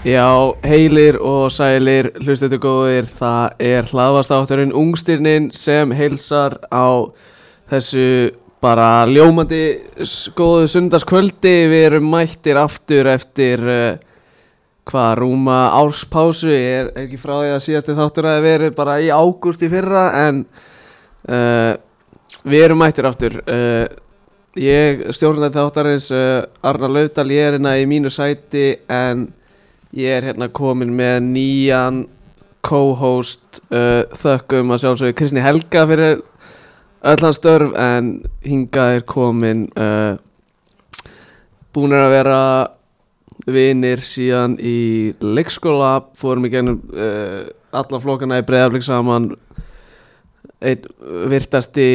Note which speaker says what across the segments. Speaker 1: Já, heilir og sælir, hlustuðu góðir, það er hlaðvastátturinn Ungstirnin sem heilsar á þessu bara ljómandi s- góðu sundarskvöldi. Við erum mættir aftur eftir uh, hvað rúma árspásu, ég er ekki frá því að síðasti þáttur að verið bara í ágúst í fyrra en uh, við erum mættir aftur. Uh, ég stjórnaði þáttarins uh, Arnar Laudal, ég er hérna í mínu sæti en Ég er hérna komin með nýjan co-host uh, þökkum að sjálfsögðu Kristni Helga fyrir öll hans störf en hingað er komin uh, búnir að vera vinir síðan í leikskóla, fórum í gennum uh, alla flokana í breðaflik saman einn virtasti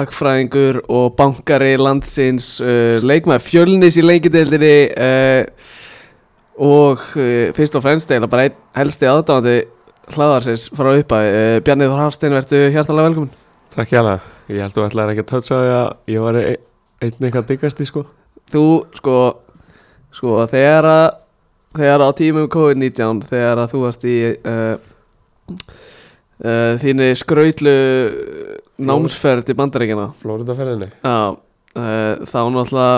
Speaker 1: hagfræðingur og bankari landsins uh, leikmaður fjölnis í leikideildinni uh, og uh, fyrst og fremst eða bara einn helsti aðdáðandi hlaðarsins frá uppæði. Uh, Bjarni Þór Hafstein, verðu hjartalega velkomin.
Speaker 2: Takk hjá það, ég held þú ætlaði ekki að tötsa því að ég var e einn eitthvað diggast í sko
Speaker 1: Þú, sko, sko, þegar að, þegar á tímum COVID-19, þegar að þú varst í uh, uh, þínu skrautlu námsferð til bandaríkina,
Speaker 2: Flórindaferðinni
Speaker 1: Já, uh, þá náttúrulega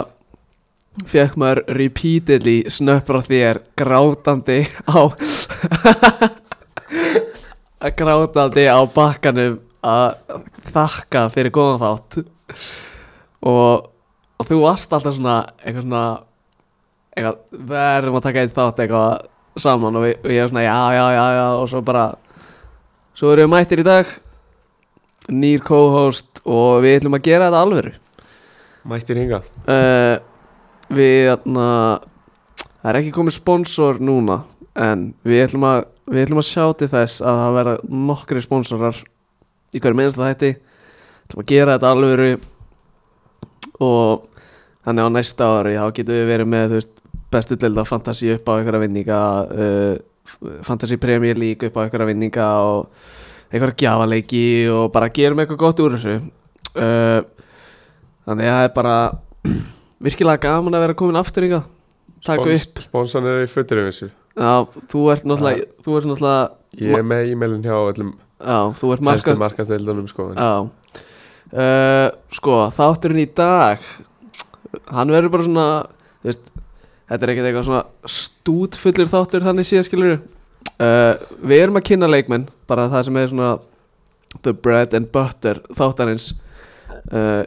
Speaker 1: fekk maður repeatedly snöppra þér grátandi á grátandi á bakkanum að þakka fyrir góðan þátt og, og þú varst alltaf svona eitthvað svona eitthvað, verðum að taka eitt þátt eitthvað saman og, við, og ég var svona já, já, já, já og svo bara svo erum við mættir í dag nýr co-host og við ætlum að gera þetta alvöru
Speaker 2: Mættir hinga
Speaker 1: uh, Við hérna, þarna Það er ekki komið sponsor núna En við ætlum að Við ætlum að sjá til þess að það verða nokkri sponsorar Í hverju minnst að þetta ætlum að gera þetta alvöru Og Þannig á næsta ári þá getum við verið með þú veist, Bestu delda fantasi upp á einhverja vinninga uh, Fantasi Premier League upp á einhverja vinninga Og einhverja gjafaleiki Og bara gerum eitthvað gott úr þessu uh, Þannig að það er bara virkilega gaman að vera komin aftur ykkar Takk upp
Speaker 2: Sponsan er í föturum þessu
Speaker 1: Já, þú ert náttúrulega Þú ert náttúrulega
Speaker 2: Ég er með e-mailin hjá öllum
Speaker 1: Já, þú ert
Speaker 2: Markast
Speaker 1: markað Ah.
Speaker 2: Markast eildunum sko en-
Speaker 1: Já uh, Sko, þátturinn í dag Hann verður bara svona þú veist, Þetta er ekkert eitthvað svona stútfullur þáttur þannig síðan skilur uh, Við erum að kynna leikmenn Bara það sem er svona The bread and butter þáttarins uh,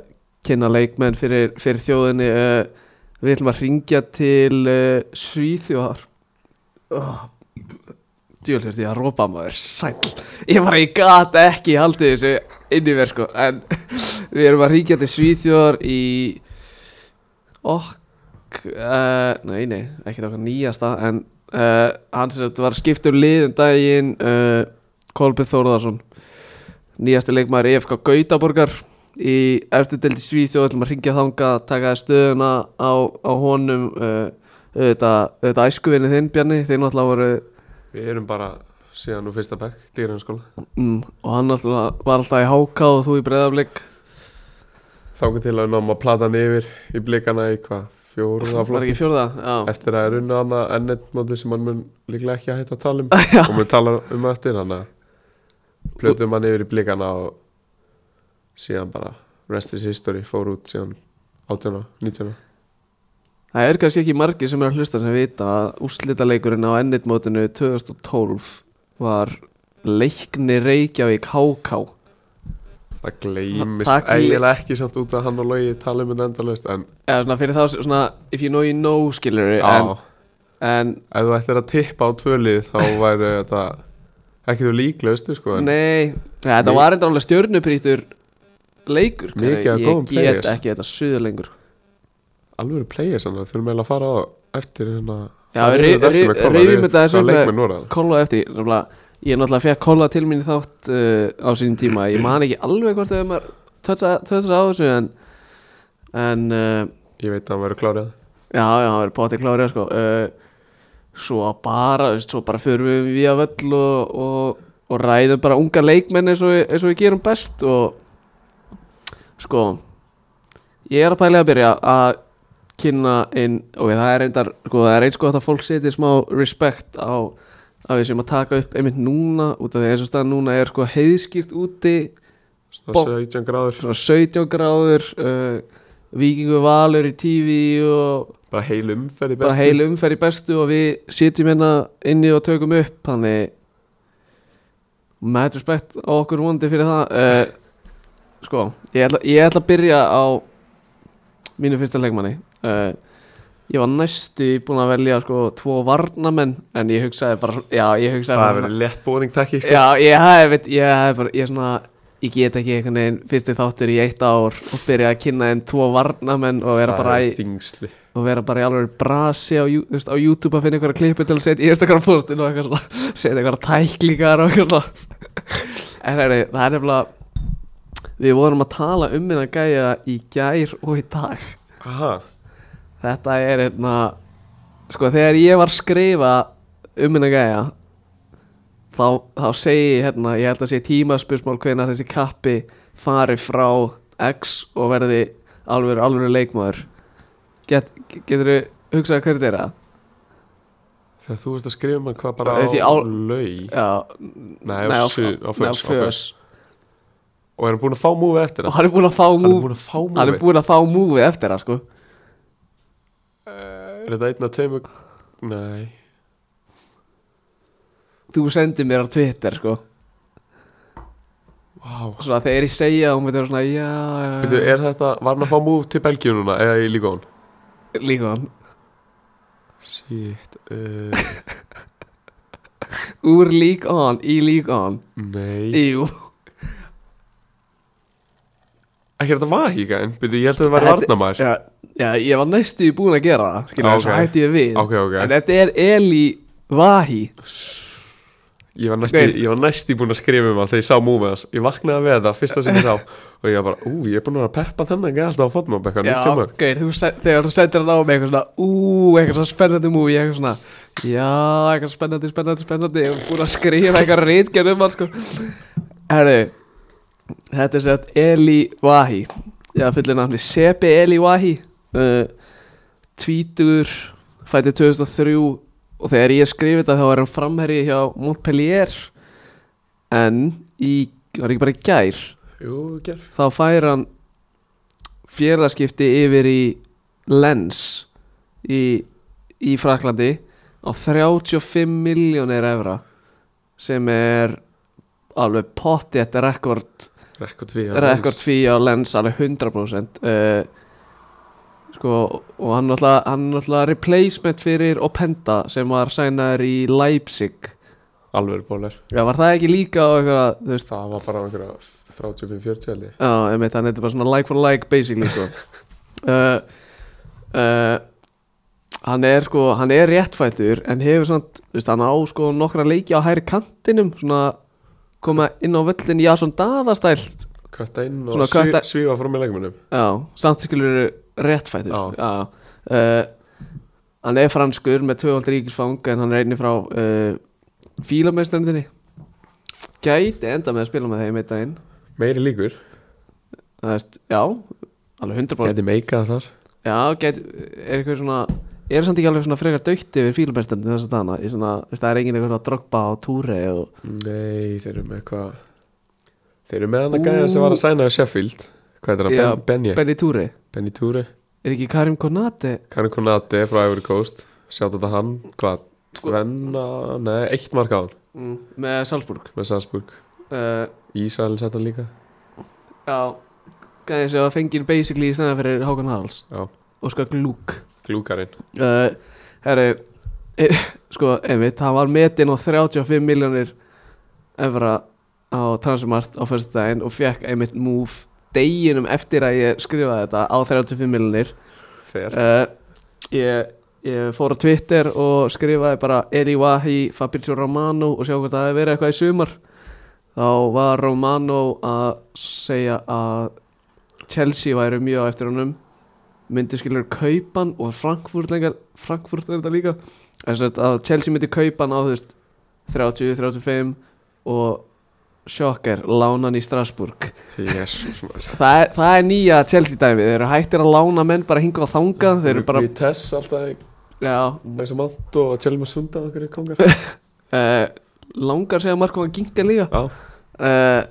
Speaker 1: Kynna leikmenn fyrir, fyrir þjóðinni uh, Við ætlum að ringja til uh, Svíþjóðar oh, Djúl þurfti ég að rópa maður Sæll Ég bara, ég gata ekki haldið þessu inn í mér sko En við erum að ríkja til Svíþjóðar í Ok uh, Nei, nei, ekki okkar nýjasta En uh, hann sem sagt var skipt um lið um daginn uh, Kolbjörn Þórðarsson Nýjasti leikmaður EFK Gautaborgar Í eftir til Svíþjóð ætlum að ringja þangað Taka stöðuna á, á honum uh, auðvitað, auðvitað æskuvinni þinn Bjarni Þeir náttúrulega voru
Speaker 2: Við erum bara síðan úr fyrsta bekk Dýrhanskóla
Speaker 1: Mm, og hann alltaf var alltaf í háká og þú í breyðaflik
Speaker 2: Þákum til að við náum að plata hann yfir í blikana í hvað Fjóruða
Speaker 1: Var
Speaker 2: flokk
Speaker 1: ekki fjórða? Já
Speaker 2: Eftir að er unna hana ennett móti sem hann mun líklega ekki að hætta að tala um
Speaker 1: Já.
Speaker 2: og mun tala um á eftir hann að plötum hann yfir í blikana og síðan bara rest is history fór út síðan 18, 19
Speaker 1: Það er kannski ekki margir sem er að hlusta sem vita að úrslitaleikurinn á ennitmótinu 2012 var leikni Reykjavík háká
Speaker 2: það gleymist
Speaker 1: Það- það gley-
Speaker 2: eiginlega ekki samt út að hann og logi tala um þetta endalaust en
Speaker 1: eða svona fyrir þá sem- svona if you know you know skilur
Speaker 2: já, Sko,
Speaker 1: en, en
Speaker 2: ef þú ættir að tippa á tvölið þá væri þetta ekki þú líklaustu sko en
Speaker 1: nei ja, þetta
Speaker 2: Mi-
Speaker 1: var enda alveg stjörnuprítur leikur kann
Speaker 2: Mikið
Speaker 1: ég-
Speaker 2: af góðum
Speaker 1: ég get
Speaker 2: players.
Speaker 1: ekki þetta suður lengur
Speaker 2: alveg players hann þurfum eiginlega að fara á það eftir hérna
Speaker 1: Já,
Speaker 2: það
Speaker 1: við
Speaker 2: rifjum
Speaker 1: ri- ri-
Speaker 2: þetta eftir með Kolla,
Speaker 1: rifjum
Speaker 2: við-
Speaker 1: þetta aðeins
Speaker 2: hvaða
Speaker 1: upp með-
Speaker 2: leikmenn voru það?
Speaker 1: kolla eftir nefnilega, ég náttúrulega fekk kolla til mín í þátt uh, á sínum tíma ég man ekki alveg hvort þegar maður tötsa á þessu en, en uh,
Speaker 2: ég veit að hann verður klárið
Speaker 1: já, já, það er potið klárið sko. uh, svo bara þú veist, svo bara förum við við að völl og, og, og ræðum bara unga leikmenn eins og, við- eins og við gerum best og sko ég er að pælega að byrja að kynna inn og það er reyndar, sko, það er eins gott að fólk seti smá respect á að við séum að taka upp einmitt núna út af því eins og staðan núna er sko heiðskýrt úti
Speaker 2: Svona
Speaker 1: Bom.
Speaker 2: 17 gráður
Speaker 1: svona 17 gráður uh, vikingu valur í tífi og
Speaker 2: Bara heil umferð í bestu
Speaker 1: bara heil umferð í bestu og við sitjum hérna inni og tökum upp þannig með respekt á okkur vondi fyrir það uh, sko, ég ætla, ég ætla að byrja á mínu fyrsta leikmanni uh, ég var næstu búin að velja sko tvo varnamenn en ég hugsaði bara já, ég hugsaði
Speaker 2: Það
Speaker 1: bara
Speaker 2: er verið létt bóring takki sko.
Speaker 1: Já, ég hef, veit- ég hef bara, ég er svona Ég get ekki einhvern veginn fyrsti þáttur í eitt ár og byrja að kynna þeim tvo varnamenn og vera
Speaker 2: Það
Speaker 1: bara
Speaker 2: er
Speaker 1: í,
Speaker 2: Þingsli
Speaker 1: og vera bara í alveg brasi á, Jú- þú veist, á YouTube að finna einhverja klippu til að setja í Instagram postin og eitthvað svona setja einhverja tæklingar og eitthvað svona En heyri, það er nefnilega við vorum að tala um minna gæja í gær og í dag
Speaker 2: Aha,
Speaker 1: Þetta er einna Sko þegar ég var að skrifa um minna gæja þá, þá segi ég hérna ég held að sé tímaspursmál hvenær þessi kappi fari frá X og verði alveg alveg leikmaður Get, Geturðu hugsað hverju þeirra?
Speaker 2: þegar þú ert að skrifa mann hvað bara á
Speaker 1: Þessi á-
Speaker 2: laug
Speaker 1: Já,
Speaker 2: Nei,
Speaker 1: nei,
Speaker 2: á
Speaker 1: á-
Speaker 2: su-
Speaker 1: nei,
Speaker 2: á
Speaker 1: á
Speaker 2: fös á
Speaker 1: fös.
Speaker 2: fös. Og er hann búin að fá múfi eftir
Speaker 1: og
Speaker 2: það?
Speaker 1: hann er búinn að fá
Speaker 2: Hann er
Speaker 1: múfi
Speaker 2: búin að fá
Speaker 1: Hann er
Speaker 2: múfi
Speaker 1: búinn að fá múfi eftir það sko
Speaker 2: Er þetta einn af tveimur? Nei
Speaker 1: Þú sendir mér á Twitter sko
Speaker 2: Vá
Speaker 1: og svona þegar ég segja og mér er svona já,
Speaker 2: Býtu,
Speaker 1: já,
Speaker 2: er þetta, var hann að fá múf til Belgíu núna, eða í Lígón?
Speaker 1: já líka hann
Speaker 2: Shit, uh,
Speaker 1: úr lík on, í lík on
Speaker 2: nei
Speaker 1: Jú
Speaker 2: Ekki er þetta vahíka en, býtu, ég held að þetta væri
Speaker 1: Þetta-
Speaker 2: varnamær
Speaker 1: já, já, ég var næstu búin að gera það skilur,
Speaker 2: Já,
Speaker 1: okay. svo
Speaker 2: Ah, ok.
Speaker 1: hætti ég við
Speaker 2: Ok, ok.
Speaker 1: En þetta er Eli Vahi
Speaker 2: Ég var næstu,
Speaker 1: Nei.
Speaker 2: ég var næstu búin að skrifa um hann þegar ég sá múfið hans Ég vaknaði með það, fyrsta sem ég sá Og ég var bara, ú, ég er búin að vera að peppa þennan gæða alltaf á fotmabekkan,
Speaker 1: Já,
Speaker 2: 90 mörg
Speaker 1: gaur, þú se- þegar þú sendir hann á mig eitthvað svona Ú, eitthvað svona spennandi múi Eitthvað svona, já, eitthvað spennandi, spennandi, spennandi Ég er búin að skrifa eitthvað reitgerð um hann sko. Herru Þetta er sett Eli Vahi Já, fullir nafni Sebi Eli Vahi uh, Tvítur Fætti 2003 Og þegar ég skrifa þetta þá er hann framherji hjá Montpellier En í, var ekki bara í gær
Speaker 2: Jú, ger
Speaker 1: þá fær hann fjölaskipti yfir í Lens í, í Fraklandi á 35 miljónir evra sem er alveg potti þetta rekord
Speaker 2: Rekord við
Speaker 1: rekord fyrir á Lens alveg 100% uh, sko og hann náttúrulega hann náttúrulega replacement fyrir Openda sem var sænaður í Leipzig
Speaker 2: Alveg bólar
Speaker 1: já var það ekki líka á einhverja þú veist
Speaker 2: Það var bara einhverja 35-40 held ég.
Speaker 1: Já, einmitt, þannig að þetta er bara svona like for like basically sko. uh, uh, Hann er sko, hann er réttfættur en hefur samt, þú veist, hann á sko nokkra leiki á hæri kantinum svona koma inn á völlin já, svona daðastæl
Speaker 2: Kötta inn og
Speaker 1: Svona
Speaker 2: sví-
Speaker 1: kötta-
Speaker 2: svífa frá með leikmennum
Speaker 1: Já, samt skilur réttfættur
Speaker 2: Já.
Speaker 1: Uh, Hann er franskur með tvöfald ríkisfang en hann er einnig frá uh, fílameistarindinni Gæti enda með að spila með þeim einn daginn
Speaker 2: Meiri líkur
Speaker 1: Það veist, já, alveg 100%
Speaker 2: Gæti meikað þar
Speaker 1: Já, get, er eitthvað svona Er samt ekki alveg svona frekar dögt yfir fílumestemni þess að dana í svona, veist, Það er engin eitthvað svona drogba á túri og,
Speaker 2: Nei, þeir eru með eitthvað Þeir eru með hann að gæja sem var að sæna á Sheffield Hvað er það?
Speaker 1: Já,
Speaker 2: Ben, Benji
Speaker 1: Benny Túri
Speaker 2: Benji Túri
Speaker 1: Er ekki Karim Konate
Speaker 2: Karin Konate frá Ivory Coast Sjátt þetta hann Hvað?
Speaker 1: Sko-
Speaker 2: Tvenna Nei, eitt mark á hann
Speaker 1: mm. með Salzburg
Speaker 2: Með Salzburg
Speaker 1: uh,
Speaker 2: Ísælin sett hann líka
Speaker 1: Já Gæði sem að fengið basically í stæðan fyrir Hákan Haralds
Speaker 2: Já,
Speaker 1: og sko glúk
Speaker 2: glúkarinn
Speaker 1: uh, Herru e, Sko, einmitt, hann var metinn á 35 miljónir evra á Transmart á fyrstu daginn og fekk einmitt move deginum eftir að ég skrifaði þetta á 35 miljónir
Speaker 2: Fer
Speaker 1: uh, ég, ég fór á Twitter og skrifaði bara Eri Wahi, Fabrizio Romano og sjá hvort það hefði verið eitthvað í sumar þá var Romano að segja að Chelsea væri mjög á eftir honum myndi skilur kaupan og Frankfurt lengar, Frankfurt er þetta líka en þess að Chelsea myndi kaupan á þú veist 30, 35 og sjokker, lánan í Strasbourg
Speaker 2: Jésús maður
Speaker 1: það er, það er nýja Chelsea dæmi þeir eru hættir að lána menn bara hingað og þangað þeir eru bara,
Speaker 2: Við tess alltaf
Speaker 1: já
Speaker 2: Næsa mant og Tjelma Sunda og einhverju kongar
Speaker 1: uh, langar segja Marko að ginga líka
Speaker 2: Já,
Speaker 1: uh,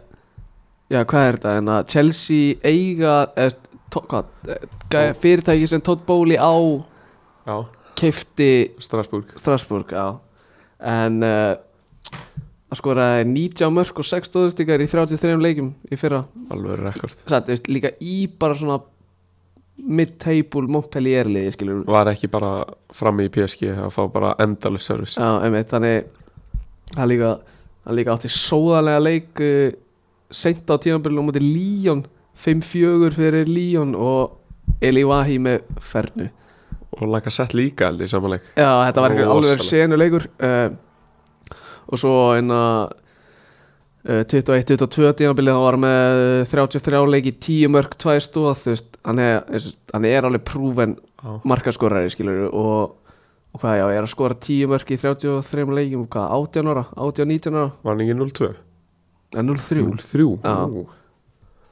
Speaker 1: já, hvað er þetta en að Chelsea eiga eða, to, hvað, eh, gæ- fyrirtæki sem Todd Bowley á
Speaker 2: já,
Speaker 1: keifti
Speaker 2: Strasbourg
Speaker 1: Strasbourg á en uh, að skora 90 mörg og 6 stóðustíkar í 33 leikum í fyrra
Speaker 2: Alveg rekord
Speaker 1: Satt, veist, líka í bara svona mid-table Montpellier liði skilur við.
Speaker 2: Var ekki bara frammi í PSG að fá bara endaless service
Speaker 1: Já, einmitt, þannig hann líka, hann líka átti sóðalega leik uh, seint á tímanbyrjun og múti Líón 5-4 fyrir Líón og Eliwahi með Fernu
Speaker 2: Og laka sett líka held í samanleik
Speaker 1: Já, þetta var einhver alveg
Speaker 2: Rosalegt.
Speaker 1: senuleikur uh, Og svo hérna, einna uh, 21-22 tímabilið hann var með 33 leiki 10 mörg 2 stóð þú veist, hann, er, eins og- hann er alveg prúven
Speaker 2: Já.
Speaker 1: markaskorari skilur og, og hvað já, er að skora 10 mörg í 33 leikum hvað, 18 ára, 18-19 ára
Speaker 2: Var hann ekki 0-2?
Speaker 1: eh, 0-3
Speaker 2: 0-3
Speaker 1: Já.
Speaker 2: Ú,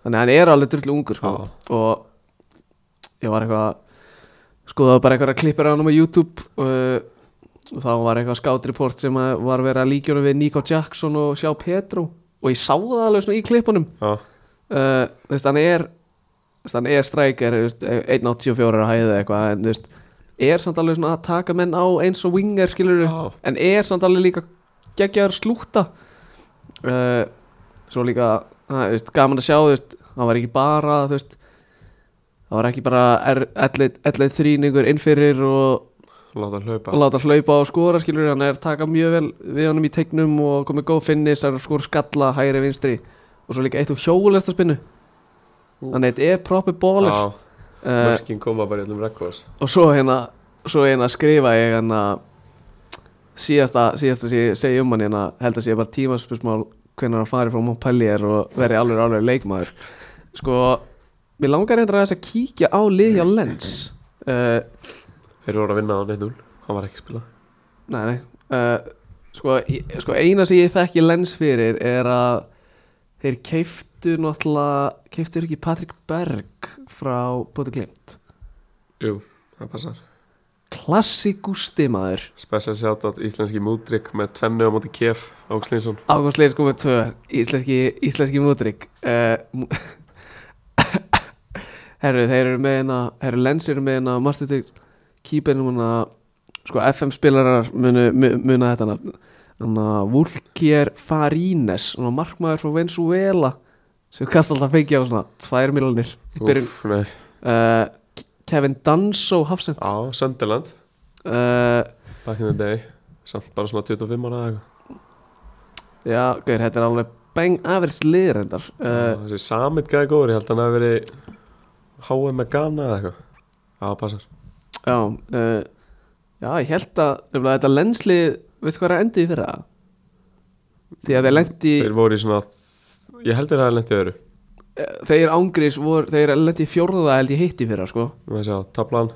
Speaker 1: þannig að hann er alveg drullu ungur sko. og ég var eitthvað skoðaði bara eitthvað klippir á hann á YouTube og, og þá var eitthvað skátreport sem að var verið að líka honum við Nico Jackson og sjá Petro og ég sá það alveg svona í klippunum
Speaker 2: Já,
Speaker 1: uh, þú veist, hann er þú veist, hann er strækir 1.84 að hæða eitthvað en þú veist, er samt alveg svona að taka menn á eins og winger skilur
Speaker 2: Já.
Speaker 1: en er samt alveg líka geggjaður slúta uh, svo líka að, þú veist, gaman að sjá þú veist, hann var ekki bara þú veist, það var ekki bara ellið þrýningur innfyrir og,
Speaker 2: láta hann hlaupa
Speaker 1: og láta hlaupa og skora skilur hann er að taka mjög vel við honum í tegnum og komið góð finnis, hann er að skora skalla hægri vinstri og svo líka eitt og hjólesta spinnu
Speaker 2: Ú.
Speaker 1: þannig að þetta er proper ballers
Speaker 2: Já,
Speaker 1: uh,
Speaker 2: mörkin koma bara í öllum rekord
Speaker 1: og svo hérna svo hérna skrifa ég hérna síðasta, síðasta sem ég segi um hann hérna held að sé bara tímaspursmál hvernig hann fari frá Montpellier og veri alveg alveg leikmaður sko, mér langar reyndar aðeins að kíkja á lið hjá Lens uh,
Speaker 2: Þeir voru að vinna á 1-0 Hann var ekki að spila
Speaker 1: nei, nei uh, sko, ég, sko, eina sem ég þekki Lens fyrir er að þeir keiftu náttúrulega keiftu ekki Patrik Berg frá Bóti Glimt
Speaker 2: Jú, það passar
Speaker 1: klassikústi maður
Speaker 2: Special shoutout íslenski múdrygg með tvennu á móti KF Ákslinsson
Speaker 1: Ágúst Leir sko með tvö Íslenski, íslenski mútrygg uh, Herru, þeir eru með hérna Herru, Lens eru með hérna Mastetik Keeper núna Sko, FM spilarar munu, mu- muna þetta nafn eh, Þannig að Vulkier Farines Svona markmaður frá Venezuela Sem kast alltaf fengi á svona Tvær miljonir í byrjun
Speaker 2: Úff, nei
Speaker 1: uh, Kevin Danso Hafsend
Speaker 2: Á, Sönderland
Speaker 1: uh,
Speaker 2: Back in the day Samt bara svona 25 ára eða eitthvað
Speaker 1: Já, gauður, þetta er alveg Bang average liðrendar uh,
Speaker 2: Já, Þessi Samit gæði góður, ég held að hann hafi verið HM með Ghana eða eitthvað Já, passar
Speaker 1: Já, uh, já, ég held að nefnilega þetta lenslið, veistu hvað er að endi í fyrra? Því að þeir lendi,
Speaker 2: Þeir voru í svona Ég held að það er lent í öðru
Speaker 1: þeir, þeir ángriðs voru, þeir lendi í fjórða held ég hitti í fyrra, sko.
Speaker 2: Nú veist ég á, tablan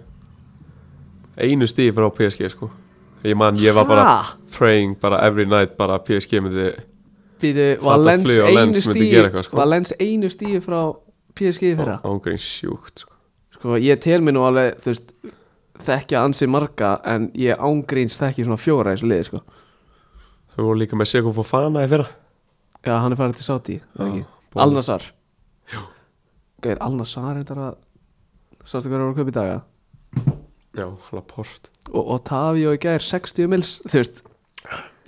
Speaker 2: Einu stíð frá PSG sko Ég man, ég var bara
Speaker 1: Ha?
Speaker 2: praying bara every night bara að PSG myndi
Speaker 1: Býðu, var
Speaker 2: Fattast
Speaker 1: lens
Speaker 2: flug á Lens
Speaker 1: einu
Speaker 2: myndi
Speaker 1: stíi,
Speaker 2: gera eitthvað, sko.
Speaker 1: var lens einu stíi frá PSG í fyrra?
Speaker 2: ángurinn sjúkt sko.
Speaker 1: Sko, ég tel mér nú alveg, þú veist, þekkja ansi marga, en ég ángriðs þekki svona fjóra í þessu liði, sko.
Speaker 2: Þau voru líka með Seko Fofana í fyrra
Speaker 1: Já, hann er farið til Sáti,
Speaker 2: Já,
Speaker 1: ekki?
Speaker 2: búin.
Speaker 1: Alnarsar. Já. Gauður, Alnarsar er þetta að, sástu hverju voru að kaupa í daga?
Speaker 2: Já, Laport
Speaker 1: og Otavio í gær 60 mils þú veist,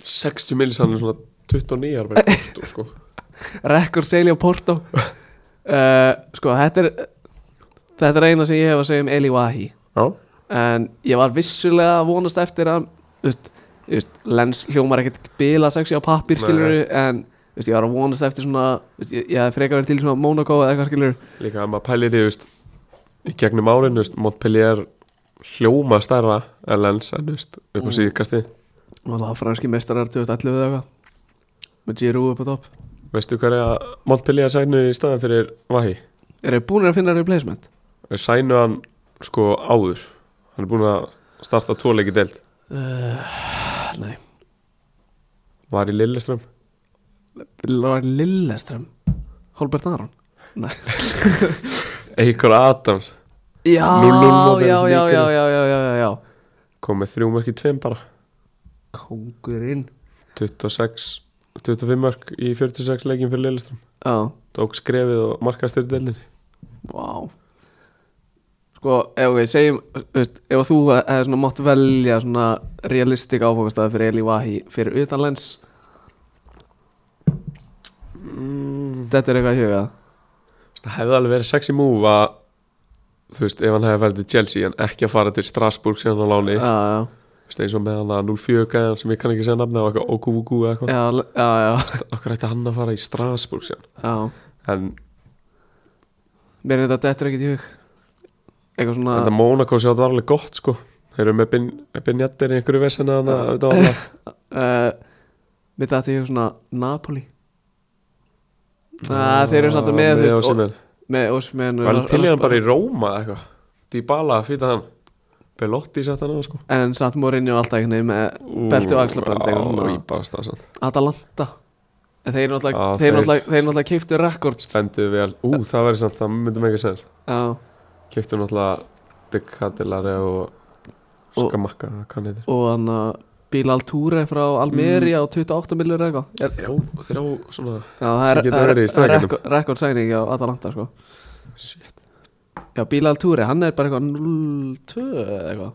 Speaker 2: 60 millisann er svona 29 ára bara í Porto, sko.
Speaker 1: rekord seili á Porto uh, sko, þetta er þetta er eina sem ég hef að segja um Eli Wahi
Speaker 2: Já,
Speaker 1: en ég var vissulega að vonast eftir að þú veist, þú veist, lens hljómar ekkert bila sexi á pappir
Speaker 2: Nei.
Speaker 1: skilur en þú veist, ég var að vonast eftir svona þú veist, ég, ég hef frekar verið til í svona Monaco eða eitthvað skilur
Speaker 2: líka að maður pælir í þú veist, í gegnum árin þú veist, Montpellier hljóma stærra en Lens en þú veist, upp á síðkasti
Speaker 1: og það var franski mestarar 2011 eða eitthvað með Giroud upp á topp
Speaker 2: Veistu hverja Montpellier sænu í staðan fyrir Vahi?
Speaker 1: eru þið búinir að finna replacement?
Speaker 2: Þau sænu hann sko áður Hann er búin að starta tvoleiki deild
Speaker 1: nei
Speaker 2: Var í Lilleström
Speaker 1: Lóra Lilleström Holbert Aron Nei.
Speaker 2: Eikor Adams
Speaker 1: Já,
Speaker 2: 0-0 módel,
Speaker 1: já, já,
Speaker 2: líka.
Speaker 1: já, já, já, já, já, já
Speaker 2: kom með þrjú mörk í tveim bara
Speaker 1: Kóngurinn
Speaker 2: 26, 25 mörk í 46 leikin fyrir Lilleström
Speaker 1: Já,
Speaker 2: tók skrefið og markaði styrri delinni
Speaker 1: vá Sko, ef við segjum þú veist, Ef þú hefði svona mátt velja svona realistik áfókastæði fyrir Eli Vahi fyrir utanlands
Speaker 2: mm.
Speaker 1: Þetta er eitthvað í huga
Speaker 2: það hefði alveg verið sexy move að þú veist, ef hann hefði farið til Chelsea en ekki að fara til Strasbourg síðan á láni
Speaker 1: Já, já,
Speaker 2: Þú veist, eins og með hann að 04 gæðan sem ég kann ekki segja nafni á eitthvað OKVK eða eitthvað
Speaker 1: já, le- já, já,
Speaker 2: okkur ætti hann að fara í Strasbourg síðan
Speaker 1: já.
Speaker 2: en
Speaker 1: Mér er þetta dettur ekkert í hug Eitthvað svona
Speaker 2: þetta Monaco sjátt var alveg gott sko þeir eru með Bin- Binjettir í einhverju vesena þannig að þetta var alveg
Speaker 1: uh, Mér dætti í hug svona Napoli Næ, þeir eru samt með, þú
Speaker 2: með
Speaker 1: veist,
Speaker 2: Osimhen.
Speaker 1: og- með Osmen
Speaker 2: var til í hann bara í Róma eða eitthvað Dybala, fýta hann Belotti sett hann á sko
Speaker 1: En samt Mourinho alltaf einhvern veginn með belti og axlabönd eitthvað
Speaker 2: svona
Speaker 1: svona.
Speaker 2: íbarast það samt
Speaker 1: Atalanta En Þeir náttúrulega
Speaker 2: Já,
Speaker 1: Þeir
Speaker 2: þeir-
Speaker 1: náttúrulega Þeir náttúrulega keiftu rekord
Speaker 2: spendið vel ú það verður samt það myndum ekki að segja
Speaker 1: Já
Speaker 2: kiptu náttúrulega Dick Cadillare og
Speaker 1: Og-
Speaker 2: Skamakka hvað hann heitir
Speaker 1: Og hann að Bilal Touré frá Almeria
Speaker 2: Mm.
Speaker 1: á 28 millur eitthvað Er-
Speaker 2: þrjá þrjá svona
Speaker 1: Já það er,
Speaker 2: Sem getur
Speaker 1: er,
Speaker 2: verið í
Speaker 1: er
Speaker 2: strækjunum.
Speaker 1: rekord, rekord sæning á Atalanta sko
Speaker 2: shit
Speaker 1: Já Bilal Touré hann er bara eitthvað 0-2 eða eitthvað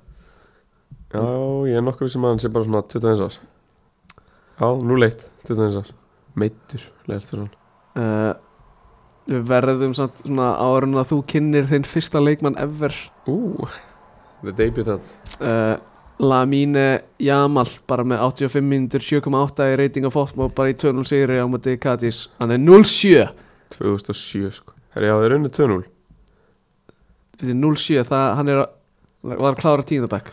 Speaker 2: já ég er nokkuð sem að hann sé bara svona 21 árs já nú leitt 21 árs meittur leirt fyrir hann
Speaker 1: uh, Við verðum samt svona árun að þú kynnir þinn fyrsta leikmann ever
Speaker 2: ú the debutant
Speaker 1: uh, Lamine Jamal bara með 85 mínútur 7,8 í reyting af fótmá bara í 2-0 sigri á móti Katis hann er 0-7
Speaker 2: 2007 sko herri já þeir unni 2-0
Speaker 1: Þetta er 0-7 það hann er að, var að klára tíðabæk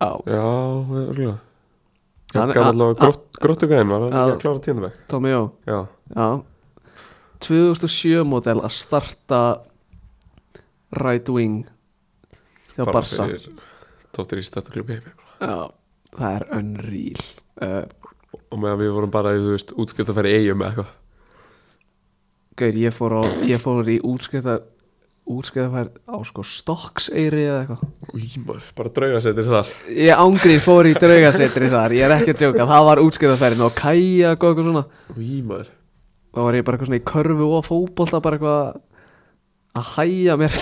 Speaker 1: á
Speaker 2: já það er örgulega Já,
Speaker 1: Hann-
Speaker 2: gaf
Speaker 1: a-
Speaker 2: allavega
Speaker 1: a-
Speaker 2: grott, grottugæðin var hann ekki
Speaker 1: Já.
Speaker 2: að klára tíndabæk
Speaker 1: Tommy Jó
Speaker 2: Já,
Speaker 1: já 2007 model að starta right wing hjá
Speaker 2: bara
Speaker 1: Barca
Speaker 2: fyrir Dóttir í stættuklubi heimi
Speaker 1: já, það er unreal uh,
Speaker 2: Og meðan við vorum bara, þú veist, útskipt að fara í eigum eða eitthvað
Speaker 1: Gauð, ég fór, á, ég fór í útskriðar útskriðarfærd á sko Stokkseyri eða eitthvað
Speaker 2: Ímar, bara drauga setir þar
Speaker 1: Ég ángrið fór í draugasetri þar, ég er ekki að tjóka, það var útskriðarfærðin og kæja og eitthvað svona
Speaker 2: Ímar
Speaker 1: Þá var ég bara eitthvað svona í körfu og fótbolta bara eitthvað að hæja mér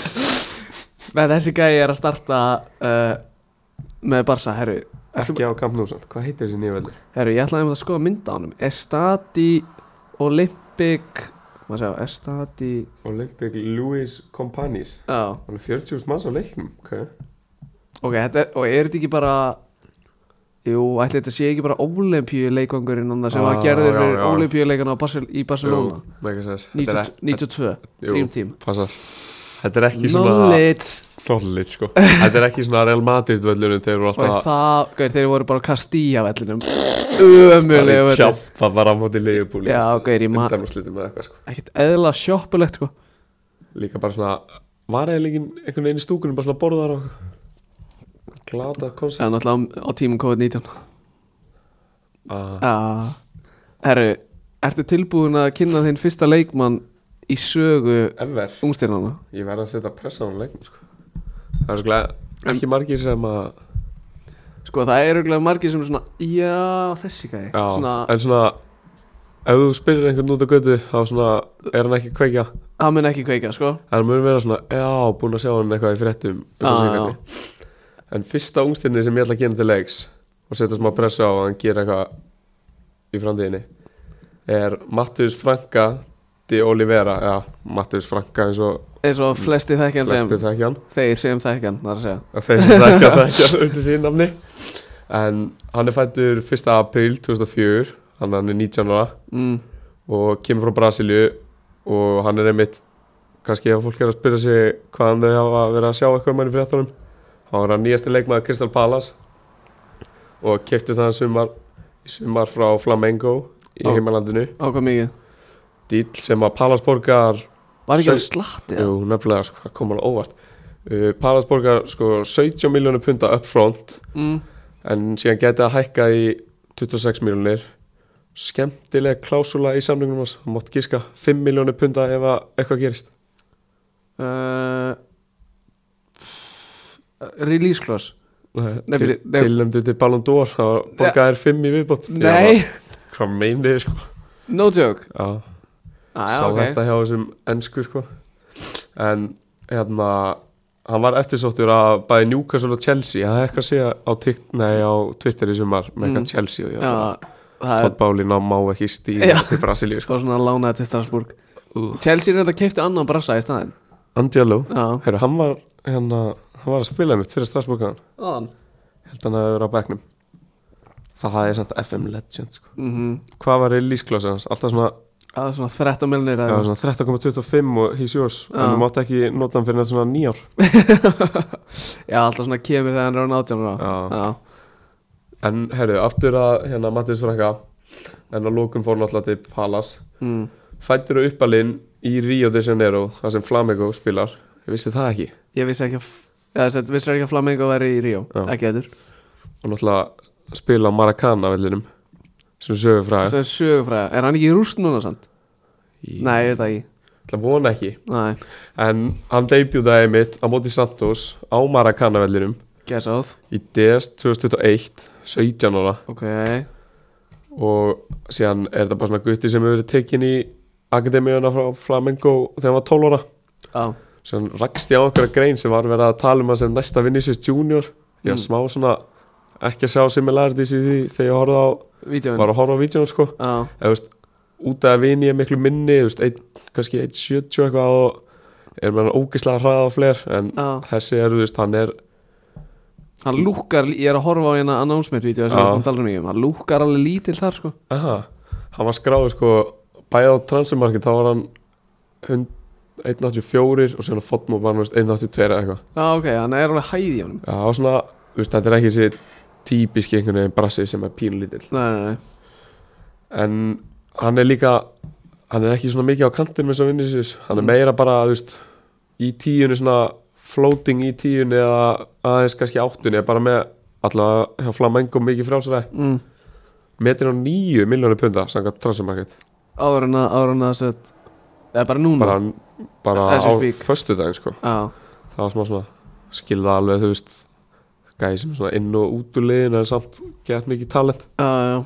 Speaker 1: Með þessi gæi er að starta uh, með Barca, herru
Speaker 2: Ekki á Camp Nou samt, hvað heitir þessi nýja veldur?
Speaker 1: Herru, ég ætlaði um að skoða mynda á honum Estadi Olympic, maður segja, Estadi
Speaker 2: Olympic Louis Companis
Speaker 1: Já,
Speaker 2: Hann er 40.000 manns á leiknum, ok
Speaker 1: ok, þetta er, og er þetta ekki bara Jú, ætli þetta sé ekki bara ólimpíuleikvangurinn annars sem
Speaker 2: Ah,
Speaker 1: var gerður
Speaker 2: já,
Speaker 1: fyrir
Speaker 2: já.
Speaker 1: ólimpíuleikana Basel, í Barcelona
Speaker 2: mega sæs
Speaker 1: 90 92,
Speaker 2: jú.
Speaker 1: Dream Team
Speaker 2: Passa Þetta er ekki svona
Speaker 1: Knowledge
Speaker 2: Knowledge, sko Þetta er ekki svona Real Madrid völlurinn Þeir voru
Speaker 1: Og
Speaker 2: alltaf
Speaker 1: það, gauð, þeir voru bara á Castilla vellinum Ömulega
Speaker 2: að
Speaker 1: völlur
Speaker 2: tjampa bara á móti leifupúli
Speaker 1: Já, gauð, ég maður
Speaker 2: Undarmarslutum eða eitthvað, sko
Speaker 1: Ekkert eðla sjoppulegt, sko
Speaker 2: Líka bara svona Var eða líkin einhvern veginn í stúkunum Bara svona borðar og Glata koncept
Speaker 1: En náttúrulega á á tímum COVID-19
Speaker 2: ah,
Speaker 1: ah. Herru, ertu tilbúin að kynna þinn fyrsta leikmann í sögu
Speaker 2: Ever
Speaker 1: ungstyrnana?
Speaker 2: Ég verð að setja pressa á hann leiknum sko. Það er svolítið ekki margir sem að
Speaker 1: Sko, það er auðvitað margir sem er svona Já, þessi gæði
Speaker 2: já,
Speaker 1: Svona,
Speaker 2: En svona Ef þú spyrir einhvern út á götu Þá svona er hann ekki að kveikja En
Speaker 1: hann mun ekki kveika, sko
Speaker 2: hann mun vera svona Já, búin að sjá hann eitthvað í fréttum eitthvað
Speaker 1: Ah, Já,
Speaker 2: sem kannski. En fyrsta ungstinni sem ég ætla að gera til leiks Og setja smá pressa á að hann gera eitthvað Í framtíðinni Er Mattus Franka Di Olivera Já, Mattus Franka eins og
Speaker 1: Eins og flesti þekkjan sem
Speaker 2: flestir þekkja hann
Speaker 1: Þeir sem þekkjan, það er að segja
Speaker 2: að þeir sem þekkja þekkja undir því nafni en hann er fættur 1. apríl 2004 hann, hann er 19 ára
Speaker 1: mm,
Speaker 2: og kemur frá Brasilíu og hann er einmitt kannski ef fólk er að spyrja sig hvaðan þau hafa verið að sjá eitthvað um hann í fréttunum hann var hann nýjasti leikmaður Crystal Palace og keftu það sumar, í sumar frá Flamengo í
Speaker 1: Ó.
Speaker 2: heimalandinu
Speaker 1: Á hvað mikið
Speaker 2: dýll sem að Palace borgar
Speaker 1: Var ekki
Speaker 2: Sau-
Speaker 1: alveg slattið?
Speaker 2: Jú, nefnilega, sko, það kom alveg óvart uh, Palace borgar sko 17 miljónu punta upfront
Speaker 1: Mm,
Speaker 2: en síðan getið að hækka í 26 miljónir skemmtilega klásula í samlingum hans hann mátt gíska 5 miljónir punda ef að eitthvað gerist
Speaker 1: uh, Release clause Nei,
Speaker 2: til,
Speaker 1: byrju, nei.
Speaker 2: tilnæmdu til Ballon d'Or það var borgaðir 5 í viðbót Ég
Speaker 1: Nei,
Speaker 2: bara, hvað meinið þið sko
Speaker 1: no joke
Speaker 2: já,
Speaker 1: ah,
Speaker 2: sá þetta hjá þessum ennsku sko en hérna hann var eftirsóttur að bæði Newcastle og Chelsea það er eitthvað að segja á, tikt, nei, á Twitter í sumar með eitthvað
Speaker 1: Mm.
Speaker 2: Chelsea og ég var bara,
Speaker 1: Já, það er
Speaker 2: Todd Bálin á má ekki stíð
Speaker 1: Já.
Speaker 2: til Brasilíu sko
Speaker 1: sko svona lánaði til Strasbourg Chelsea er þetta keipti annan brassa í staðin
Speaker 2: Andialo,
Speaker 1: Já,
Speaker 2: Heru, hann var hérna, hann var að spila mitt fyrir Strasbourg hann
Speaker 1: aðan
Speaker 2: held hann að vera á bekknum það er samt FM legend sko.
Speaker 1: mm
Speaker 2: hvað var release clause hans, alltaf svona,
Speaker 1: Það er svona 13 milnir
Speaker 2: já, svona 13.25 og he's yours,
Speaker 1: Já.
Speaker 2: en hann mátt ekki nota hann fyrir svona nýjár
Speaker 1: Já, alltaf svona kemur þegar hann er á nátjánur á
Speaker 2: Já.
Speaker 1: Já,
Speaker 2: En herru, aftur að hérna Mattias Franka En á lókum fór náttúrulega til Palas
Speaker 1: mm.
Speaker 2: Fættur og uppalinn í Rio de Janeiro þar sem Flamengo spilar Ég vissi það ekki
Speaker 1: Ég vissi ekki að Já, þess að vissir ekki að Flamengo væri í Ríó
Speaker 2: Já.
Speaker 1: Ekki eður
Speaker 2: Og náttúrulega spila á Maracana vellinum Sem sögur fræði
Speaker 1: Svo er sögufræða Er hann ekki í rúst núna samt? Nei, ég veit það ekki
Speaker 2: Það vona ekki
Speaker 1: Nei,
Speaker 2: En hann debutaði mitt á móti Santos á Maracana vellinum
Speaker 1: guess out
Speaker 2: Í DS 2021 17 ára
Speaker 1: Ok
Speaker 2: Og síðan er þetta bara svona gutti sem hefur verið tekin í Akademíuna frá Flamengo þegar hann var 12 ára
Speaker 1: Já,
Speaker 2: sem rakst ég á einhverja grein sem var verið að tala um að sem næsta Vinicius Junior ég var
Speaker 1: Mm.
Speaker 2: smá svona ekki að sjá similarities í því þegar ég horfði á
Speaker 1: vídeoin
Speaker 2: var að horfa á vídjón sko
Speaker 1: Já,
Speaker 2: eða þú veist út af að vini ég miklu minni þú veist ein, kannski 1.70 eitthvað og er með hann ógislega hraða á fleir en
Speaker 1: já
Speaker 2: þessi er þú veist hann er
Speaker 1: Hann lúkkar, ég er að horfa á hérna announcement-vídeó sem
Speaker 2: Já.
Speaker 1: við erum að tala um í um Hann lúkkar alveg lítill þar sko
Speaker 2: aha, hann var skráður sko bæði á transfermarkið þá var hann hund- 1.84 og svona fotmó var hann þú veist, 1.82 eða eitthvað
Speaker 1: Já, ok, hann er alveg hæði í honum
Speaker 2: Já, það var svona, þú veist, þetta er ekki þessi típiski einhvern veginn brassi sem er pínlítill
Speaker 1: Nei, nei, nei
Speaker 2: en hann er líka hann er ekki svona mikið á kantinum eins og Vinicius hann er meira bara, þú veist í tíunni svona floating í tíunni eða aðeins kannski áttunni eða bara með allavega hjá Flamengo mikið frjálsræði
Speaker 1: mm.
Speaker 2: metin á nýju miljónu punda samkvæmt transfermarket
Speaker 1: Áður en að, áður en að set Það er bara núna
Speaker 2: bara, bara
Speaker 1: As
Speaker 2: á
Speaker 1: we speak.
Speaker 2: föstudaginn sko
Speaker 1: Já,
Speaker 2: það var smá svona skilða alveg þú veist gæði sem svona inn og út úr liðin en samt gett mikið talent
Speaker 1: já, já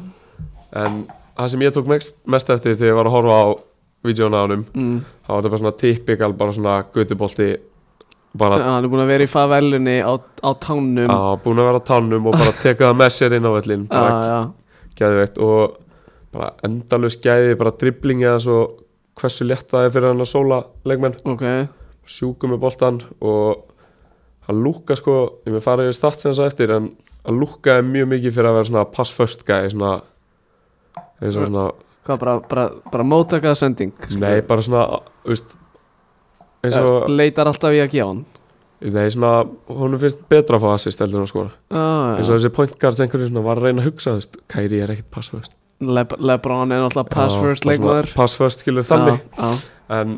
Speaker 2: en það sem ég tók mest, mest eftir þegar ég var að horfa á vídjónu á hann
Speaker 1: mm.
Speaker 2: þá var þetta bara svona typikal bara svona götubolti bara
Speaker 1: Já, Hann er búin að vera í favelunni á, á tánum
Speaker 2: á, búin að vera á tánum og bara teka það með sér inn á vellin
Speaker 1: já,
Speaker 2: bara
Speaker 1: já.
Speaker 2: geðveitt og bara endalus gæði bara dribblingi eða svo hversu létt það er fyrir hann að sóla leikmenn
Speaker 1: ok
Speaker 2: sjúku með boltan og hann lúka sko ég með fara yfir statsins á eftir en hann lúkaði mjög mikið fyrir að vera svona pass first gæði svona eins og svona
Speaker 1: Hvað, bara, bara, bara móttakað sending
Speaker 2: Nei, bara svona, þú veist eins og,
Speaker 1: Leitar alltaf í að gefa hann
Speaker 2: nei, svona honum finnst betra að fá assist heldur en að skora
Speaker 1: ah,
Speaker 2: eins og þessi point guards einhverju svona var að reyna að hugsa, þú veist, Kairi er ekkit pass first
Speaker 1: Le Lebron er náttúrulega pass
Speaker 2: Já,
Speaker 1: first
Speaker 2: bara svona
Speaker 1: leikmaður
Speaker 2: Pass first skilur þannig,
Speaker 1: Já,
Speaker 2: en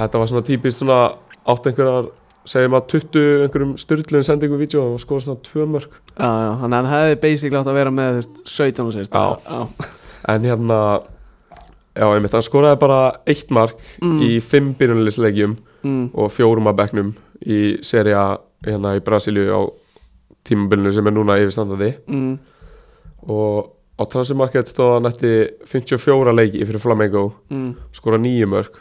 Speaker 2: þetta var svona típist svona átt einhverjar segjum að 20 einhverjum styrlun sendingum vídeo og skoða svona tvö mörg
Speaker 1: já, já, þannig að hann hefði basically átt að vera með þú veist, 17 og sérst
Speaker 2: Já.
Speaker 1: já,
Speaker 2: en hérna já, einmitt, hann skoraði bara eitt mark
Speaker 1: Mm.
Speaker 2: í fimm byrjunleysleikjum
Speaker 1: mm,
Speaker 2: og fjórum að bekknum í seria hérna í Brasilíu á tímabilinu sem er núna yfirstandandi
Speaker 1: mm,
Speaker 2: og á transfermarket stóða hann eftir 54 leiki fyrir Flamengo
Speaker 1: mm.
Speaker 2: skora nýju mörg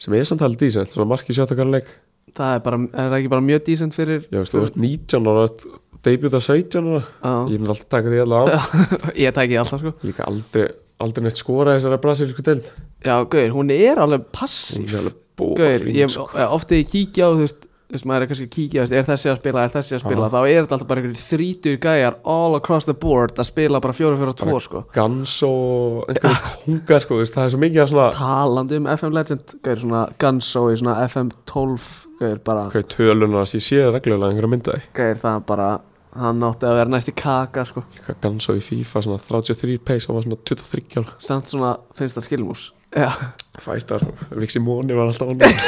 Speaker 2: sem er samt alveg dísent, svona marki sjötakar leik
Speaker 1: það er bara, er það ekki bara mjög decent fyrir
Speaker 2: ég veist, þú ert 19 ára ert debut að 17 ára
Speaker 1: já,
Speaker 2: ég myndi alltaf taka því alveg á
Speaker 1: ég tæki alltaf sko
Speaker 2: líka aldrei, aldrei neitt skora þessara brasilísku deild
Speaker 1: já, gauður, hún er alveg
Speaker 2: Hún
Speaker 1: passív
Speaker 2: er alveg boring,
Speaker 1: gauður, ég,
Speaker 2: sko.
Speaker 1: ofti ég kíkja á þú veist, þú veist, maður er kannski að kíkja þú veist, er þessi að spila, er þessi að spila þá er þetta alltaf bara einhverjir þrítur gæjar all across the board að spila bara 4-4-2 sko
Speaker 2: gans og einhverjum kungar sko, þú veist, það er svo mikið að svona
Speaker 1: talandi um FM Legend gauður, svona Gunsó í svona FM 12 gauður, bara
Speaker 2: hvað er tölunar að ég sé reglulega einhverja myndaði
Speaker 1: gauður, það er bara hann átti að vera næst í kaka sko
Speaker 2: líka Gansó í FIFA svona 33 pace og var svona 23 ára
Speaker 1: samt svona finnst það skilmús já,
Speaker 2: Fæstar, Vixi Móni var alltaf honum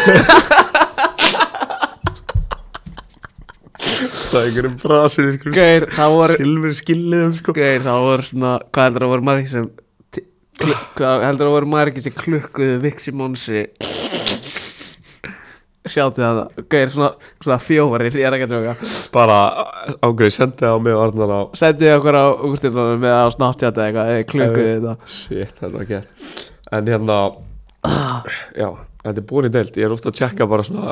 Speaker 2: það er einhverjum brasir
Speaker 1: Gauir, það voru
Speaker 2: silfur skilliðum sko.
Speaker 1: Gauir, það voru svona Hvað heldur að voru margir sem ti- klu- Hvað heldur að voru margir sem klukkuðu Vixi Monsi Sjáttu það Gauir, svona, svona fjóvarir Ég er ekki að tjóka
Speaker 2: bara ángöðu sendi það á mig og Arnar á
Speaker 1: Sendið okkur á úrstilunum Með að snáttjáta eitthvað eða Klukkuðu þetta
Speaker 2: shit þetta var gett en hérna já þetta er búin í deild ég er ofta að tjekka bara svona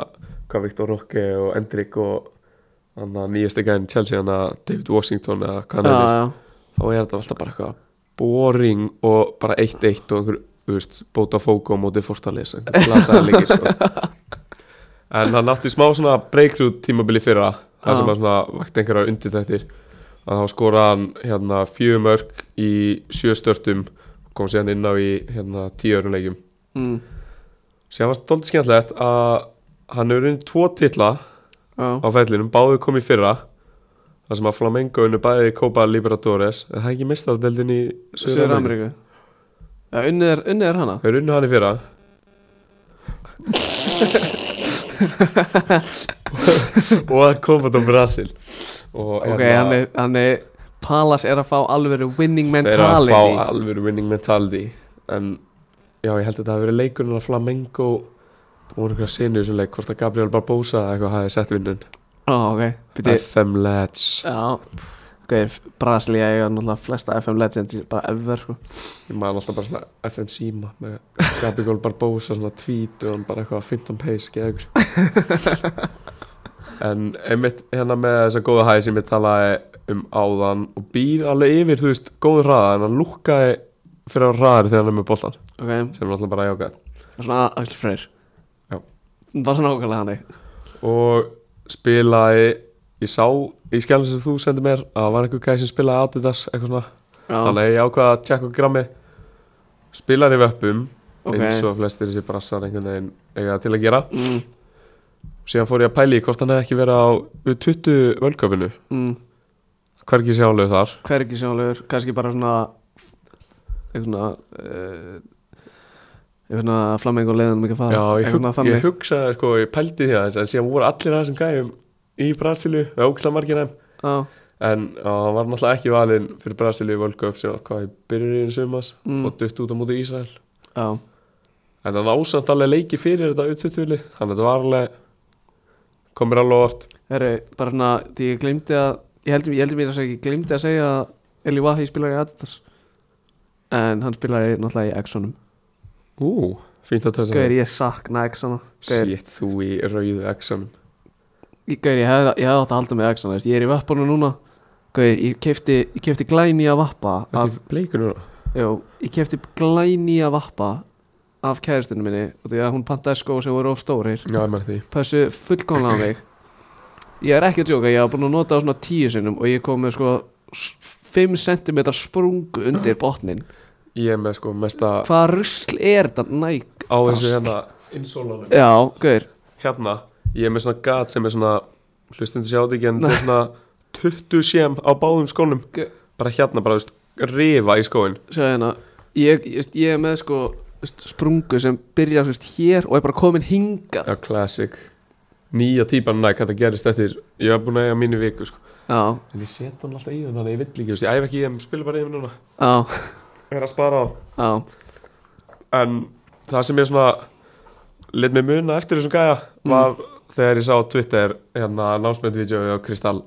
Speaker 2: hvað Viktor Rokke og Endrik og hann að nýjast ekki enn Chelsea hann að David Washington eða hvað hann
Speaker 1: Já,
Speaker 2: heitir
Speaker 1: já
Speaker 2: þá er þetta alltaf bara eitthvað boring og bara 1-1 og einhver, þú veist, bóta fóku á móti fortalis, einhver glataði leikir sko. en hann átti smá svona breakthrough tímabili fyrra
Speaker 1: Já.
Speaker 2: það sem að svona vakti einhverjar undirtættir að þá skoraði hann hérna fjögur mörg í sjö störtum kom síðan inn á í hérna tíu örum leikjum
Speaker 1: mm,
Speaker 2: síðan var stoltið skemmtilegt að hann hefur unni tvo titla
Speaker 1: Já,
Speaker 2: á fællinum, báðu kom í fyrra þar sem að Flamengo unnu bæði Copa Libertadores, en það er ekki mistardeldin í
Speaker 1: Suður
Speaker 2: Suður-Ameríku
Speaker 1: Ameríku Já, unnið er, unnið er hana
Speaker 2: Þau runnu hann í fyrra og að koma til Brasil og hérna,
Speaker 1: Ok, hann er, hann er Palace er að fá alveg winning
Speaker 2: þeir að
Speaker 1: mentality
Speaker 2: fá alvöru winning mentality en já, ég held að það hafi verið leikurinn að Flamengo og voru einhverja sinu í þessum leik hvort að Gabriel Barbosa eða eitthvað hafi sett vinnun
Speaker 1: Á, ok, byrju
Speaker 2: FM Lads
Speaker 1: Já, gauðir, Brasilia eiga náttúrulega flesta FM Legends bara ever, sko
Speaker 2: Ég man alltaf bara svona FM Sima með Gabriel Barbosa svona tweet og hann bara eitthvað 15 pace geður en einmitt hérna með þessa góða hæði sem ég talaði um áðan og býr alveg yfir þú veist góður hraða en hann lúkkaði fyrir að hraðar þegar hann er með boltan
Speaker 1: Ok,
Speaker 2: sem er alltaf bara jákað
Speaker 1: svona Axel Freyr
Speaker 2: Já.
Speaker 1: Bara nákvæmlega hann
Speaker 2: og spilaði ég sá í skjálfum sem þú sendið mér að það var einhver gæði sem spilaði Adidas eitthvað svona
Speaker 1: Já,
Speaker 2: þannig að ég ákvaði að tjekka á grammi spilar í vöppum
Speaker 1: Ok.
Speaker 2: eins og flestir þessi brassar einhvern veginn eiga til að gera
Speaker 1: mm,
Speaker 2: síðan fór ég að pæli hvort hann hefði ekki verið á 20 völdköpinu
Speaker 1: mm,
Speaker 2: hvergi sjálfur þar
Speaker 1: hvergi sjónlegur, kannski bara svona Eitthvað svona uh, Eitthvað svona flamengu leiðan mikið fara
Speaker 2: já, ég,
Speaker 1: Eitthvað
Speaker 2: hug,
Speaker 1: svona þannig
Speaker 2: ég hugsaði sko, ég pældi því aðeins en síðan voru allir aðeins sem gæjum í Brasilu, það er ógislega margir þeim
Speaker 1: Já,
Speaker 2: en á, hann var náttúrulega ekki valinn fyrir Brasilu í völdköp sem var hvað í byrjun sumas
Speaker 1: Mm.
Speaker 2: og dutt út á móti Ísrael
Speaker 1: já,
Speaker 2: en hann ásamt alveg leiki fyrir þetta U20 þannig að þetta var alveg komir alveg á óvart
Speaker 1: herru, bara svona Því ég glemdi að, ég heldur ég heldur mér að segja Ég glemdi að segja að Eli Wahi spilar í Adidas En hann spilar í, náttúrulega í Exxonum
Speaker 2: Ú, fínt að tösa
Speaker 1: Gauðir, ég sakna Exxona Gauðir,
Speaker 2: Sétt þú í rauðu exanum
Speaker 1: Ég- Gaur, ég hefði hef átt að halda með Axon veist. Ég er í vappunum núna Gaur, ég kefti, ég kefti glæni að vappa af,
Speaker 2: Ertu bleikur núna?
Speaker 1: jó, Ég kefti glæni að vappa Af kæristunum minni og Því að hún pantaði skó sem voru of stórir
Speaker 2: Já, ég maður því
Speaker 1: Pössu fullkomlega á mig Ég er ekki að tjóka, ég hef búin að nota á svona tíu sinnum Og ég kom með sko 5 cm sprungu undir botnin
Speaker 2: Ég er með sko mesta
Speaker 1: Hvað rusl er þetta næk?
Speaker 2: á þessu
Speaker 1: fast.
Speaker 2: hérna Insólanum
Speaker 1: Já, gaur
Speaker 2: Hérna, ég er með svona gat sem er svona Hlustundi sjáðu ekki en þetta er svona 20 sém á báðum skónum
Speaker 1: Ge-
Speaker 2: Bara hérna, bara þú veist, rifa í skóin
Speaker 1: Sjáðu hérna Ég, ég, ég er með sko veist, sprungu sem byrjar veist, hér og er bara komin hingað
Speaker 2: Já, classic Nýja típan næk, þetta gerist eftir Ég var búin að eiga mínu viku sko
Speaker 1: Já,
Speaker 2: En ég set hann alltaf í hann, þannig að ég vill ekki þú veist, Ég æf ekki í þeim, spila bara í þeim núna
Speaker 1: já,
Speaker 2: Ég er að spara á
Speaker 1: já
Speaker 2: en það sem ég svona lit mig muna eftir þessum gæja var þegar ég sá á Twitter hérna námsmyndvídeói á Kristall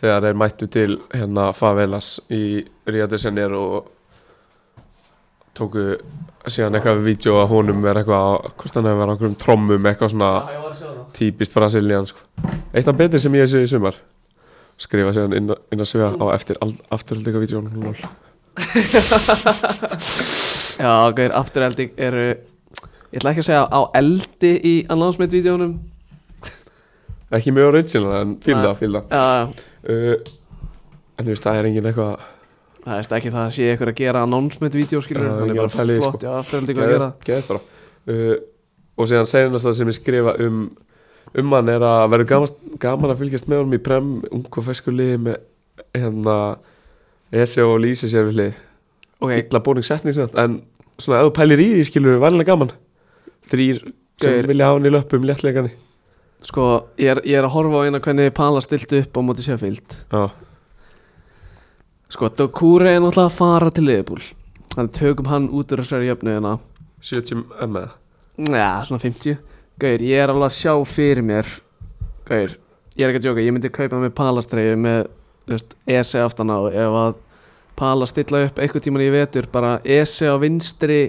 Speaker 2: þegar þeir mættu til hérna favelas í Ríðarsenir og tóku síðan eitthvað við vídeo að honum er eitthvað á- hvort hann hefur verið á einhverjum trommum eitthvað svona
Speaker 1: ég var að sjá það
Speaker 2: típist brasilían sko. eitt af betri sem ég sé í sumar skrifa síðan inn, á- inn að svega á eftir al- afturhaldika vídeo
Speaker 1: Já, gauður, aftureldi eru Ég ætla ekki að segja á eldi í announcement-vídeónum
Speaker 2: ekki mjög original en fílda, fílda
Speaker 1: Já, já,
Speaker 2: uh, En þú veist, það er engin eitthvað
Speaker 1: það er ekki það að sé ykkur að gera announcement-vídeó skilur
Speaker 2: Já,
Speaker 1: Það er
Speaker 2: ég var
Speaker 1: bara
Speaker 2: að pæla í því, sko.
Speaker 1: flott, já, aftureldi að gera
Speaker 2: Geðið bara uh, Og síðan seinast það sem ég skrifa um Um hann er að verður gaman, gaman að fylgjast með honum í prem Ung og feskur liði með Hérna Ese og Lísi sér við lið
Speaker 1: Ok,
Speaker 2: Ítla bóning setning sem þetta En svona, ef þú pælir í því skilur við værilega gaman Þrýr sem
Speaker 1: Gaur.
Speaker 2: vilja hafa hann í löpum léttleikandi
Speaker 1: Sko, ég er, ég er að horfa á eina hvernig Pala stilti upp á móti Sheffield
Speaker 2: Já,
Speaker 1: Sko, Dokure er náttúrulega að fara til Liverpool Þannig tökum hann út úr þessari jöfnu hérna
Speaker 2: 70 m eða
Speaker 1: Já, svona 50 Gaur, ég er alveg að sjá fyrir mér Gaur, ég er ekki að djóka Ég myndi kaupa með Palastreyju með þú veist, ESE aftan á Ef að Pala stilla upp einhvern tíman í vetur Bara ESE á vinstri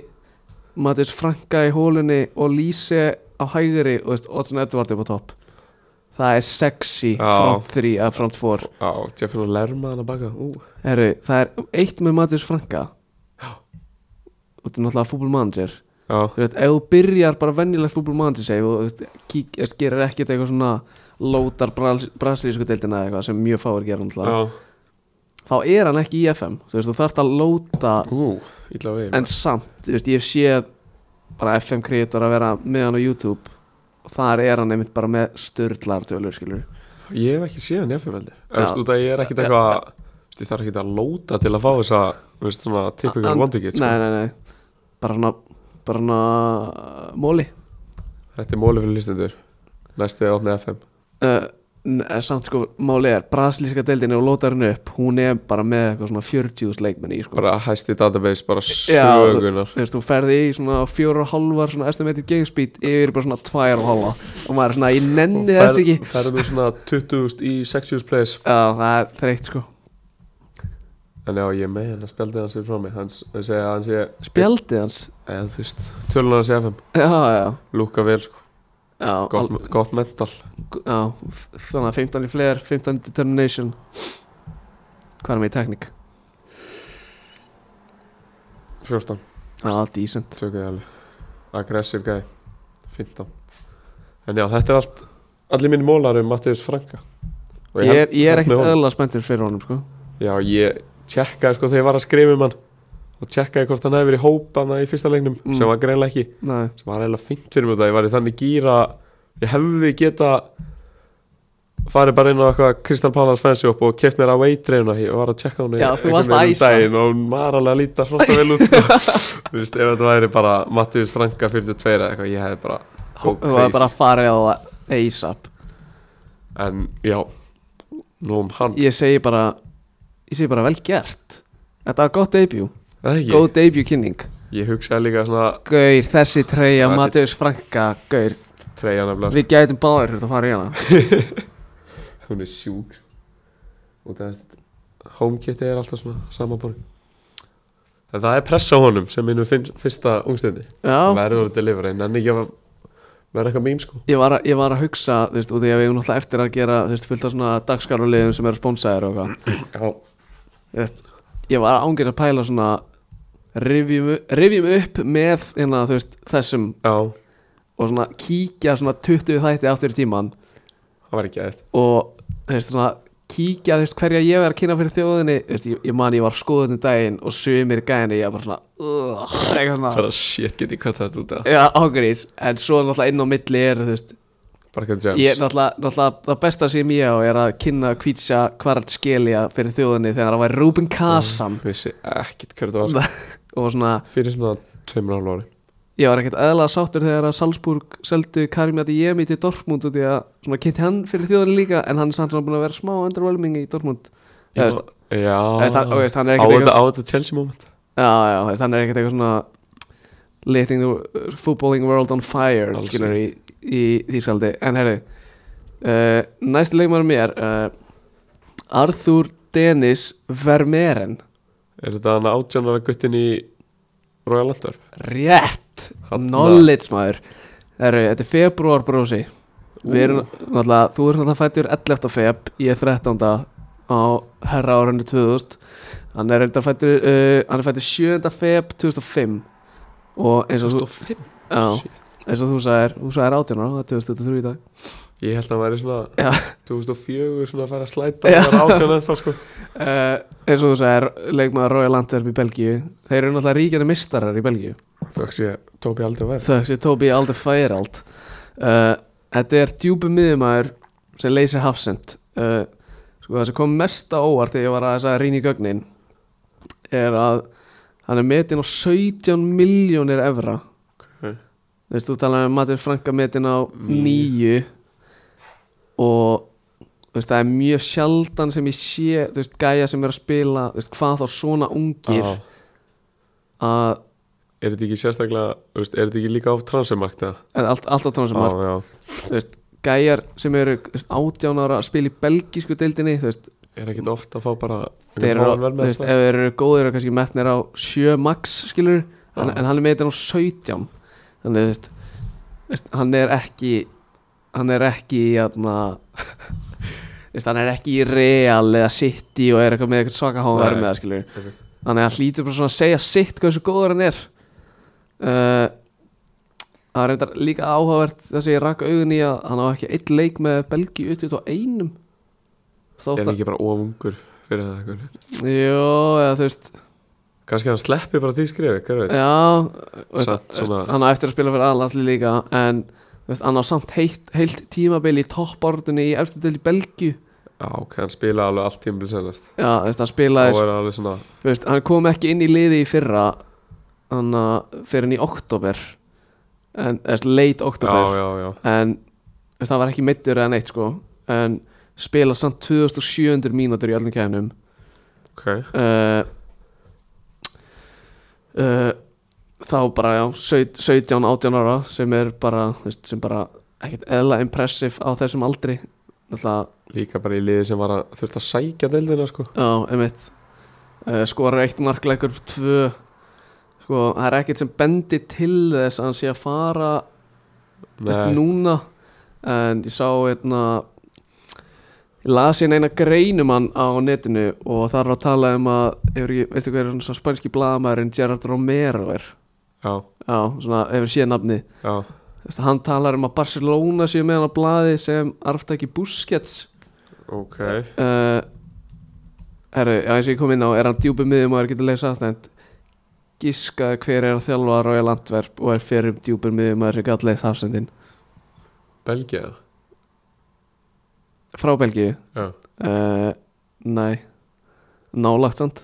Speaker 1: Matis Franka í hólunni Og Lise á hægri Og þú veist, Oddsson Edvard upp á topp Það er sexy
Speaker 2: Já.
Speaker 1: front 3 að front 4
Speaker 2: Já, Jeffrey og Lerma hann að baka Ú,
Speaker 1: Herru, það er eitt með Matis Franka Og þetta er náttúrulega fútbolmanager
Speaker 2: já,
Speaker 1: þú veist, ef þú byrjar bara venjulegt fútbol mann til seg og þú veist, kík, þú veist, gerir ekkert eitthvað svona lótar brasilísku deildina eða eitthvað sem mjög fáir gera
Speaker 2: já
Speaker 1: náttúrulega þá er hann ekki í FM þú veist, þú þarft að lóta
Speaker 2: Ú, illa við
Speaker 1: en samt, þú veist, ég sé bara FM kreator að vera með hann á YouTube og þar er hann einmitt bara með störlar tölur, skilur
Speaker 2: Ég hef ekki séð hann í FM heldur
Speaker 1: Já.
Speaker 2: En þú veist að ég er ekkit eitthvað þú veist, Ég þarf ekkit að lóta til að fá þessa Þú veist svona typical
Speaker 1: An-
Speaker 2: wandigit
Speaker 1: nei,
Speaker 2: sko.
Speaker 1: nei, nei, bara svona bara svona móli
Speaker 2: Þetta er móli fyrir listendur Næstu að opna FM
Speaker 1: uh, n- eh, samt sko, máli er brasilíska deildin og lótar hann upp, hún er bara með eitthvað svona 40 úrs leikmenn í sko.
Speaker 2: Bara hæsti database, bara
Speaker 1: Já,
Speaker 2: sögunar
Speaker 1: þú veist, þú ferði í svona fjóra og halvar svona estimated game speed yfir bara svona tvær og halva og maður er svona, ég nenni þess ekki
Speaker 2: Færðu svona 20.000 í 60.000 plays
Speaker 1: Já, það er þreytt sko
Speaker 2: En já, ég með hann að spjaldi hans fyrir frá mig Hans, ég segja að hann sé
Speaker 1: Spjaldið hans
Speaker 2: Eða þú veist, tölun hans í FM
Speaker 1: Já, já,
Speaker 2: Lúka vel, sko,
Speaker 1: já,
Speaker 2: gott, gott mental
Speaker 1: al- já f- Þannig að 15 í fleir, 15 í determination Hvað er mér í teknik?
Speaker 2: 14,
Speaker 1: Já, decent
Speaker 2: tökum ég alveg Aggressive guy, 15 En já, þetta er allt Allir mínir mólar um Mattiðus Franka Og
Speaker 1: Ég er,
Speaker 2: held-
Speaker 1: ég er
Speaker 2: held
Speaker 1: ekkert
Speaker 2: með honum.
Speaker 1: öðla spenntur fyrir honum sko
Speaker 2: Já, ég tjekkaði, sko, þegar ég var að skrifa um hann Og tjekkaði hvort hann hefði verið í hóp Þannig í fyrsta leiknum,
Speaker 1: Mm.
Speaker 2: sem var greinlega ekki
Speaker 1: Nei,
Speaker 2: sem var eiginlega fint fyrir mig það ég var í þannig gýra ég hefði geta farið bara inn á eitthvað Kristall Pallas fancy upp og keft mér að weitreyna ég var að tjekka hún
Speaker 1: Já, þú varst að æsa.
Speaker 2: um daginn og hún var alveg að líta hrosta vel út sko. þú veist, ef þetta væri bara Mattiðis Franka 42 eða eitthvað, ég hefði bara
Speaker 1: þú
Speaker 2: go
Speaker 1: var
Speaker 2: crazy.
Speaker 1: bara að fara á það ASAP
Speaker 2: en já, nú um hann
Speaker 1: Ég segi bara, ég segi bara vel gert Þetta var gott debut,
Speaker 2: það ekki,
Speaker 1: góð debut kynning
Speaker 2: ég hugsaði líka svona
Speaker 1: Gaur, þessi treyja
Speaker 2: Hvað er
Speaker 1: Mattius Franka Gaur,
Speaker 2: treyja nefnilega,
Speaker 1: við gætum báðir hérna að fara í hana
Speaker 2: hún er sjúk og það er homekitið er alltaf svona samanborg en það er pressa á honum sem minnum finn- fyrsta ungstöndi
Speaker 1: Já,
Speaker 2: verður að delivera en ekki að vera eitthvað mým sko
Speaker 1: ég var, að, ég var að hugsa þú veist, og því að við eigum náttúrulega eftir að gera þú veist, fullt af svona dagskarulegum sem eru sponsaðir og eitthvað
Speaker 2: já,
Speaker 1: Þú veist, Ég var ángir að pæla svona rifjum, rifjum upp með hérna, þú veist, þessum
Speaker 2: já,
Speaker 1: og svona kíkja svona 20 þætti aftur í tíman
Speaker 2: það var ekki aðeins
Speaker 1: og þú veist, svona kíkja þú veist, hverja ég er að kynna fyrir þjóðinni þú veist, ég, ég man ég var skoðun um daginn og sumir gæðinni ég var bara svona, "Ugh", eitthvað svona
Speaker 2: bara shit get ég hvað þetta út af
Speaker 1: Já, ágríns, en svo náttúrulega inn á milli er, þú veist,
Speaker 2: bara hvað James
Speaker 1: ég, náttúrulega, náttúrulega það besta sem ég á er að kynna kvítsja hvart skelja fyrir þjóðinni þegar það var Ruben Kassam
Speaker 2: vissi ekkit hver þetta var sko.
Speaker 1: og svona,
Speaker 2: fyrir svona tveimur og hálf ári
Speaker 1: ég var ekkert eðla sáttur þegar að Salzburg seldu Karim Adeyemi til Dortmund og því að svona kynnti hann fyrir þjóðinni líka en hann er samt svona búin að vera smá underwhelming í Dortmund Já, veist,
Speaker 2: já,
Speaker 1: þú veist, hann- þú veist, hann er
Speaker 2: á
Speaker 1: ekkert
Speaker 2: þetta á þetta Chelsea moment
Speaker 1: já, já, þú veist, hann er ekkert eitthvað svona letting the uh, footballing world on fire
Speaker 2: Alls
Speaker 1: skilur í, í Þýskaldi en herru, uh, næsti leikmaður mér uh, Arthur Dennis Vermeeren
Speaker 2: er þetta hann átjánara guttin í Royal Antwerp
Speaker 1: rétt,
Speaker 2: Þarna-
Speaker 1: knowledge maður herru, þetta er februar brósi við erum náttúrulega, þú erum náttúrulega fættur 11. feb, ég er 13. á herra árunni 2000 hann er reyndar fættur uh, hann er fættur 7. feb 2005 og eins og þú
Speaker 2: 2005
Speaker 1: Já,
Speaker 2: Shit.
Speaker 1: eins og þú sagðir, þú sagðir 18 ára, það er 2023 í dag
Speaker 2: ég held að hann væri svona
Speaker 1: Já.
Speaker 2: 2004 svona að fara að slæta
Speaker 1: Já.
Speaker 2: hann var átján en þá sko
Speaker 1: uh, Eins og þú sagðir, leikmaður Royal Antwerp í Belgíu Þeir eru náttúrulega ríkjandi mistarar í Belgíu
Speaker 2: þöks ég tók ég aldrei verð
Speaker 1: Þöks ég Tóbi Alder Færald uh, Þetta er djúpi miðumæður sem leysir hafsend uh, Sko það sem kom mest á óvart þegar ég var aðeins að þess rýna í gögnin er að hann er metinn á 17 miljónir evra
Speaker 2: Ok.
Speaker 1: Þú veist, þú talaði um Matur Franka metinn á
Speaker 2: Níu.
Speaker 1: 9 og þú veist, það er mjög sjaldan sem ég sé þú veist, gæja sem er að spila þú veist, hvað þá svona ungir
Speaker 2: Já.
Speaker 1: að,
Speaker 2: Er þetta ekki sérstaklega, þú veist, er þetta ekki líka á transfermarkt eða?
Speaker 1: en allt, allt á tónum sem margt
Speaker 2: Já,
Speaker 1: þú veist, gæjar sem eru þú veist, 18 ára að spila í belgísku deildinni þú veist,
Speaker 2: já Er ekkit oft að fá bara
Speaker 1: þeir eru,
Speaker 2: fáan vel
Speaker 1: þú
Speaker 2: með
Speaker 1: veist,
Speaker 2: þetta?
Speaker 1: ef þeir eru góðir og kannski metnir á 7 max skilur, en,
Speaker 2: Já.
Speaker 1: en hann er metin á 17 þannig þú veist, þú veist hann er ekki hann er ekki jæna, veist, hann er ekki í real eða city og er eitthvað með eitthvað svaka háa
Speaker 2: Nei.
Speaker 1: verð með það skilur
Speaker 2: Einmitt.
Speaker 1: þannig að hann hlýtur bara svona að segja sitt hversu góður hann er uh, það er reyndar líka áhugavert þess að ég rakka augun í að hann á ekki eitt leik með Belgi utið á einum
Speaker 2: Er
Speaker 1: þótt
Speaker 2: hann
Speaker 1: að
Speaker 2: ekki bara ofungur fyrir það eitthvað?
Speaker 1: Jó, eða þú veist
Speaker 2: Kannski hann sleppi bara því skrifi, hver veit?
Speaker 1: Já, veist,
Speaker 2: Samt
Speaker 1: veist,
Speaker 2: svona-
Speaker 1: hann á eftir að spila fyrir aðallalli líka en veist, hann á samt heilt, heilt tímabili í toppbordunni í eftir til í Belgju
Speaker 2: Já, ok, hann spila alveg allt tímbil senast
Speaker 1: Já, veist, hann
Speaker 2: Þá
Speaker 1: spilaði
Speaker 2: er hann alveg svona
Speaker 1: veist, hann kom ekki inn í liði í fyrra hann fyrir hann í oktober en eða, late
Speaker 2: Já,
Speaker 1: oktober
Speaker 2: já, já
Speaker 1: en veist, hann var ekki meittur eða neitt sko en spila samt 2700 mínútur í öllum kefnum
Speaker 2: Ok,
Speaker 1: uh, uh, Eh, þá bara já, saut- 17, 18 ára sem er bara, þú veist, sem bara ekkert eðla impressive á þessum aldri náttúrulega,
Speaker 2: líka bara í liði sem var að þurft að sækja deildina sko
Speaker 1: já, emitt uh, skorar eitt markleikur tvö sko, það er ekkert sem bendir til þess að hann sé að fara þú veist,
Speaker 2: Nei,
Speaker 1: núna en ég sá einna ég las hérna eina greinum hann á netinu og þar var að tala um að hefur, ekki- veistu hver er svona spænski blagamæðurinn Gerard Romero er
Speaker 2: já,
Speaker 1: já, svona hefur séð nafni
Speaker 2: já
Speaker 1: Þessi, hann talar um að Barcelona séu með hann á blaði sem arftæki Busquets
Speaker 2: Ok,
Speaker 1: uh, herru, já eins og ég kom inn á er hann djúpi miðum og er getur leið sattnænt giska hver er að þjálfa Royal Antwerp og er fyrir um djúpi miðum og er gallið þafsendin
Speaker 2: Belgia
Speaker 1: frá Belgíu
Speaker 2: Já,
Speaker 1: Uh, nei Nálagt samt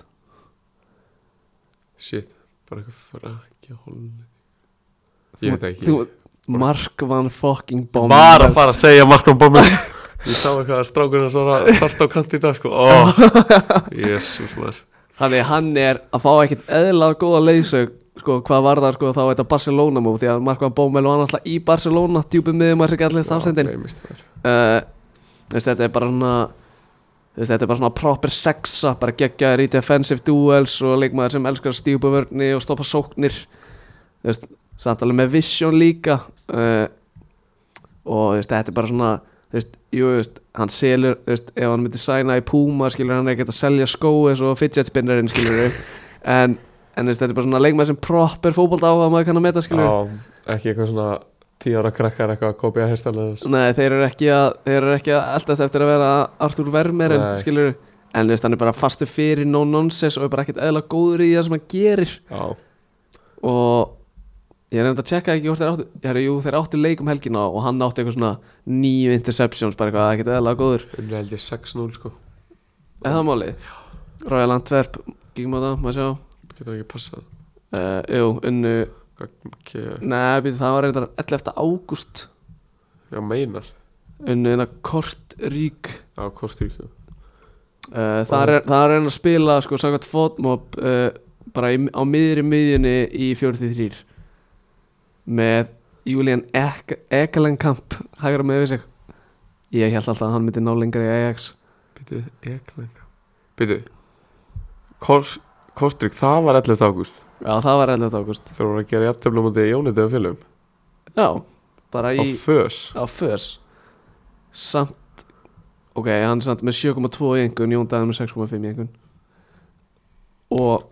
Speaker 2: shit, bara eitthvað frakja holni Ég veit það ekki
Speaker 1: Þú- Mark van fucking bomb
Speaker 2: Var að fara að segja Markman Bomber Ég sá eitthvað að strákurinn svara fast á kant í dag sko Ó, jésus maður
Speaker 1: Þannig að hann er að fá ekkert eðlilega góða leiðsög sko, hvað var það sko, þá er þetta Barcelona múf því að Mark van Bommel var náttúrulega í Barcelona djúpið miðum að segja allir þafsendin
Speaker 2: Já, gleymist maður.
Speaker 1: uh, veist, þetta er bara svona þú veist, þetta er bara svona proper sexa bara geggjaður í defensive duels og leikmaður sem elskar að stípa vörni og stoppa sóknir þú veist, samt alveg með vision líka uh, og þú veist, þetta er bara svona þú veist, jú, þú veist, hann selur þú veist, ef hann myndi sæna í Puma skilur hann er ekkert að selja skói svo fidget spinnerinn skilur en, en þú veist, þetta er bara svona leikmaður sem proper fótbolt á að maður kann að meta skilur
Speaker 2: Já, ekki eitthvað svona tíu ára krakkar eitthvað að sko. kopja hestarlega
Speaker 1: Nei, þeir eru ekki að, þeir eru ekki að eldast eftir að vera Arthur Vermeeren,
Speaker 2: Nei.
Speaker 1: skilur En þú veist, hann er bara fastur fyrir no-nonsense og er bara ekkert eðla góður í það sem hann gerir
Speaker 2: Já,
Speaker 1: Og ég er nefnd að checka ekki hvort þeir áttu Herra, jú, þeir áttu leik um helgina og hann átti eitthvað svona nýju interceptions, bara eitthvað ekkert eðla góður
Speaker 2: unni held ég 6-0 sko
Speaker 1: Er það málið? Royal Antwerp, kíkum á það, maður sjá
Speaker 2: Getur ekki passað
Speaker 1: uh, Jú, unnu,
Speaker 2: Ekki,
Speaker 1: nei, býtu, það var reyndar 11. ágúst
Speaker 2: já meinar
Speaker 1: Unnu, hérna, Kort Rík
Speaker 2: Já, hvort þú ekki
Speaker 1: Uh, það er það er hann að spila sko samkvæmt fotmob uh, bara í, á miðri miðjunni í 43 með Julian Ek Ekelenkamp hægra með við sig ég held alltaf að hann myndi ná lengra í Ajax
Speaker 2: Býtu, eklenga Býtu Kortrygg, það var 11. ágúst
Speaker 1: já það var 11. ágúst
Speaker 2: Þegar voru að gera jafntöflum á því Jónið og félum
Speaker 1: já bara
Speaker 2: Á
Speaker 1: í
Speaker 2: fös
Speaker 1: á fös samt ok hann er samt með 7,2 í engun Jón Dæðan með 6,5 í engun og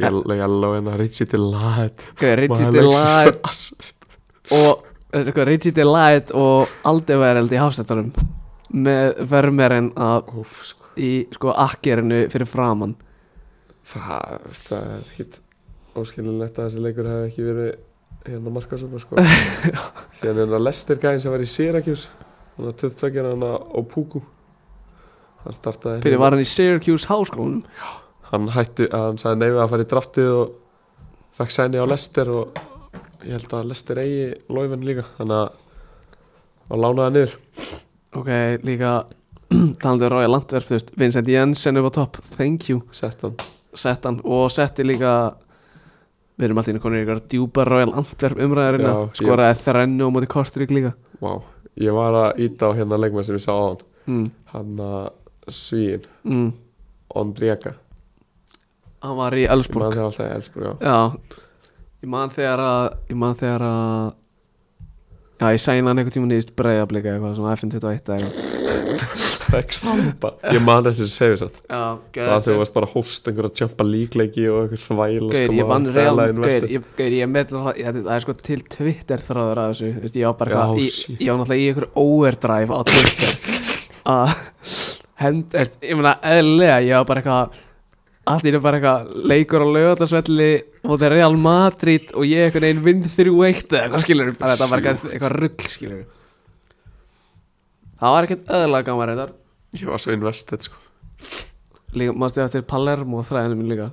Speaker 2: Ég ég alveg hérna hennar Ritchie til lat
Speaker 1: ok Richie Delight og sko, Richie Delight og Aldevereld í hafstættunum með vermerinn að
Speaker 2: Úf, sko
Speaker 1: í sko akkerinu fyrir framann
Speaker 2: Það, það er ekkit óskilinlegt að þessi leikur hefði ekki verið hérna markasöfna sko síðan er það Lester gæðin sem var í Syracuse hann er 22 hann á Púku hann startaði hérna.
Speaker 1: fyrir var hann í Syracuse háskólanum
Speaker 2: hann hætti að hann sagði neyfið að fara í draftið og fekk sæni á Lester og ég held að Lester eigi lófin líka þannig að hann lánaði hann niður
Speaker 1: Ok, líka talandi um Rói Landverf, þú veist, Vincent Jensen upp á topp, thank you,
Speaker 2: sett hann
Speaker 1: sett hann og setti líka við erum alltaf inn í konur í ykkur djúpa Rói Landverf umræðarina,
Speaker 2: Já, ég-
Speaker 1: skoraði þrennu á móti Kortrik líka
Speaker 2: Vá, ég var að íta á hérna leikmann sem ég sá á hann
Speaker 1: mm,
Speaker 2: Hann að Svíin,
Speaker 1: mm.
Speaker 2: Ondreka
Speaker 1: Hann var í
Speaker 2: Ég man
Speaker 1: Elfsborg
Speaker 2: þegar alltaf í Elsburg, já
Speaker 1: Já, ég man þegar að ég man þegar að Já, ég sæna hann einhvern tíma nýðist breyðablika eitthvað, svona FN21 eða eitthvað
Speaker 2: Fekk stampa Ég man eftir þessu segið satt
Speaker 1: Já,
Speaker 2: Það var þegar þú
Speaker 1: gæðið
Speaker 2: varst bara að hóst einhverja tjampa líkleiki og sko, einhver þvæla
Speaker 1: Gauir, ég vann real Gauir,
Speaker 2: Gauð,
Speaker 1: ég, gauir, ég met alltaf ég, Það er sko til Twitter þráður að þessu Vist, Ég var bara
Speaker 2: Já,
Speaker 1: eitthvað Ég
Speaker 2: shit.
Speaker 1: ég var náttúrulega í ykkur overdrive á Twitter Að hend veist, Ég meina, eðlilega, ég var bara eitthvað Allt í einu bara eitthvað Leikur á laugatarsvelli Móti Real Madrid Og ég einhvern veginn vinn 3-1 Eða eitthvað skilur Bara þetta var bara eitthvað- eitthvað rugl skilur Það var ekkert eðlilega gaman reyndar
Speaker 2: ég var svo investið sko
Speaker 1: Líka, mástu eftir Palermo þræðinu mín líka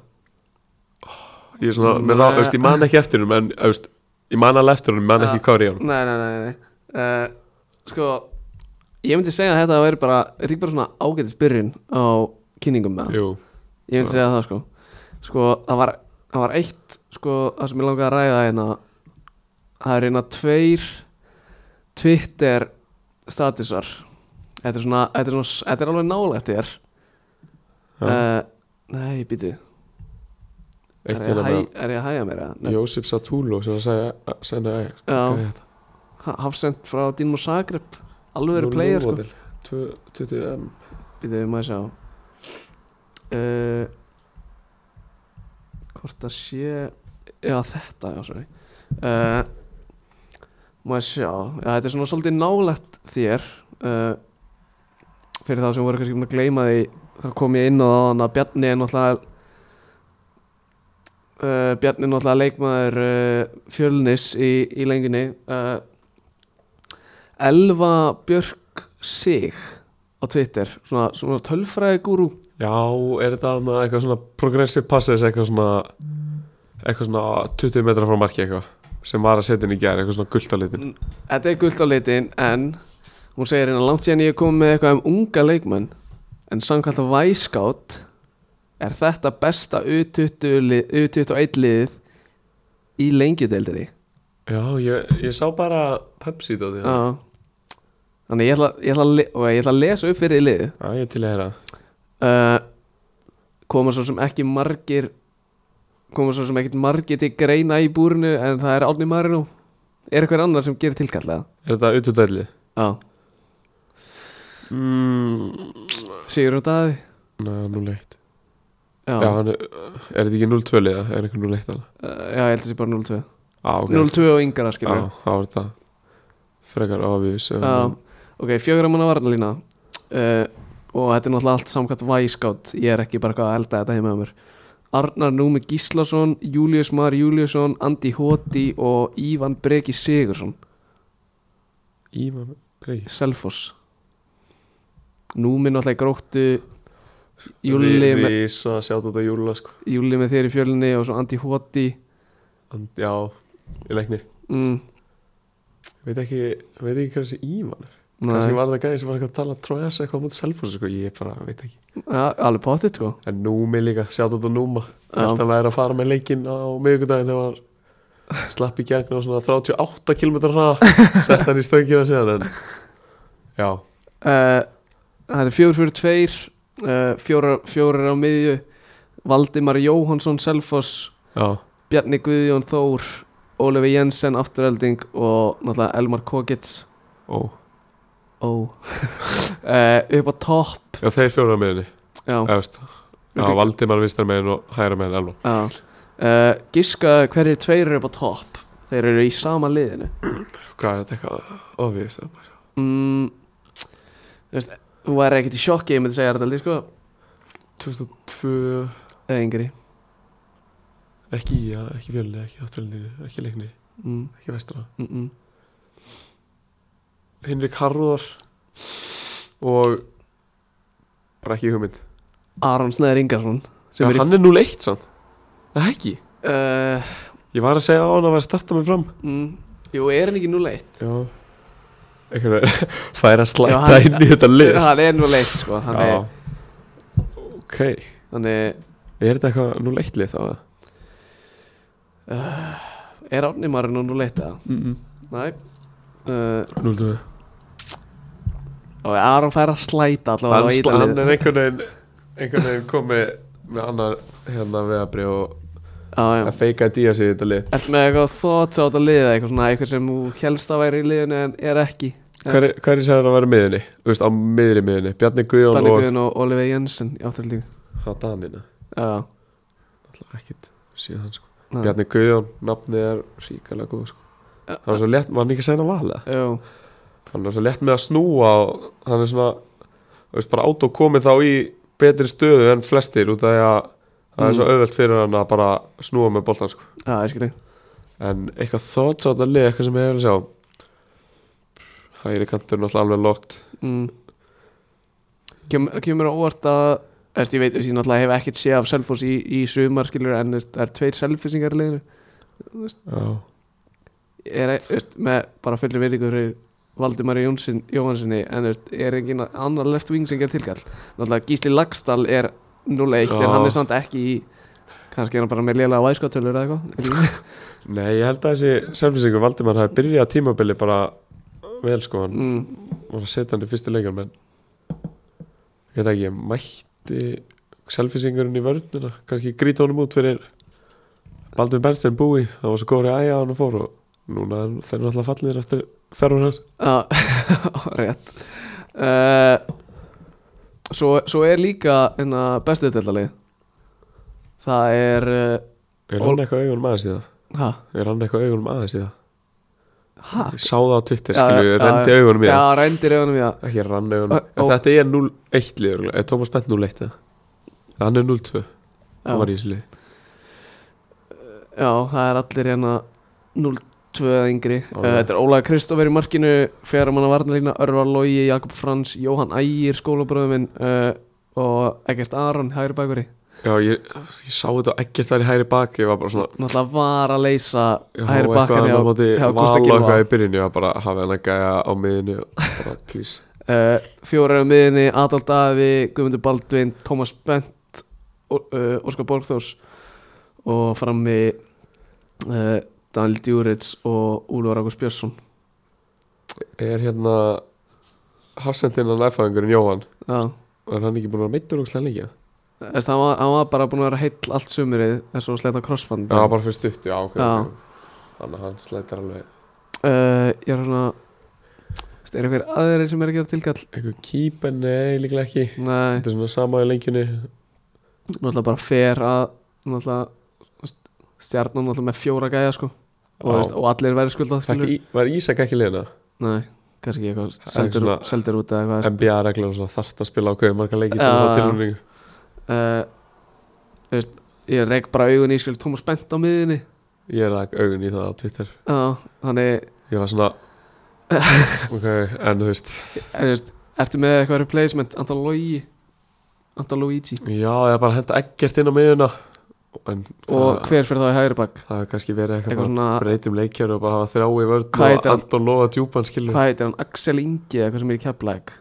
Speaker 2: Ég, er svona, mér, rá,
Speaker 1: Nei.
Speaker 2: veist, ég man ekki eftir hún en veist, ég man alveg eftir hún, ég man
Speaker 1: Já.
Speaker 2: ekki hvað er í hún
Speaker 1: Nei, nei, nei, nei. Uh, Sko, ég myndi segja að þetta væri bara Þetta er ekki bara svona ágætis byrjun á kynningum með hann
Speaker 2: Jú,
Speaker 1: Ég myndi segja það sko Sko, það var, það var eitt Sko, það sem ég langaði að ræða hérna Það er hérna tveir Twitter statusar Þetta er svona, þetta er, svona, þetta er alveg nálægt þér
Speaker 2: Já.
Speaker 1: uh, Nei, býtu
Speaker 2: eitt
Speaker 1: er, ég
Speaker 2: hérna
Speaker 1: að
Speaker 2: með
Speaker 1: hæ- er ég að hæja mér eða? Nei.
Speaker 2: Jósef Satúlo sem að segja, að segja að,
Speaker 1: Já.
Speaker 2: hvað er þetta?
Speaker 1: Ha- Hafsend frá Dinmo Zagreb Alveg verið
Speaker 2: Nú,
Speaker 1: player sko
Speaker 2: númodel. Tvö- 20M
Speaker 1: Býtu, maður sjá uh, Hvort að sé Já, þetta, já, sorry uh, Maður sjá Já, þetta er svona svolítið nálægt þér uh, Fyrir þá sem voru kannski búin að gleyma því Þá kom ég inn á þann að Bjarni er náttúrulega Uh, Bjarni er náttúrulega leikmaður uh, fjölnis í, í lenginni uh, Elva Björk Sig á Twitter svona, svona tölfræði gúrú
Speaker 2: Já, er þetta annað eitthvað svona progressive passes, eitthvað svona eitthvað svona 20 metra frá marki eitthvað sem var að setja inn í gær, eitthvað svona gult á litin
Speaker 1: Þetta er gult á litin en hún segir hérna langt síðan ég er komið með eitthvað um unga leikmenn en samkvæmt á Væskátt er þetta besta U20 lið- U21 liðið í lengjudeildinni
Speaker 2: Já, ég, ég sá bara Pepsi hérna. dóti Já,
Speaker 1: Já. Þannig ég ætla, ég, ætla, að le- ok, ég ætla að lesa upp fyrir liðið
Speaker 2: ég er til að hera
Speaker 1: uh, koma svo sem ekki margir koma svo sem ekkert margir til greina í búrinu en það er Árni Marino er eitthvað annar sem gerir tilkallega
Speaker 2: Er þetta utudælli?
Speaker 1: Já,
Speaker 2: Mm,
Speaker 1: Sigur og Daði
Speaker 2: Næ, 0-1
Speaker 1: Já,
Speaker 2: Já,
Speaker 1: já. Eh,
Speaker 2: hann er, er þetta ekki 0-2 liða? Er eitthvað 0-1 alveg?
Speaker 1: já ég held að sé bara 0-2
Speaker 2: Á, ok
Speaker 1: 0-2 og yngra
Speaker 2: Já,
Speaker 1: skilur
Speaker 2: þá er þetta frekar obvious
Speaker 1: Já,
Speaker 2: um,
Speaker 1: ok, fjögur að manna varnalína uh, og þetta er náttúrulega allt samkvæmt væskátt, ég er ekki bara eitthvað að elda þetta heima á mér Arnar Númi Gíslason, Július Mar Júliusson, Andi Hóti og Ívan Breki Sigursson
Speaker 2: Íma Breyr
Speaker 1: Selfoss Númi náttúrulega í gróttu Júli með,
Speaker 2: Rísa, sjátt þetta Júla sko
Speaker 1: Júli með þér í fjölinni og svo Andi Hóti
Speaker 2: And, Já, í leikni
Speaker 1: mm,
Speaker 2: Veit ekki, veit ekki hvað þessi Ívan er
Speaker 1: nei.
Speaker 2: Kanski var þetta gæði sem var eitthvað að tala Tróðas eitthvað mútið selfos sko Ég bara veit ekki
Speaker 1: ja, alveg pottitt sko
Speaker 2: En Númi líka, sjátt þetta Núma
Speaker 1: Já.
Speaker 2: Þetta væri að fara með leikinn á miðvikudaginn Þegar var slapp í gegn á svona 38 km hraða Sett hann í stöngina síðan en, Já,
Speaker 1: Eh, Það er fjór fyrir tveir uh, fjórar, fjórar á miðju Valdimar Jóhansson Selfoss,
Speaker 2: já
Speaker 1: Bjarni Guðjón Þór Ólefi Jensen, Afturölding og náttúrulega Elmar Kogits
Speaker 2: Ó,
Speaker 1: Ó uh, Upp á topp
Speaker 2: já þeir fjóra meðinni
Speaker 1: Já,
Speaker 2: Já, veist Já,
Speaker 1: Viltu-
Speaker 2: Valdimar vinstar meginn og hægra meginn Elvan
Speaker 1: já uh, Giska hverjir tveir eru upp á topp Þeir eru í sama liðinu
Speaker 2: Hvað er þetta eitthvað ofvís
Speaker 1: mm, Þú veist, þú væri ekkert í sjokki Ég myndi segja þetta, sko
Speaker 2: 2002,
Speaker 1: Eða yngri
Speaker 2: ekki í, ekki fjölni, ekki afturlinni, ekki leikni,
Speaker 1: mm,
Speaker 2: ekki vestra
Speaker 1: mm, mm.
Speaker 2: Henrik Harðar og bara ekki hugmynd
Speaker 1: Aron Snæður Ingarsson
Speaker 2: Já,
Speaker 1: sem er í
Speaker 2: hann er 0-1 sann Það ekki
Speaker 1: uh,
Speaker 2: Ég var að segja á hann að vera að starta mig fram
Speaker 1: mm, Jú, er hann ekki 0-1?
Speaker 2: Já einhvern veginn fær að
Speaker 1: Já,
Speaker 2: slæta
Speaker 1: hann-
Speaker 2: inn í þetta lið
Speaker 1: hann er nú leitt sko
Speaker 2: Já.
Speaker 1: þannig,
Speaker 2: ok,
Speaker 1: þannig
Speaker 2: er þetta eitthvað nú leitt lið þá? eða?
Speaker 1: er Árni Marino nú leitt eða? Næ uh,
Speaker 2: Nú heldur við.
Speaker 1: og Aron fær að slæta allavega
Speaker 2: hann,
Speaker 1: á
Speaker 2: sl- hann
Speaker 1: Ítalíu.
Speaker 2: er einhvern veginn einhvern veginn komið með annar hérna veðabri og
Speaker 1: Já, já.
Speaker 2: að feika að dýja sig í þetta lið
Speaker 1: Ertu með eitthvað þótt átt að liða eitthvað svona eitthvað sem þú helst að væri í liðinu en er ekki
Speaker 2: Hver er það að vera í miðunni? Þú veist, á miðri miðunni Bjarni Guðjón
Speaker 1: Danni
Speaker 2: og
Speaker 1: Guðin og Oliver Jensen í áttalíu
Speaker 2: Það er Danina
Speaker 1: Já,
Speaker 2: Það er ekkit síðan hann sko
Speaker 1: Nei.
Speaker 2: Bjarni Guðjón, nafnið er ríkalega góð sko
Speaker 1: Já.
Speaker 2: Hann er svo létt, var hann ekki að segja hann að vala
Speaker 1: jú,
Speaker 2: Hann er svo létt með að snúa og hann er svona Þú veist, bara átó komið þá í betri stöðu en flestir út af því að það er svo auðvelt fyrir hann að bara snúa með boltan sko
Speaker 1: já, ég skilji
Speaker 2: En eitthvað þótt sátt að lið, eitthvað sem ég hefur að sjá Hægri kantur náttúrulega alveg lokt
Speaker 1: mm. Kem, Kemur á óvart að Erst, ég veit, ég náttúrulega hef ekkert séð af Selfoss í, í sumar skilur en þú veist, það er tveir selfissingar í liðinu
Speaker 2: Já,
Speaker 1: er, þú veist, með bara fullir virðingu fyrir Valdimari Jónsson, Jóhanssoni en þú veist, er engin annar left wing sem ger tilkall náttúrulega Gísli Lagstall er 0-1
Speaker 2: Já.
Speaker 1: en hann er samt ekki í kannski er hann bara með lélega væskotölur eða eitthvað
Speaker 2: Nei, ég held að þessi selfinsingur Valdimar hafi byrjað tímabili bara vel sko, hann
Speaker 1: mm,
Speaker 2: var að setja hann í fyrstu leikar menn ég veit ekki, ég mætti selfinsingurinn í vörnuna, kannski grýta honum út fyrir Baldur Bernstein búi, það var svo góður í æja hann og fór og núna er- þeir eru alltaf fallir eftir ferðun hans
Speaker 1: Já, rétt uh, svo, svo er líka enna bestuðdellalið Það er uh,
Speaker 2: Er
Speaker 1: Ól-
Speaker 2: hann eitthvað augunum aðeins í það?
Speaker 1: ha,
Speaker 2: Er hann eitthvað augunum aðeins í það?
Speaker 1: ha,
Speaker 2: Ég sá það á Twitter,
Speaker 1: Ah. Já, já,
Speaker 2: skilju, ég rendi
Speaker 1: já.
Speaker 2: augunum í
Speaker 1: Já,
Speaker 2: það
Speaker 1: rændir augunum í það
Speaker 2: Ekki rann
Speaker 1: Ó,
Speaker 2: augunum,
Speaker 1: ó.
Speaker 2: þetta er 0-1 lið, örugglega. er Thomas Bent 0-1 eða? Hann er 0-2, hann var
Speaker 1: Já,
Speaker 2: í þessu lið
Speaker 1: já það er allir hérna 0-2 eða yngri
Speaker 2: Já,
Speaker 1: uh,
Speaker 2: já.
Speaker 1: Þetta er Ólaga Kristófer í markinu Fjara manna varnalína, Örvar Lógi, Jakob Frans Jóhann Ægir, skólabröðuminn uh, og Eggert Aron, hægri bækveri
Speaker 2: Já, ég, ég sá þetta og ekkert væri hægri bak Ég var bara svona
Speaker 1: Náttúrulega var að leysa
Speaker 2: ég horfði
Speaker 1: hægri
Speaker 2: eitthvað
Speaker 1: bakkan
Speaker 2: annað á móti
Speaker 1: hjá
Speaker 2: Val
Speaker 1: Gústa
Speaker 2: og
Speaker 1: Gilva
Speaker 2: eitthvað í byrjun Ég var bara að hafa henn að gæja á miðinu og bara, Please
Speaker 1: uh, Fjórar á miðinni, Adal Davi, Guðmundur Baldvin, Tómas Bent, Ó- uh, Óskar Borgþós og frammi uh, Daniel Djúrits og Úlfur Ágúst Björnsson.
Speaker 2: Er hérna Hafsendinnan erfæðingurinn Jóhann
Speaker 1: Já,
Speaker 2: Var hann ekki búin að vera meittur og slæða líka?
Speaker 1: þess að hann var, hann var bara búin að vera heill allt sumrið eins og sletta crossband.
Speaker 2: Já, hann var bara fyrir stutt, já, ok,
Speaker 1: Já.
Speaker 2: ok Þannig að hann slættar alveg
Speaker 1: Uh, ég er svona, veist, er einhver aðri sem er að gera tilkall?
Speaker 2: Eitthvað kýpen, nei, líklega ekki
Speaker 1: Nei,
Speaker 2: Þetta er svona sama í lengjunni
Speaker 1: náttúrulega bara fer að, náttúrulega, þú veist, stjarnan náttúrulega með fjóra gæja sko og,
Speaker 2: Já.
Speaker 1: þú veist, og allir verður skuldað
Speaker 2: Fekk
Speaker 1: skilur.
Speaker 2: í, Var Ísak ekki liðina?
Speaker 1: Nei, kannski ekki eitthvað
Speaker 2: er
Speaker 1: seldur,
Speaker 2: svona-
Speaker 1: seldur út eða eitthvað
Speaker 2: NBA-reglur og svona þarft að spila á hvað marga leiki til
Speaker 1: Já,
Speaker 2: að
Speaker 1: já.
Speaker 2: tilhörningu
Speaker 1: uh, þú veist, ég reik bara augun í skil Thomas Bent á miðinni
Speaker 2: Ég rak augun í það á Twitter
Speaker 1: Já, þannig,
Speaker 2: Ég var svona Ok, en þú veist
Speaker 1: eh, þú veist, ertu með eitthvað replacement Antal Logi Antal Luigi
Speaker 2: Já, ég er bara að henda ekkert inn á miðuna En
Speaker 1: og
Speaker 2: það,
Speaker 1: hver fyrir þá í hægri bak
Speaker 2: það er kannski verið eitthvað,
Speaker 1: eitthvað
Speaker 2: bara
Speaker 1: svona,
Speaker 2: Breytum leikjör og bara hafa þrá í vörð
Speaker 1: Hvað
Speaker 2: Og
Speaker 1: heitir hann?
Speaker 2: Anton Lóa djúpan skilur
Speaker 1: hvað heitir hann, Axel Ingi eða eitthvað sem er í keflæk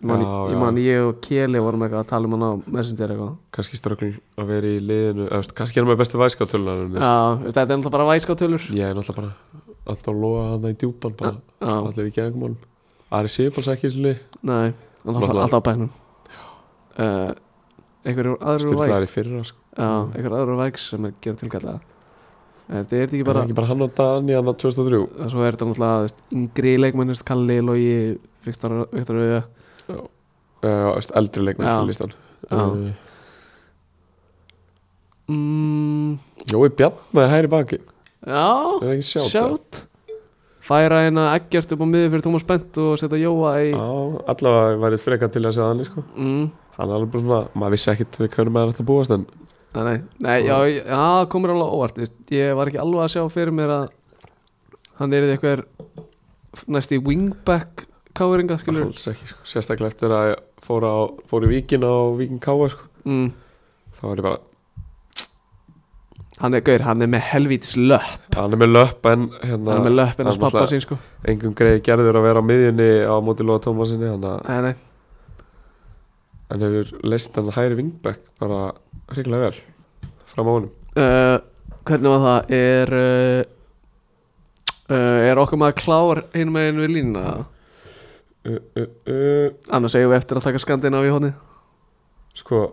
Speaker 1: ég man,
Speaker 2: Já,
Speaker 1: ég,
Speaker 2: já.
Speaker 1: man ég og Keli vorum eitthvað að tala um hann á Messenger eitthvað
Speaker 2: Kannski ströggl að vera í liðinu eða, þú veist, Kannski er hann með bestu væskátölunar
Speaker 1: Já, þú veist, þetta er náttúrulega bara væskátölur
Speaker 2: Ég er náttúrulega bara Anton Lóa hann í djúpan bara
Speaker 1: Já,
Speaker 2: Allir í gegnumálum Ari Sigurbáls ekki í þessu lið
Speaker 1: nei, alltaf,
Speaker 2: Náttúrulega.
Speaker 1: alltaf á bænum uh, Einhverju aðrir úr væk
Speaker 2: Styrlaðar í fyrra sko.
Speaker 1: Já, einhver aðra vægs sem er gera tilkalla Þetta er þetta ekki
Speaker 2: Er
Speaker 1: bara eh,
Speaker 2: ekki bara hann og Dani hann 2003
Speaker 1: Svo er þetta náttúrulega þú veist, yngri leikmennist Kalli, Logi, Viktor Viktor Auða
Speaker 2: uh, veist, Eldri leikmenn
Speaker 1: Já.
Speaker 2: fyrir listan
Speaker 1: Já.
Speaker 2: uh,
Speaker 1: mm,
Speaker 2: Jói Bjarnaði hæri baki
Speaker 1: Já,
Speaker 2: Er það ekki sjátt?
Speaker 1: sjátt Færa hérna ekkert upp á miði fyrir Tómas Bent og setja Jóa í
Speaker 2: Já, allavega værið frekar til að segja hann sko.
Speaker 1: mm,
Speaker 2: Hann er alveg bara svona, maður vissi ekkit við hvernig maður ætti að búast en
Speaker 1: Nei, nei, nei já,
Speaker 2: Ah.
Speaker 1: ég- já, það komur alveg á óvart þú veist, Ég var ekki alveg að sjá fyrir mér að hann er eitthvað næst í wingback káringa, skilur
Speaker 2: alls ekki, sko. sérstaklega eftir að ég fór, á, fór í Víkin á Víkin Káa sko.
Speaker 1: mm,
Speaker 2: þá var ég bara
Speaker 1: Hann er, gaur, hann er með helvítis löpp
Speaker 2: Hann er með löpp en hérna,
Speaker 1: Hann er með löpp ennast
Speaker 2: hann
Speaker 1: pappa
Speaker 2: náttúrulega-
Speaker 1: sín sko
Speaker 2: engum greið gerður að vera á miðjunni á móti Lóa Tómasinni þannig að
Speaker 1: Nei, nei,
Speaker 2: hann hefur leist hann hægri vingbæk bara hrikalega vel fram á honum
Speaker 1: uh, hvernig var það er uh, uh, er okkur maður klár einu meginn við línuna
Speaker 2: uh, uh, uh,
Speaker 1: annars eigum við eftir að taka skandina á í honi
Speaker 2: sko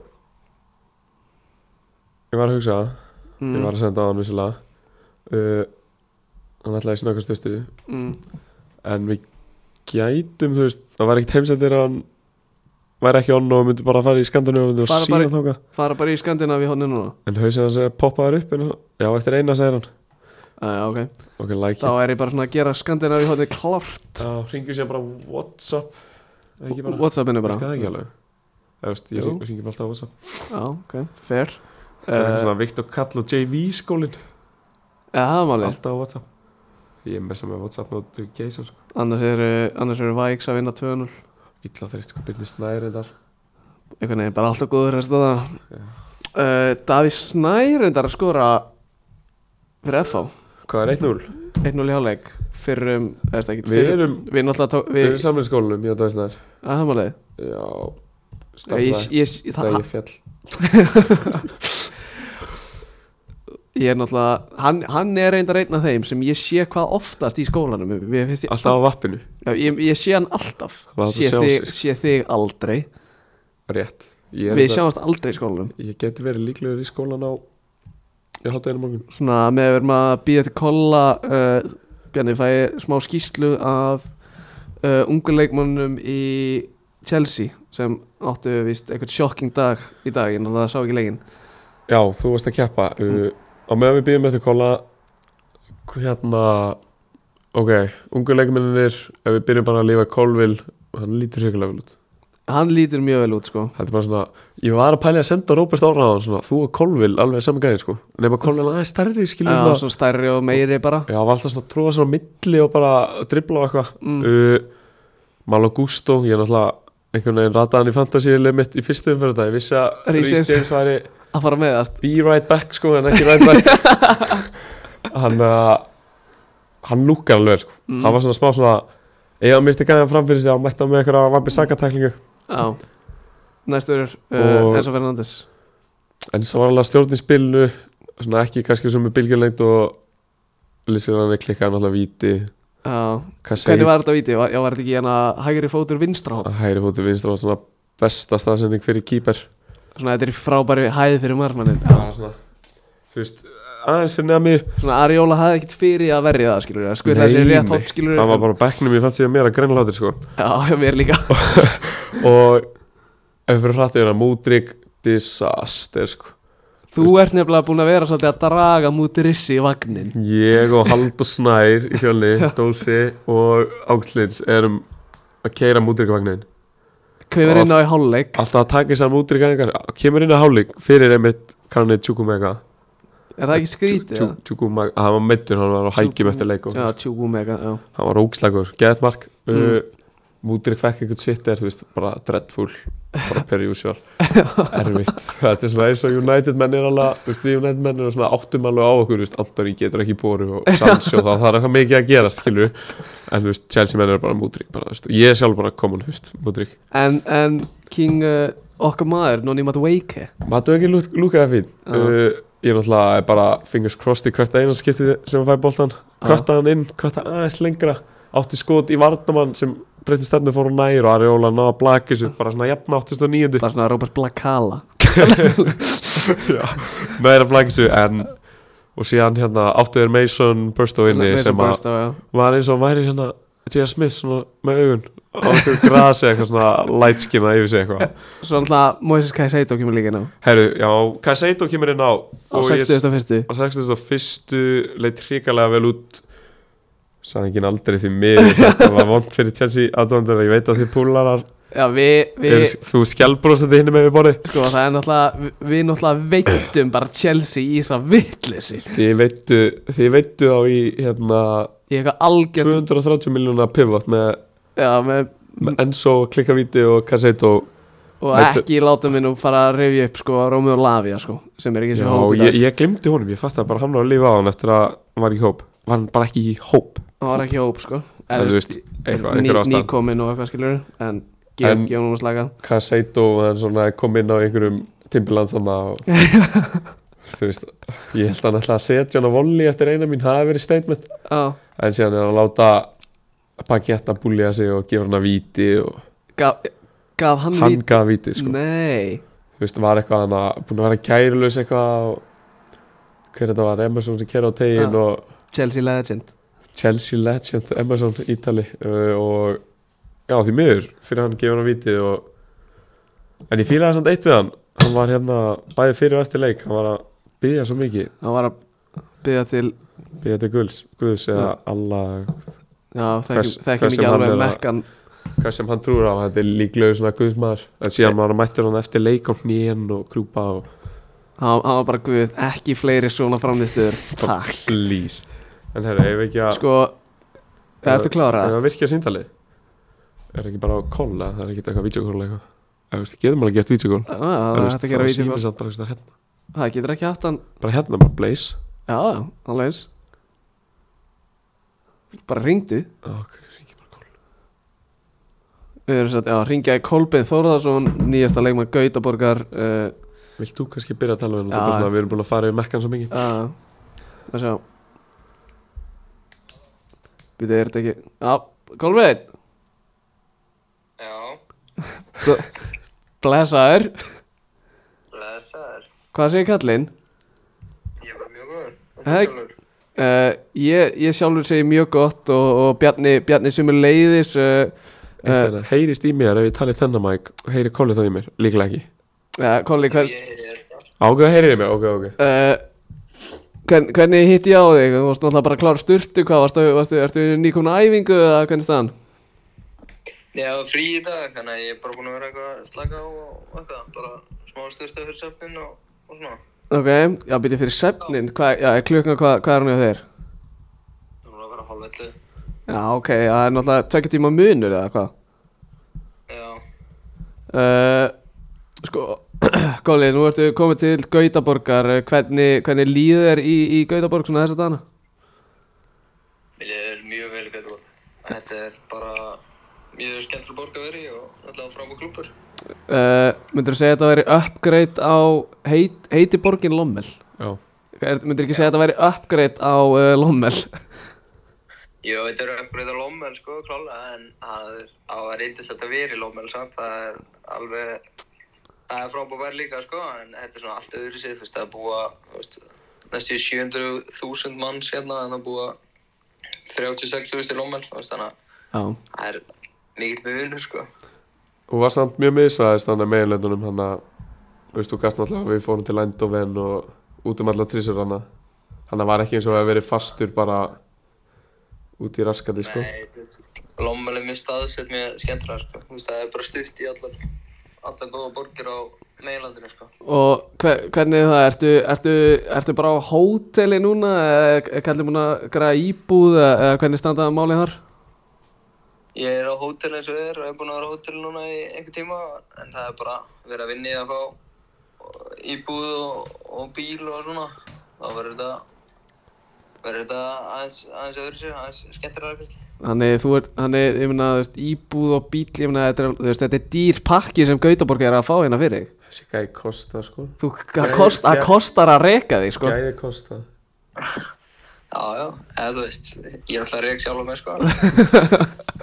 Speaker 2: ég var að hugsa það ég
Speaker 1: mm,
Speaker 2: var að senda á hann vissilega uh, hann ætlaði að snöka stuttu
Speaker 1: mm,
Speaker 2: en við gætum þú veist, það var ekkert heimsendir að hann væri ekki onn og myndi bara að fara í skandinu og myndi að
Speaker 1: Fara
Speaker 2: sína
Speaker 1: bara
Speaker 2: bara... þóka
Speaker 1: fara bara í skandina á í honi núna
Speaker 2: en hausinn hans er að poppa þær upp en, já, eftir eina segir hann
Speaker 1: uh, okay.
Speaker 2: ok, like
Speaker 1: þá er ég bara svona að gera skandina á í honi klárt
Speaker 2: it já, hringjum sér bara whatsapp Eða ekki bara
Speaker 1: Whatsappinu bara
Speaker 2: það ekki alveg Eða, veist,
Speaker 1: Jú.
Speaker 2: ég hring- hringjum alltaf á whatsapp
Speaker 1: Já, ok, fair
Speaker 2: það er eitthvað
Speaker 1: uh,
Speaker 2: svona Viktor Kall og JV skólin
Speaker 1: Já, það er málið
Speaker 2: alltaf á whatsapp ég er með sem með whatsapp og geysan sko
Speaker 1: Annars eru, annars eru Vikes að vinna 2-0
Speaker 2: illa sko, þreist hvað byrnir snæri þetta
Speaker 1: einhvern veginn bara alltaf góður rest af það uh, Daví Snær reyndar að skora fyrir FH
Speaker 2: hvað er 1-0?
Speaker 1: 1-0 í hálfleik fyrir um, eða þetta ekki
Speaker 2: Við erum-
Speaker 1: við náttúrulega tók,
Speaker 2: við
Speaker 1: við,
Speaker 2: erum saman í skólanum, ég og Dæsnar
Speaker 1: að það máli
Speaker 2: Já
Speaker 1: ég,
Speaker 2: Stafnaði
Speaker 1: ég, ég,
Speaker 2: Þegar
Speaker 1: það,
Speaker 2: ég fjall
Speaker 1: ég er náttúrulega hann, hann er reyndar einn af þeim sem ég sé hvað oftast í skólanum ég, ég,
Speaker 2: Alltaf á vappinu
Speaker 1: já, ég, ég sé hann alltaf
Speaker 2: Láta
Speaker 1: sé
Speaker 2: sjá
Speaker 1: þig,
Speaker 2: sig.
Speaker 1: sé þig aldrei
Speaker 2: Rétt Ég, er
Speaker 1: við
Speaker 2: þetta-
Speaker 1: sjáumst aldrei í skólanum
Speaker 2: ég geti verið líklegur í skólan á Ég hátta einu morgun
Speaker 1: svona með að verðum að býða til kolla uh, Bjarni fæ ég smá skýslu af uh, ungu leikmannum í Chelsea sem áttu vist eitthvað sjokking dag í dag, ég náttúrulega sá ekki leikin
Speaker 2: Já, þú varst að keppa uh, Á meðan við býðum eftir kolla Hérna Ok, ungu leikmennir Ef við byrjum bara að lífa Kolvil Hann lítur sérkulega vel út
Speaker 1: hann lítur mjög vel út sko
Speaker 2: Þetta er bara svona Ég var að pæli að senda Róbert Ára á hann svona Þú og Kolvil alveg saman gæði sko Nefna Kolvil aðeins stærri skiljum
Speaker 1: Já, svona stærri og meiri bara
Speaker 2: Já, hann var alltaf svona trúa svona á milli og bara dribla og eitthvað
Speaker 1: Mm.
Speaker 2: uh, Malo Gusto, ég er náttúrulega einhvern veginn rataði hann í fantasíuleg mitt í fyrstu umfyrir þetta, ég vissi að
Speaker 1: Reece
Speaker 2: Rhys
Speaker 1: James.
Speaker 2: James væri
Speaker 1: að fara með það
Speaker 2: be right back sko en ekki right back hann uh, hann lúkar alveg sko,
Speaker 1: Mm.
Speaker 2: hann var svona smá svona ef hann misti gæðan fram fyrir sig, hann mætti hann með einhverja vambi sakatæklingu,
Speaker 1: Já, næstur uh,
Speaker 2: Og-
Speaker 1: Enzo Fernandes
Speaker 2: en svo var hann að stjórn í spilinu, svona ekki kannski sem er bylgjulegt og Lisfjörn hann er klikkað náttúrulega víti
Speaker 1: Já,
Speaker 2: hvað segir
Speaker 1: hvernig var þetta víti? Var, já, var þetta ekki hérna hægri fótur vinstra hótt?
Speaker 2: að hægri fóti vinstra var svona besta staðsending fyrir kýper
Speaker 1: Svona þetta er í frábæri hæði fyrir marmannin
Speaker 2: bara svona þú veist, aðeins fyrir neða mig
Speaker 1: Svona Ariola hafði ekkit fyrir að verja það skilur Það skurði
Speaker 2: Nei,
Speaker 1: þessi rétt
Speaker 2: nei.
Speaker 1: hótt skilur
Speaker 2: það var bara á bekknum, ég fannst ég að mér að greina hlátir sko.
Speaker 1: Já, hjá mér líka
Speaker 2: og ef við fyrir hrættið hérna, Múdrik disaster sko.
Speaker 1: Þú ert nefnilega búin að vera svolítið að draga mútirissi í vagnin
Speaker 2: ég og Haldur Snær í hjálni, Dósi og Áglins erum að keira Múdrikvagnin
Speaker 1: Kaumir inn á í hálfleik
Speaker 2: alltaf að taka þess að Múdrik aðingar kemur inn að hálík fyrir einmitt kannið Tjúkumega
Speaker 1: Er það ekki skrítið? eða?
Speaker 2: Tjúkumega, hann var meittur, hann var á hækjum eftir leik og
Speaker 1: Já, tjúkumega, já
Speaker 2: hann var ógslagur, geðið mark
Speaker 1: Mm.
Speaker 2: uh, Múdrik fekk eitthvað sitt er, þú veist, bara dreadful bara per usual, erfitt þetta er svona eins og United menn er alveg þú veist, við United menn erum svona áttum alveg á okkur þú veist, Antoni getur ekki bóru og Sancho þá það er eitthvað mikið að gera, skilju en þú veist, Chelsea menn er bara Múdrik bara, þú veist, ég er sjálf bara komin, þú veist, Múdrik
Speaker 1: En, en King uh, okkar maður, Nonny Matweike
Speaker 2: maður ekki lúk, lúkaði fín
Speaker 1: Já.
Speaker 2: uh, ég er náttúrulega bara fingers crossed í hvert eina skipti sem hann fæ boltan
Speaker 1: Já.
Speaker 2: kvötta hann inn, kvötta aðeins lengra átti skot í varnamann sem breytti stefnu fór hún nær og Ariola náða blakis upp bara svona jafna 89
Speaker 1: Bara svona Robert Blakala
Speaker 2: næra blakis upp en og síðan hérna áttuður Mason Burstow inni
Speaker 1: Mason
Speaker 2: sem að
Speaker 1: Burstow, já.
Speaker 2: var eins og hann væri hérna T.R. Smith svona með augun á einhverju grasi eitthvað svona lightskina yfir sig eitthvað
Speaker 1: Svo náttúrulega Moises Kaiseito kemur líka inn á
Speaker 2: herru, já, Kaseito kemur inn á
Speaker 1: Á
Speaker 2: og ég-
Speaker 1: 61.
Speaker 2: á 61. leit hrikalega vel út sagði ekki aldrei því miður þetta var vond fyrir Chelsea aðdóndur ég veit að þið púlarar
Speaker 1: Já, við, við
Speaker 2: er, þú skjálbrósandi hinn með við borði
Speaker 1: Sko, það er náttúrulega við- Við náttúrulega veitum bara Chelsea í þessa vittleysi
Speaker 2: þið veittu, þið veittu á í hérna,
Speaker 1: Í eitthvað algjört
Speaker 2: 230 miljóna pivot með,
Speaker 1: Já, með
Speaker 2: með Enzo, Klikkavíti og Cassetto
Speaker 1: og
Speaker 2: Veistu-
Speaker 1: ekki láta minn og fara að rifja upp sko Rómi og Lavia sko sem er ekki
Speaker 2: Já,
Speaker 1: sem hóp í dag
Speaker 2: ég, ég glemdi honum, ég fatt að bara hann var að lifa á hann eftir að hann var ekki í hóp Var hann bara ekki í hóp
Speaker 1: hann var ekki í hóp sko
Speaker 2: En þú veist, eitthvað, einhver ástæð ný...
Speaker 1: nýkomin og eitthvað skilur en
Speaker 2: En-
Speaker 1: gefum hún að slaka
Speaker 2: Kaseito, hann svona kom inn á einhverjum Timberlands hann og Þú veist, ég held að hann ætla að setja hann á volley eftir eina mín, það hefði verið statement
Speaker 1: á
Speaker 2: En síðan er hann að láta Pagetta búlja sig og gefa hann að víti og
Speaker 1: gaf, gaf hann,
Speaker 2: hann gaf víti
Speaker 1: vít
Speaker 2: sko
Speaker 1: nei
Speaker 2: Þú veist, var eitthvað hann að, búin að vera kærulaus eitthvað og Hver þetta var, Emerson sem kæra á tegin
Speaker 1: Já.
Speaker 2: og
Speaker 1: Chelsea legend
Speaker 2: Chelsea legend Emerson Ítali uh, og já því miður fyrir hann gefur hann vitið og en ég fílaði samt eitt við hann hann var hérna bæði fyrir og eftir leik hann var að byggja svo mikið
Speaker 1: hann var að byggja til
Speaker 2: byggja til Guðs, Guðs eða
Speaker 1: Já.
Speaker 2: Allah
Speaker 1: já
Speaker 2: Hvers-
Speaker 1: þekkjum þekkjum
Speaker 2: hvers
Speaker 1: ekki
Speaker 2: sem hann
Speaker 1: alveg
Speaker 2: er að-
Speaker 1: mekkan
Speaker 2: hvað sem hann trúur á þetta er líklegur svona Guðsmaður en síðan maður mættir hann eftir leik á hnén og krúpa og
Speaker 1: hann hann var bara guð ekki fleiri svona framlistuður takk
Speaker 2: please en herra ef ekki að
Speaker 1: sko ertu klárað
Speaker 2: ef að virkja síndalið er ekki bara á kolla það er ekki eitthvað videokóla eitthvað Eða, þú veist, getum alveg gert videokóla
Speaker 1: Já, það er hægt að gera vídeo
Speaker 2: samt bara svona hérna
Speaker 1: Það getur ekki haft hann
Speaker 2: bara hérna bara blaze
Speaker 1: Já, já, alveg eins Bara ringdu
Speaker 2: ok, ringi bara kól
Speaker 1: Við erum satt, já, ringja í Kolbein Þórðarsson Nýjasta leikmann Gautaborgar uh,
Speaker 2: vilt þú kannski byrja að tala um
Speaker 1: Já.
Speaker 2: þetta svona, við erum búin að fara yfir mekkan svo mikið
Speaker 1: uh, Að sjá Býtu, er þetta ekki Já, Kolbein
Speaker 3: Já,
Speaker 1: Blessaður
Speaker 3: blessaður.
Speaker 1: Hvað segir kallinn?
Speaker 3: Ég var mjög góður. Og
Speaker 1: Hei.
Speaker 3: þú sjálfur?
Speaker 1: Uh, ég, ég sjálfur segi mjög gott og, og Bjarni, Bjarni sem er leiðis uh,
Speaker 2: eitt
Speaker 1: Eh.
Speaker 2: uh, hennar, heyrist í mér ef ég tali þennan mæk heyri kólið þá í mér, líklega ekki
Speaker 1: uh, Kolli, hvers,
Speaker 3: Ég er það.
Speaker 2: ágæða heyrir í mér, ok, ok
Speaker 1: uh, hvern, hvernig hitti ég á þig? Þú varst náttúrulega bara klár styrtu, hvað varstu, varstu, ertu nýkomin á æfingu eða hvernig staðan?
Speaker 3: Ég hafa frí í dag, þannig að ég er bara búin að vera eitthvað að slaka á og eitthvað. Bara smá styrta fyrir söfnin og, og svona.
Speaker 1: Ok, já, byrja fyrir svefnin, hvað, já, er klukkan, hvað, hvað er hún hjá þér?
Speaker 3: Það er að vera hálfvellu.
Speaker 1: Já, ok, já, það er náttúrulega tvekja tíma munur eða hvað?
Speaker 3: Já,
Speaker 1: Uh, sko, Góli, nú ertu komið til Gautaborgar, eh, hvernig, hvernig líður þér í, í Gautaborg svona þessa dana?
Speaker 3: mér er mjög vel gætið búin. Þetta er bara mjög skemmtileg borg að vera í og alltaf frábæð klúpur.
Speaker 1: Uh, myndur þú segja að þetta væri upgrade á heit, heiti borgin Lommel?
Speaker 2: já,
Speaker 1: Myndur ekki segja að þetta væri upgrade á uh, Lommel?
Speaker 3: Jó, þetta er uppgreita lommel sko, klálega, en það er á að reyndist þetta verið lommel samt, það er alveg, það er frábæðar líka sko, en þetta er svona allt öðru sig, þú veist, það er búa, þú veist, næstu 700.000 manns hérna, en það búa 36.000 í lommel, þú veist, þannig að
Speaker 1: Já
Speaker 3: það er mikill með vinnu sko.
Speaker 2: og var samt mjög miðsvæðist þannig meginlöndunum hann að þú veist, þú gast náttúrulega, við fórum til Eindhoven og út um alla trísur hann hann var ekki eins og að verið fastur bara út í raskati, sko
Speaker 3: Nei, þú veist, lommel er mjög staðsett mjög skemmtilega sko, þú veist, það er bara stutt í allar, allar góða borgir á meginlandinu sko.
Speaker 1: Og hver, hvernig er það, ertu, ertu, ertu bara á hóteli núna eða kallum hún að græða íbúð eða eða hvernig standaða málið þar?
Speaker 3: Ég er á hótel eins og er og er búinn að vera á hótel núna í einhver tíma en það er bara verið að vinna í að fá íbúð og, og bíl og svona þá verður þetta verður þetta aðeins, aðeins öðru sig, aðeins skemmtilega kannski.
Speaker 1: Þannig þú ert, þannig ég meina, þú veist, íbúð og bíl, ég meina, þetta er, þú veist, þetta er dýr pakki sem Gautaborg er að fá hérna fyrir þig.
Speaker 2: þessi gæði kosta, sko
Speaker 1: Þú, það kost, það kostar að reka þig, sko.
Speaker 2: gæði kosta
Speaker 3: Já, já, eða þú veist, ég er alltaf að reyk sjálf á mig sko. Þannig að-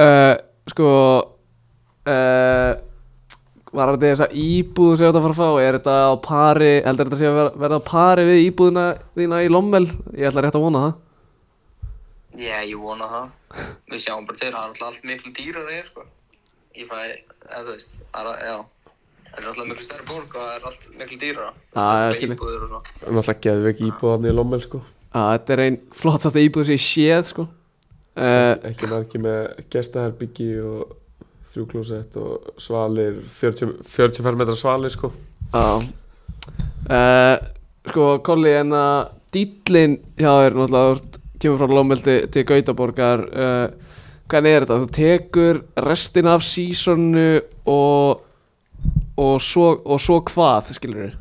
Speaker 1: Uh, sko, uh, var þetta þess að íbúð sem þú ert að fara að fá, er þetta á pari, heldur þetta sé að vera- verða á pari við íbúðina þína í Lommel? Ég ætla rétt að vona það.
Speaker 3: Já, ég vona það. Við sjáum bara til, það er alltaf allt miklu dýrar að ég, sko. Ég fæ, eða þú veist, það er, að- já, það er alltaf miklu stærri borg og það er allt miklu dýrar.
Speaker 1: Já, já, skil ég.
Speaker 3: Íbúður og svona.
Speaker 2: náttúrulega geðveik íbúðan í Lommel, sko
Speaker 1: Já, þetta er einn flottasta íbúð sem ég séð sko uh,
Speaker 2: ekki margi með gestaherbyggi og þrjú klósett og svalir 40, 45 metra svalir sko
Speaker 1: Já uh, Sko, Kolli, en að dýllin hjá þér náttúrulega þú ert- kemur frá Lómel til, til Gautaborgar uh, hvernig er þetta, þú tekur restin af sísonu og, og, svo, og svo hvað, skilur við?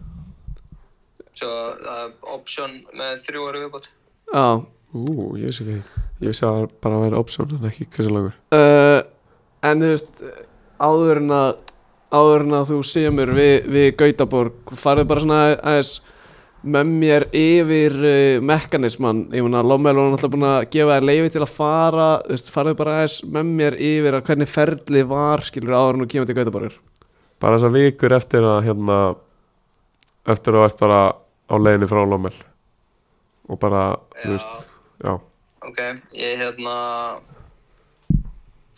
Speaker 3: Svo það er option með þrjú ára viðbót.
Speaker 1: Já,
Speaker 2: Ú, ég vissi ekki Ég vissi að það bara að vera option en ekki hversu langur
Speaker 1: uh, en þú veist, áður en að, áður en að þú semur við, við Gautaborg, farðu bara svona aðeins með mér yfir uh, mekanisman, ég meina Lommel var náttúrulega búin að gefa þér leifi til að fara, þú veist, farðu bara aðeins með mér yfir að hvernig ferli var, skilur áður en þú kemur til Gautaborgur.
Speaker 2: Bara þessar vikur eftir að hérna Eftir að þú ert bara á leiðinni frá Lommel Og bara, þú
Speaker 3: Já.
Speaker 2: veist Já,
Speaker 3: Ok, ég hérna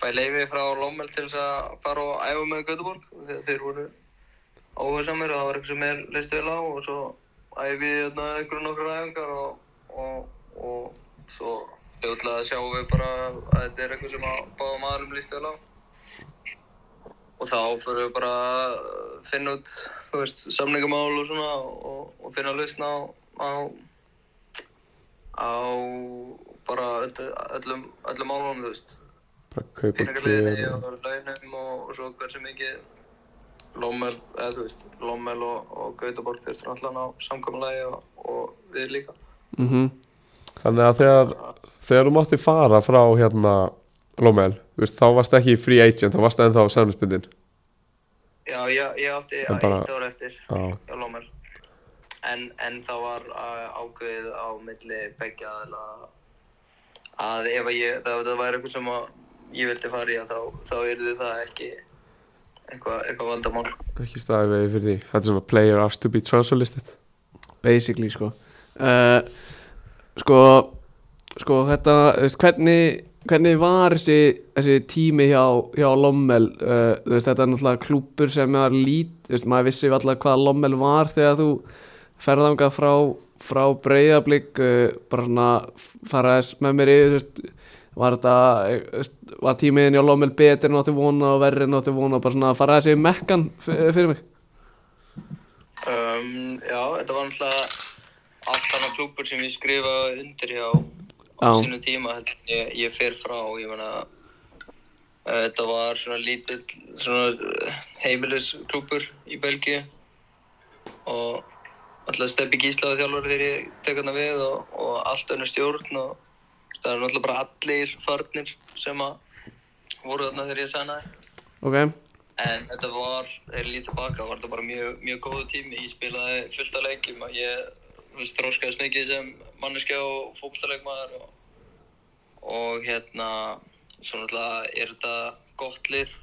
Speaker 3: fæ leifi frá Lommel til þess að fara og æfa með Göteborg þegar þeir voru óhersamir og það var eitthvað sem mér leist vel á og svo æfi ég hérna einhverjum nokkur æfingar og, og, og svo hljóðlega sjáum við bara að þetta er eitthvað sem að báða maðurum líst vel á og þá fyrir við bara að finna út þú veist, samningamál og svona og, og finna að lausna á, á á bara öll- öllum, öllum málunum, þú veist
Speaker 2: bara kaupa
Speaker 3: peningarliðinni
Speaker 2: kjöð
Speaker 3: og launum og, og svo hversu mikið Lommel, eða þú veist Lommel og, og Gautaborg þeir eru allan á samkomulagi og, og við líka
Speaker 1: Mm
Speaker 2: Þannig að þegar, þegar þú mátti fara frá hérna Lommel Þú veist, þá varst ekki free agent, þá varst ennþá samlingsbundin
Speaker 3: Já, ég, ég átti
Speaker 2: En bara-
Speaker 3: eitt ára eftir
Speaker 2: Já,
Speaker 3: hjá Lommel en, en það var uh, ákveðið á milli begja aðla að ef að ég, það, það væri eitthvað sem að ég vildi fara í að þá, þá yrði það ekki eitthvað, eitthvað vandamál
Speaker 2: ekki staðið vegi fyrir því Þetta er svona player asked to be transfer listed
Speaker 1: basically sko uh, sko sko þetta, þú veist, hvernig hvernig var þessi, þessi tími hjá, hjá Lommel uh, þú veist, þetta er náttúrulega klúpur sem er lít þú veist, maður vissi alltaf hvað Lommel var þegar þú ferðangað frá frá breyðablík uh, bara svona fara þess með mér yfir þú veist, var þetta eh, þú veist, var tímiðin hjá Lommel betur en þú átti vona og verri en þú átti vona bara svona fara þessi mekkan f- fyrir mig
Speaker 3: Um, já, þetta var náttúrulega allt annað klúpur sem ég skrifaði undir hjá á
Speaker 1: Já.
Speaker 3: sínu tíma heldur en ég, ég fer frá, ég meina eh, þetta var svona lítill svona eh, heimilis klúpur í Belgíu og alltaf steppi gíslaði þjálfur þegar ég tek hana við og, og allt önnur stjórn og það er náttúrulega bara allir farnir sem að voru þarna þegar ég sannaði
Speaker 1: ok,
Speaker 3: En þetta var, þegar ég lít tilbaka, var þetta bara mjög, mjög góðu tími. Ég spilaði fullt af leikjum og ég, þú veist, þróskaðist mikið sem manneskja og fókbaltaleikmaður og, og hérna, svo náttúrulega er þetta gott lið.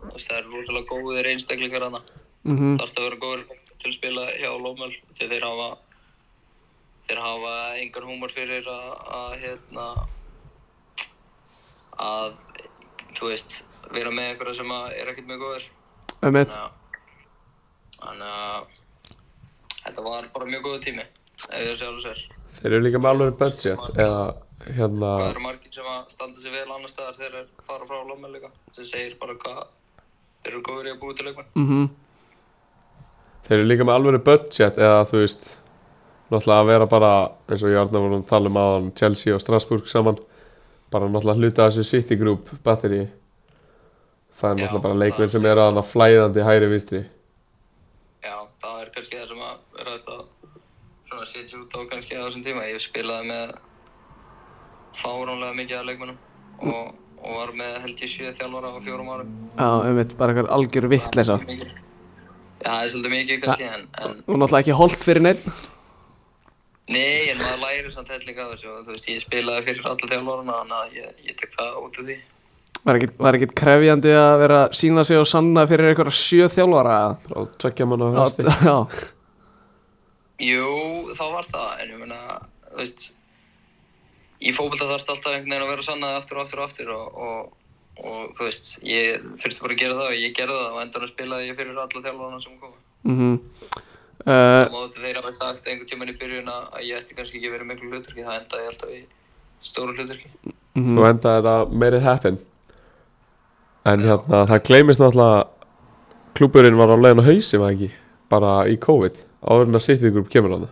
Speaker 3: Þú veist, það er rosalega góðir einstaklingar hana.
Speaker 1: mhm
Speaker 3: Það þarf að vera góður til að spila hjá Lómöl þegar þeir hafa, þeir hafa engan húmor fyrir að, að hérna, að, þú veist, vera með einhverja sem að er ekkert mjög góður.
Speaker 1: um eitt
Speaker 3: Já. Þannig að þetta var bara mjög góðu tími, ef þið sjálf sér.
Speaker 2: Þeir eru líka með alveg budget eða hérna
Speaker 3: Það eru margir sem að standa sér vel annar staðar þegar þeir fara frá Lómel líka, sem segir bara hvað þeir eru góður í að búi til leikmenn.
Speaker 1: mhm
Speaker 2: Þeir eru líka með alveg budget eða þú veist náttúrulega að vera bara eins og ég arna vorum að tala um aðan Chelsea og Strasbourg saman bara náttúrulega hluta af þessu City Group batteri það er
Speaker 3: Já,
Speaker 2: náttúrulega bara
Speaker 3: það-
Speaker 2: leikmenn sem eru aðan flæðandi hægri vinstri
Speaker 3: Já, það er kannski það sem að er hægt að svona setja út á kannski á þessum tíma. Ég spilaði með fáránlega mikið af leikmennum og, og var með held ég sjö þjálfara á fjórum árum.
Speaker 1: Já, einmitt, bara eitthvað algjör vittleysa
Speaker 3: Mikið. Já, það er svolítið mikið kannski, en, en
Speaker 1: Og náttúrulega ekki holdt fyrir neitt
Speaker 3: Nei, en maður læri samt helling af þessu og þú veist, ég spilaði fyrir alla þjálfvarana þannig að ég, ég tek það út af því.
Speaker 1: Var ekkit, var ekkit krefjandi að vera að sína sig og sanna fyrir einhverja sjö þjálfara eða?
Speaker 2: og tveggja manna
Speaker 1: Já,
Speaker 2: hægri
Speaker 1: Já,
Speaker 3: Jú, þá var það, en ég meina, þú veist, í fókbalta þarfst alltaf einhvern veginn að vera sannað aftur og aftur og aftur og, og, og þú veist, ég þurfti bara að gera það og ég gerði það og endan spilaði ég fyrir alla þjálfvarana sem koma.
Speaker 1: mhm uh,
Speaker 3: á móti þeir hafa sagt einhvern tíman í byrjun að að ég ætti kannski ekki verið miklu hlutverki, það endaði ég alltaf í stóru hlutverki.
Speaker 2: þú enda þetta meiri happen en hérna það gleymist náttúrulega klúburinn var á leiðin á hausi var ekki bara í COVID áður en að City Group kemur á það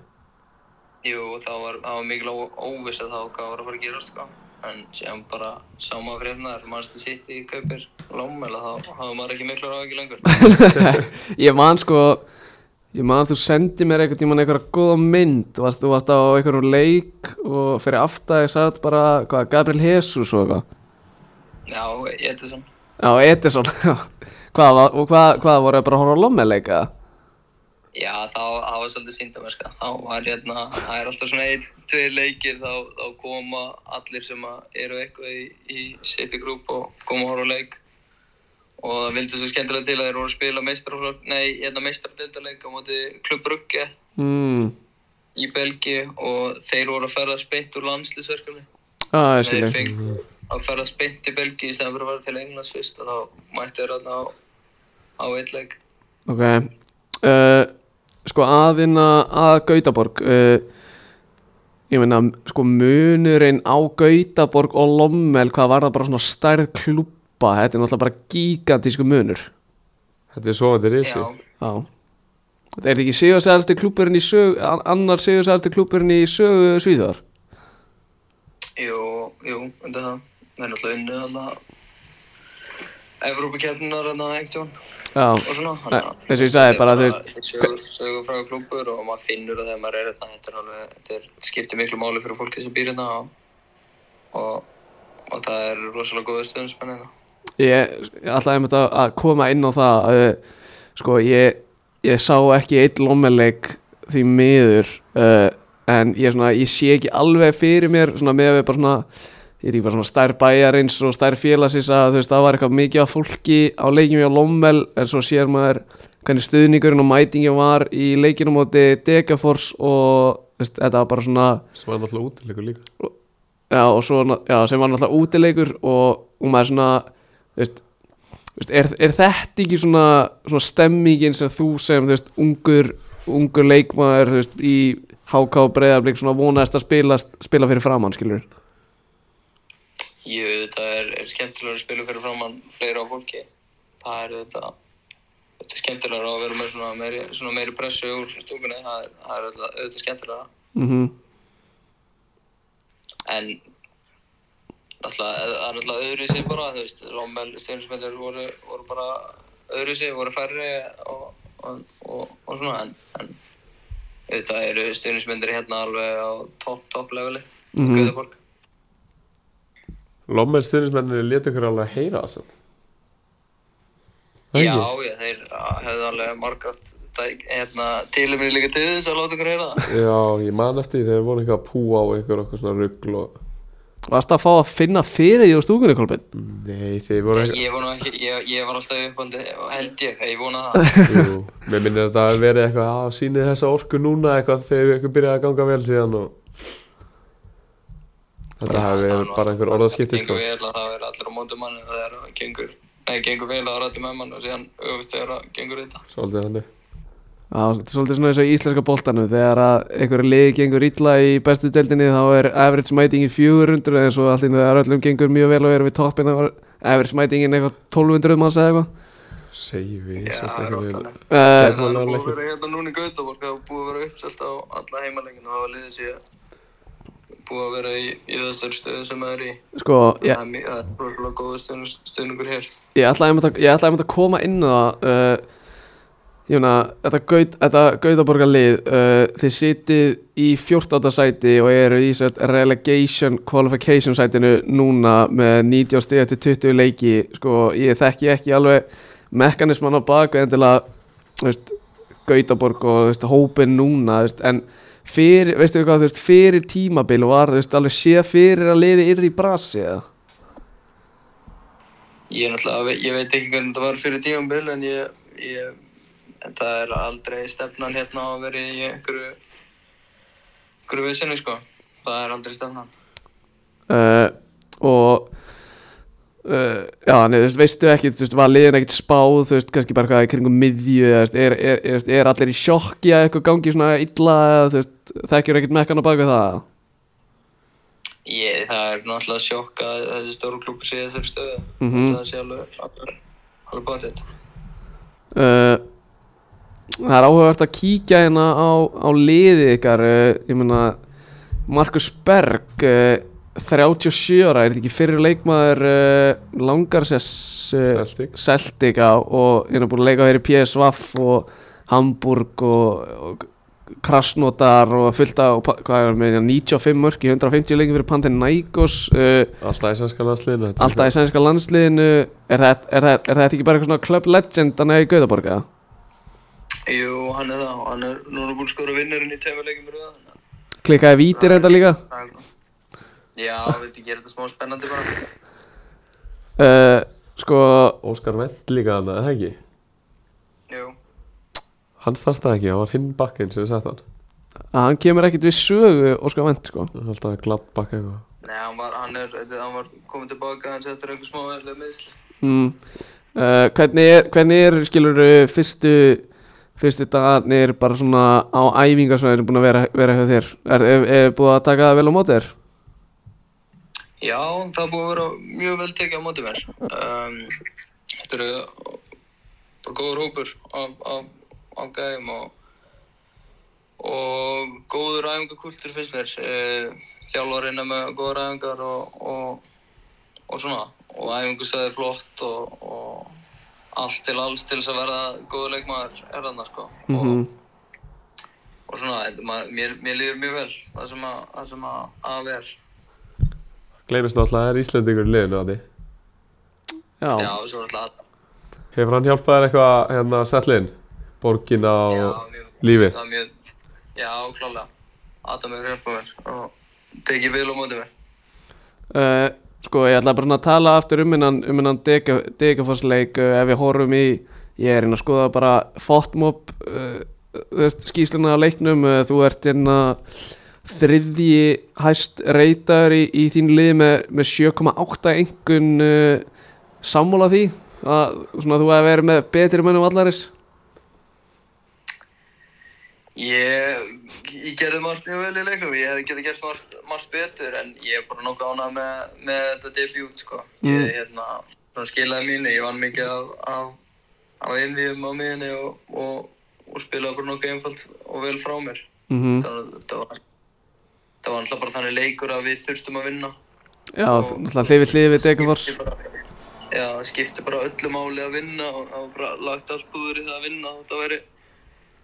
Speaker 3: Jú, það var, það var mikil ó- óvissa þá hvað var að fara að gerast, sko. en síðan bara sá maður hérna, frétnar, mannstu sitt í kaupir Lommel og þá hafði maður ekki miklu ráð ekki lengur.
Speaker 1: Ég man sko Ég man að þú sendi mér einhvern tímann einhverja góða mynd Þú varst, þú varst á einhverjum leik og fyrir aftar ég sagði bara hvað, Gabriel Jesus og eitthvað
Speaker 3: Já, ég heldur svona.
Speaker 1: Já, Edison já. Hvað, var- og hvað, hvað voru bara að horfa á lommeleika?
Speaker 3: Já, þá það var svolítið síndamerska. Þá var hérna, það er alltaf svona einn, tveir leikir, þá, þá koma allir sem að eru eitthvað í, í City Group og koma að horfa á leik. Og það vildi svo skemmtilega til að þeir voru að spila meistraflokk, nei, hérna meistrafdeldarleik á móti Klubb Brugge
Speaker 1: Hmm,
Speaker 3: í Belgíu og þeir voru að ferða speint úr landslýsverkefni.
Speaker 1: ah, ég skil
Speaker 3: Þeir
Speaker 1: ég
Speaker 3: fengu að ferða speint til Belgíu í stæðan fyrir að fara til Englands fyrst og þá mættu þeir hérna á, á eitt leik.
Speaker 1: Ok uh, Sko aðvinna að Gautaborg uh, Ég meina, sko munurinn á Gautaborg og Lommel Hvað var það bara svona stærð klúpa Þetta er náttúrulega bara gigantísku munur
Speaker 2: Þetta er svoandi risi
Speaker 3: Já.
Speaker 1: Já Þetta er ekki sigursæðasti klúpurinn í sögu an- Annar sigursæðasti klúpurinn í sögu Svíþjóðar
Speaker 3: Jú, jú, undir það. Við erum alltaf unnið þarna Evrópakefninar þarna einhvern og
Speaker 1: Já,
Speaker 3: svona.
Speaker 1: Nei, eins og ég sagði bara, þú
Speaker 3: veist. Sögur, sögur frá klúpur og maður finnur það þegar maður er hérna, þetta. Þetta er alveg, þetta er, skiptir miklu máli fyrir fólki sem býr hérna og, og, og það er rosalega góður hérna. stöðumspennin.
Speaker 1: Ég ætlaði einmitt að, að koma inn á það uh, Sko ég, ég sá ekki eitt lommeleg því miður uh, En ég, svona, ég sé ekki alveg fyrir mér Svona með að við bara svona Ég er ekki bara svona stær bæjarins og stær félagsins að þú veist það var eitthvað mikið af fólki á leikjum hjá Lommel en svo sér maður hvernig stuðningurinn og mætingin var í leikinu móti Degafors og þú veist, þetta var bara svona
Speaker 2: Sem var náttúrulega útilegur líka
Speaker 1: já, og svo, na- já, sem var náttúrulega útileikur og, og maður svona þú veist, þú veist, er, er þetta ekki svona, svona stemmingin sem þú sem þú veist, ungur, ungur leikmaður þú veist, í HK breyðarblik svona vonaðist að spila, spila fyrir framann skilur
Speaker 3: Jú, þetta er, er skemmtilega að spila fyrir framann fleira á fólki. Það er þetta, þetta er skemmtilega að vera með svona meiri, svona meiri pressu úr stúkunni. Það er, það er auðvitað, auðvitað skemmtilega.
Speaker 1: mm
Speaker 3: en alltaf, það er alltaf öðru sér bara, þú veist, Rommel, Steinsmyndir voru, voru bara öðru sér, voru færri og, og, og, og svona, en, en auðvitað eru Steinsmyndir hérna alveg á topp, topp leveli, mm
Speaker 1: Mhm.
Speaker 3: -hmm. Göteborg.
Speaker 2: Lommel stuðnismennir leti ykkur alveg að heyra það samt. Það
Speaker 3: Já,
Speaker 2: ekki?
Speaker 3: já, þeir ah, höfðu alveg margátt, hérna, tilum við líka til þess að láta ykkur heyra það.
Speaker 2: Já, ég man eftir því þegar voru eitthvað að púa á ykkur okkur svona ruggl og
Speaker 1: varst að fá að finna fyrir því á stúkunni kolbin
Speaker 2: Nei, þeir voru eitthvað
Speaker 3: Ég var nú ekki, ég, ég var alltaf uppandi, held ég, ég vona það.
Speaker 2: Jú, mér minnir að það hafi verið eitthvað að sýni þessa orku núna eitthvað þegar eitthvað byrjaði að ganga vel síðan og þetta hafi verið bara einhver orðaskipti sko
Speaker 3: Það gengur vel að það er allir á móti manni og þegar það gengur, nei, gengur vel að það er allir með mann og síðan öfugt þegar það gengur þetta.
Speaker 2: Svolítið þannig
Speaker 1: Já, þetta er svolítið svona eins og í íslenska boltanum þegar að einhverju liði gengur illa í bestu deildinni þá er average mætingin 400 en svo allt í einu þegar öllum gengur mjög vel og erum við toppin þá er average mætingin eitthvað 1200 manns eða eitthvað
Speaker 2: Segjum við,
Speaker 3: Já,
Speaker 2: ég
Speaker 3: það
Speaker 2: sett
Speaker 3: er
Speaker 2: ekki
Speaker 3: oft
Speaker 2: við
Speaker 3: þannig.
Speaker 1: uh,
Speaker 3: Það er búið að vera hérna núna í Gautaborg, það er búið að vera uppselt á alla heimaleikinu og það var liðið síðan búið að vera í, í þessari stöðu sem það er í.
Speaker 1: Sko, ég,
Speaker 3: Það er mjög, það er rosalega góð stöðningur hér.
Speaker 1: Ég ætlaði einmitt að, ég ætlaði einmitt að koma inn á það uh, Ég meina, þetta, gaut, þetta Gautaborgar lið uh, Þið sitið í 14. sæti og eru í sætt relegation qualification sætinu núna með 90 stig eftir 20 leiki Sko, ég þekki ekki alveg mekanisman á baku en til að þú veist, Gautaborg og þú veist, hópin núna þú veist, en fyrir, veistu hvað, þú veist, fyrir tímabil var, þú veist, alveg sé fyrir að liði yrði í brasi eða?
Speaker 3: Ég er náttúrulega, ég veit ekki hvernig þetta var fyrir tímanbill en ég, ég, en það er aldrei stefnan hérna á að vera í einhverju, einhverju vissinni sko. Það er aldrei stefnan.
Speaker 1: uh, og uh, já, nei, þú veist, veistu ekki þú veist, var liðin ekkert spáð, þú veist, kannski bara hvað í kringum miðju, eða, þú veist, er, er, er, er allir í sjokki að eitthvað gangi svona illa eða, þú veist, þekkjur ekkert mekkan á baku það
Speaker 3: Ég, það er náttúrulega sjokk að þessi stóru klúpur sé í þessari stöðu.
Speaker 1: Mhm.
Speaker 3: Það sé alveg, alveg, alveg bátt þetta.
Speaker 1: uh, það er áhugavert að kíkja eh, hérna á, á liði ykkar uh, ég meina Markus Berg uh, 37 ára, er þetta ekki fyrir leikmaður uh, langar sér
Speaker 2: Celtic.
Speaker 1: Celtica og hérna búin að leika fyrir PSV og Hamburg og, og Krasnodar og fullt af, og pa- hvað er hann með, hérna, 95 mörk í 150 leikin fyrir Panathinaikos uh,
Speaker 2: Alltaf íslenska landsliðinu þetta er
Speaker 1: alltaf í sænska landsliðinu er þetta, er, þetta, er þetta ekki bara eitthvað svona club legend hann er í Gautaborg eða?
Speaker 3: Jú, hann er það, hann er núna búin að skora vinnurinn í tveimur leikum röða þannig að
Speaker 1: klikkaði víti reynda líka
Speaker 3: það er gott. Já, viltu gera þetta smá spennandi bara?
Speaker 1: uh, sko,
Speaker 2: Óskar Vell líka þannig, það ekki?
Speaker 3: Jú,
Speaker 2: Hann startaði ekki, hann var hinn bakkinn sem við sett hann
Speaker 1: að hann kemur ekkit við sögu Óskar Wendt sko
Speaker 2: Það er alltaf glatt bakk eitthvað
Speaker 3: nei, hann var, hann er, hann var komið tilbaka hans eftir einhver smá verðilega meðsli.
Speaker 1: mm. uh, hvernig, er, hvernig er skilur fyrstu fyrstu dagarnir bara svona á æfingarsvæðinu búin að vera, vera hjá þér er, er, er búið að taka það vel á móti þér
Speaker 3: Já, það er búið að vera mjög vel tekið á móti mér. Um, þetta eru bara góður hópur af, af, af gæðum og, og góður æfingakultur finnst mér. Eh, Þjálfarinn er með góðar æfingar og, og, og svona. Og æfingustæði flott og, og allt til alls til þess að verða góður leikmaður er þarna sko.
Speaker 1: mm -hmm.
Speaker 3: og, og svona, þetta- maður- mér, mér líður mjög vel það sem að, það sem að, að vera.
Speaker 2: Gleimist náttúrulega að það er Íslendingur í liðinu að því
Speaker 1: já,
Speaker 3: Já, svo er alltaf
Speaker 2: Hefur hann hjálpað þér eitthvað hérna að setla inn? Borgina og
Speaker 3: Já, mjög-
Speaker 2: lífið?
Speaker 3: það er mjög, já, klálega Adam er hjálpað mér og tekið vel á móti mér
Speaker 1: Uh, sko ég ætla bara svona að tala aftur um innan, um innan degafossleik uh, ef við horfum í, ég er inn að skoða bara fotmob uh, þú veist, skýsluna á leiknum uh, þú ert inn að þriðji hæst reytar í, í þín lið með, með 7,8 engun uh, sammála því að svona, þú hefur verið með betri mönnum allaris
Speaker 3: ég, ég gerði margt mjög vel í leiknum ég hefði getið gert margt, margt betur en ég er bara nokkuð ánað með, með þetta debut sko. ég
Speaker 1: Mm.
Speaker 3: hérna, svona skilaði mínu ég vann mikið af, af, af einvíðum á miðinni og, og, og spilaði bara nokkuð einfalt og vel frá mér
Speaker 1: mm
Speaker 3: það, það var það var alltaf bara þannig leikur að við þurftum að vinna
Speaker 1: já, náttúrulega hlifið hlifið við degafoss
Speaker 3: Skipti bara- Já, það skipti bara öllu máli að vinna og það var bara lagt allt búður í það að vinna og það væri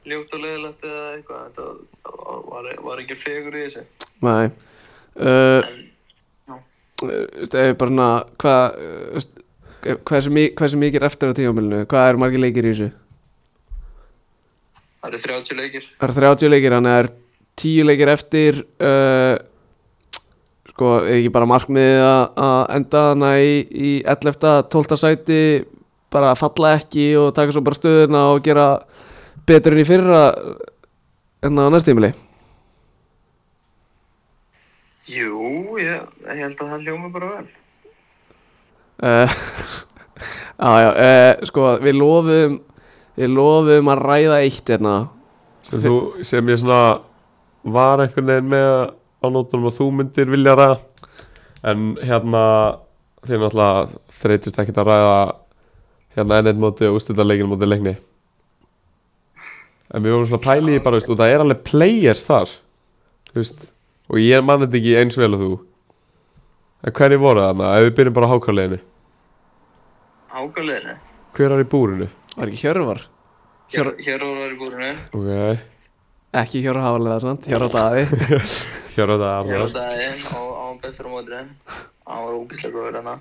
Speaker 3: ljótt og leiðilegt eða eitthvað, þetta var- var, var ekki fegur í þessu.
Speaker 1: Nei uh,
Speaker 3: Já.
Speaker 1: Þú veist, ef við bara svona hvað uh, þú veist, ef- hversu, mi hversu mikið er eftir á tímamilinu hvað eru margir leikir í þessu
Speaker 3: Það eru 30 leikir.
Speaker 1: það eru 30 leikir þannig að það eru 10 leikir eftir uh, sko er ekki bara markmiðið að- að enda hana í, í 11. 12. sæti bara falla ekki og taka svo bara stöðuna og gera betur enn í fyrra enn á næstímili
Speaker 3: Jú, ég, ég held að það hljómi bara vel.
Speaker 1: Uh, Já, já, uh, sko, við lofum Við lofum að ræða eitt hérna
Speaker 2: Sem, þú, sem ég svona var einhvern veginn með á nótunum að þú myndir vilja ræða en hérna þið náttúrulega þreytist ekkert að ræða hérna enn eitt móti og ústita leikin móti leikni en við vorum svona pæli í bara veist, og það er alveg players þar þú veist, og ég mann þetta ekki eins vel og þú en hverju voru þarna, ef við byrjum bara á hákarleginu
Speaker 3: Hákaleginu.
Speaker 2: hver er í búrinu?
Speaker 1: Var ekki Hjörvar?
Speaker 3: Hér,
Speaker 1: Hjör,
Speaker 3: hér voru verið búinu.
Speaker 2: ok,
Speaker 1: ekki Hjörvar Hafaliða, sant? Hjörvar Daði
Speaker 2: hér á þetta
Speaker 3: Hér á
Speaker 2: Arnar
Speaker 3: daginn og á hann bestur á mótrið. Hann var ógæslega góður hana.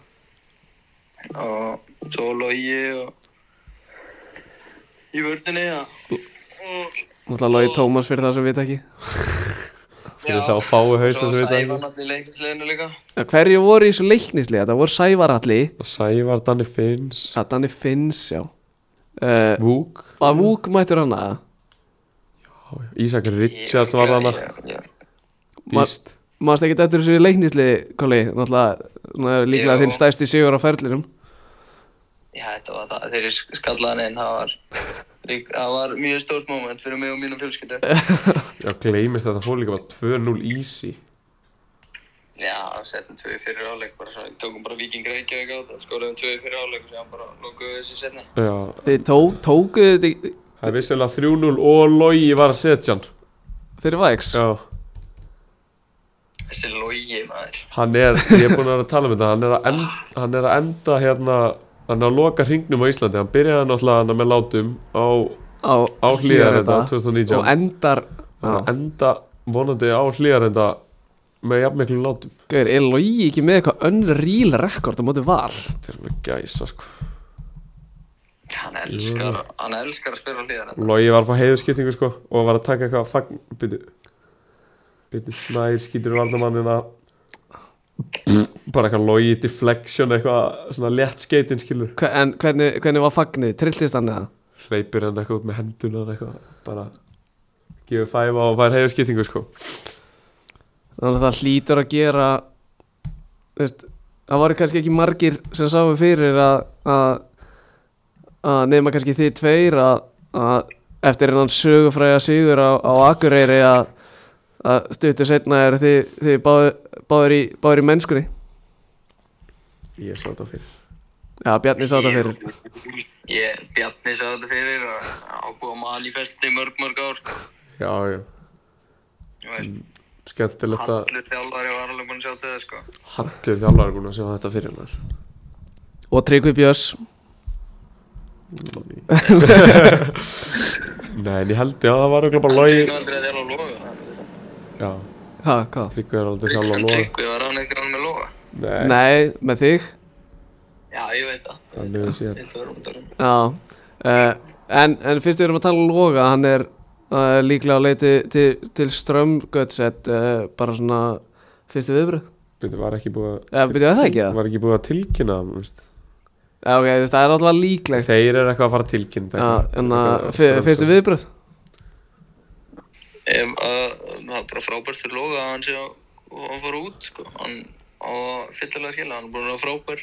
Speaker 3: Og svo logi og í vördinni, já. Og
Speaker 1: Náttúrulega logi Tómas fyrir það sem við ekki
Speaker 2: fyrir þá fáu hausa sem við
Speaker 3: Svo
Speaker 2: þetta
Speaker 3: Sævar náttúrulega í leiknisleginu líka.
Speaker 1: Já, Hverju voru í þessu leiknisli? Þetta voru Sævaralli
Speaker 2: og Sævar, Danni Finns
Speaker 1: Þetta hann er Finns, já uh,
Speaker 2: Vúk
Speaker 1: Að Vúk mættur hann aða
Speaker 2: Ísak Richards var þarna
Speaker 3: Já, já.
Speaker 2: Býst
Speaker 1: Mást ekki eftir þessu leiknisli, kolli Náttúrulega, svona líklega
Speaker 3: Jú.
Speaker 1: þinn stæsti sigur á ferlinum
Speaker 3: Já, þetta var það. Þegar ég skallaði hann inn, það var, lík- það var mjög stórt moment fyrir mig og mínu fjölskyldu.
Speaker 2: Já, gleymist þetta fór líka bara 2-0 Easy
Speaker 3: Já, setjum tvö í fyrir áleik, bara svona, tókum bara Viking Reykjavík á þetta, skólaðum tvö í fyrir áleik og séðan bara lokuðum við þessu setni.
Speaker 2: Já
Speaker 1: Þið tó, tókuðu þetta í-
Speaker 2: Það er vissulega 3-0 og Logi var að setja hann
Speaker 1: fyrir Vax
Speaker 2: Já
Speaker 3: þessi logi maður
Speaker 2: Hann er, ég er búin að vera að tala um þetta Hann er að enda, hann er að enda hérna Hann er að loka hringnum á Íslandi Hann byrjaði náttúrulega hann með látum á,
Speaker 1: á,
Speaker 2: á hlýðarenda 2019
Speaker 1: og endar
Speaker 2: Hann er að enda vonandi á hlýðarenda Með jafnmiklum látum
Speaker 1: Gauður, er Logi ekki með eitthvað unreal rekord á móti val?
Speaker 2: Þetta er svona gæsa sko
Speaker 3: hann elskar, hann elskar að spila hlýðar
Speaker 2: Logi var að fá heiðurskiptingu sko Og var að taka eitthvað fagn Byttu Byttu snær skýtur varnamannina Bara eitthvað Logi deflection Eitthvað svona létt skeitin skilur
Speaker 1: Hve- En hvernig, hvernig var fagnið? Trilltist hann eða?
Speaker 2: hleypir hann eitthvað út með hendunar eitthvað, bara gefur fæfa og fær heiðu skiptingu sko
Speaker 1: Þannig að það hlýtur að gera þú veist, Það voru kannski ekki margir sem sáu fyrir að, að, að nefna kannski þið tveir að, að eftir hennan sögufræja sigur á, á Akureyri að, að stuttu setna er þið, þið báður, báður, í, báður í mennskunni
Speaker 2: ég sá þetta fyrir
Speaker 1: Já, Bjarni sá þetta fyrir
Speaker 3: ég, Bjarni sá þetta fyrir og ábúið að manifesti mörg mörg ár sko.
Speaker 2: já, já,
Speaker 3: Þú veist,
Speaker 2: skemmtilegt að
Speaker 3: allur þjálfari var alveg búin að sjá til það sko
Speaker 2: hallur þjálfari búin að sjá þetta fyrir hennar
Speaker 1: Og Tryggvi Björns
Speaker 2: nei, en ég held, já, það var örugglega bara
Speaker 3: Logi
Speaker 2: logi
Speaker 3: hann er að þjálfa að loga
Speaker 2: já,
Speaker 1: Ha, hvað?
Speaker 2: Tryggvi er aldrei þjálfa að
Speaker 3: hann
Speaker 2: loga
Speaker 3: tryggvið var hann eitthvað hann með loga
Speaker 2: nei,
Speaker 1: Nei, með þig
Speaker 3: já ég veit það
Speaker 2: hann er sér
Speaker 3: Þetta var umtalum.
Speaker 1: Já uh, en, en fyrst við erum að tala um Loga Hann er uh, líklega á leið til, til, til strömgötsett uh, Bara svona fyrstu viðbröð
Speaker 2: þetta var ekki búið að
Speaker 1: Eða byrjaði það ekki það?
Speaker 2: var ekki búið að tilkynna hann, þú veist.
Speaker 1: Já ok, þú veist, það er alltaf líklegt
Speaker 2: þeir eru eitthvað að fara að tilkynna
Speaker 1: Já,
Speaker 2: eitthvað.
Speaker 1: en að
Speaker 2: Eitthvað-
Speaker 1: fyr- fyrstu viðbröð
Speaker 3: Em, að- Það er bara frábært fyrir Loga að hann sé að að hann fór út sko. Hann á fyllilega skilja, hann er búin að vera frábær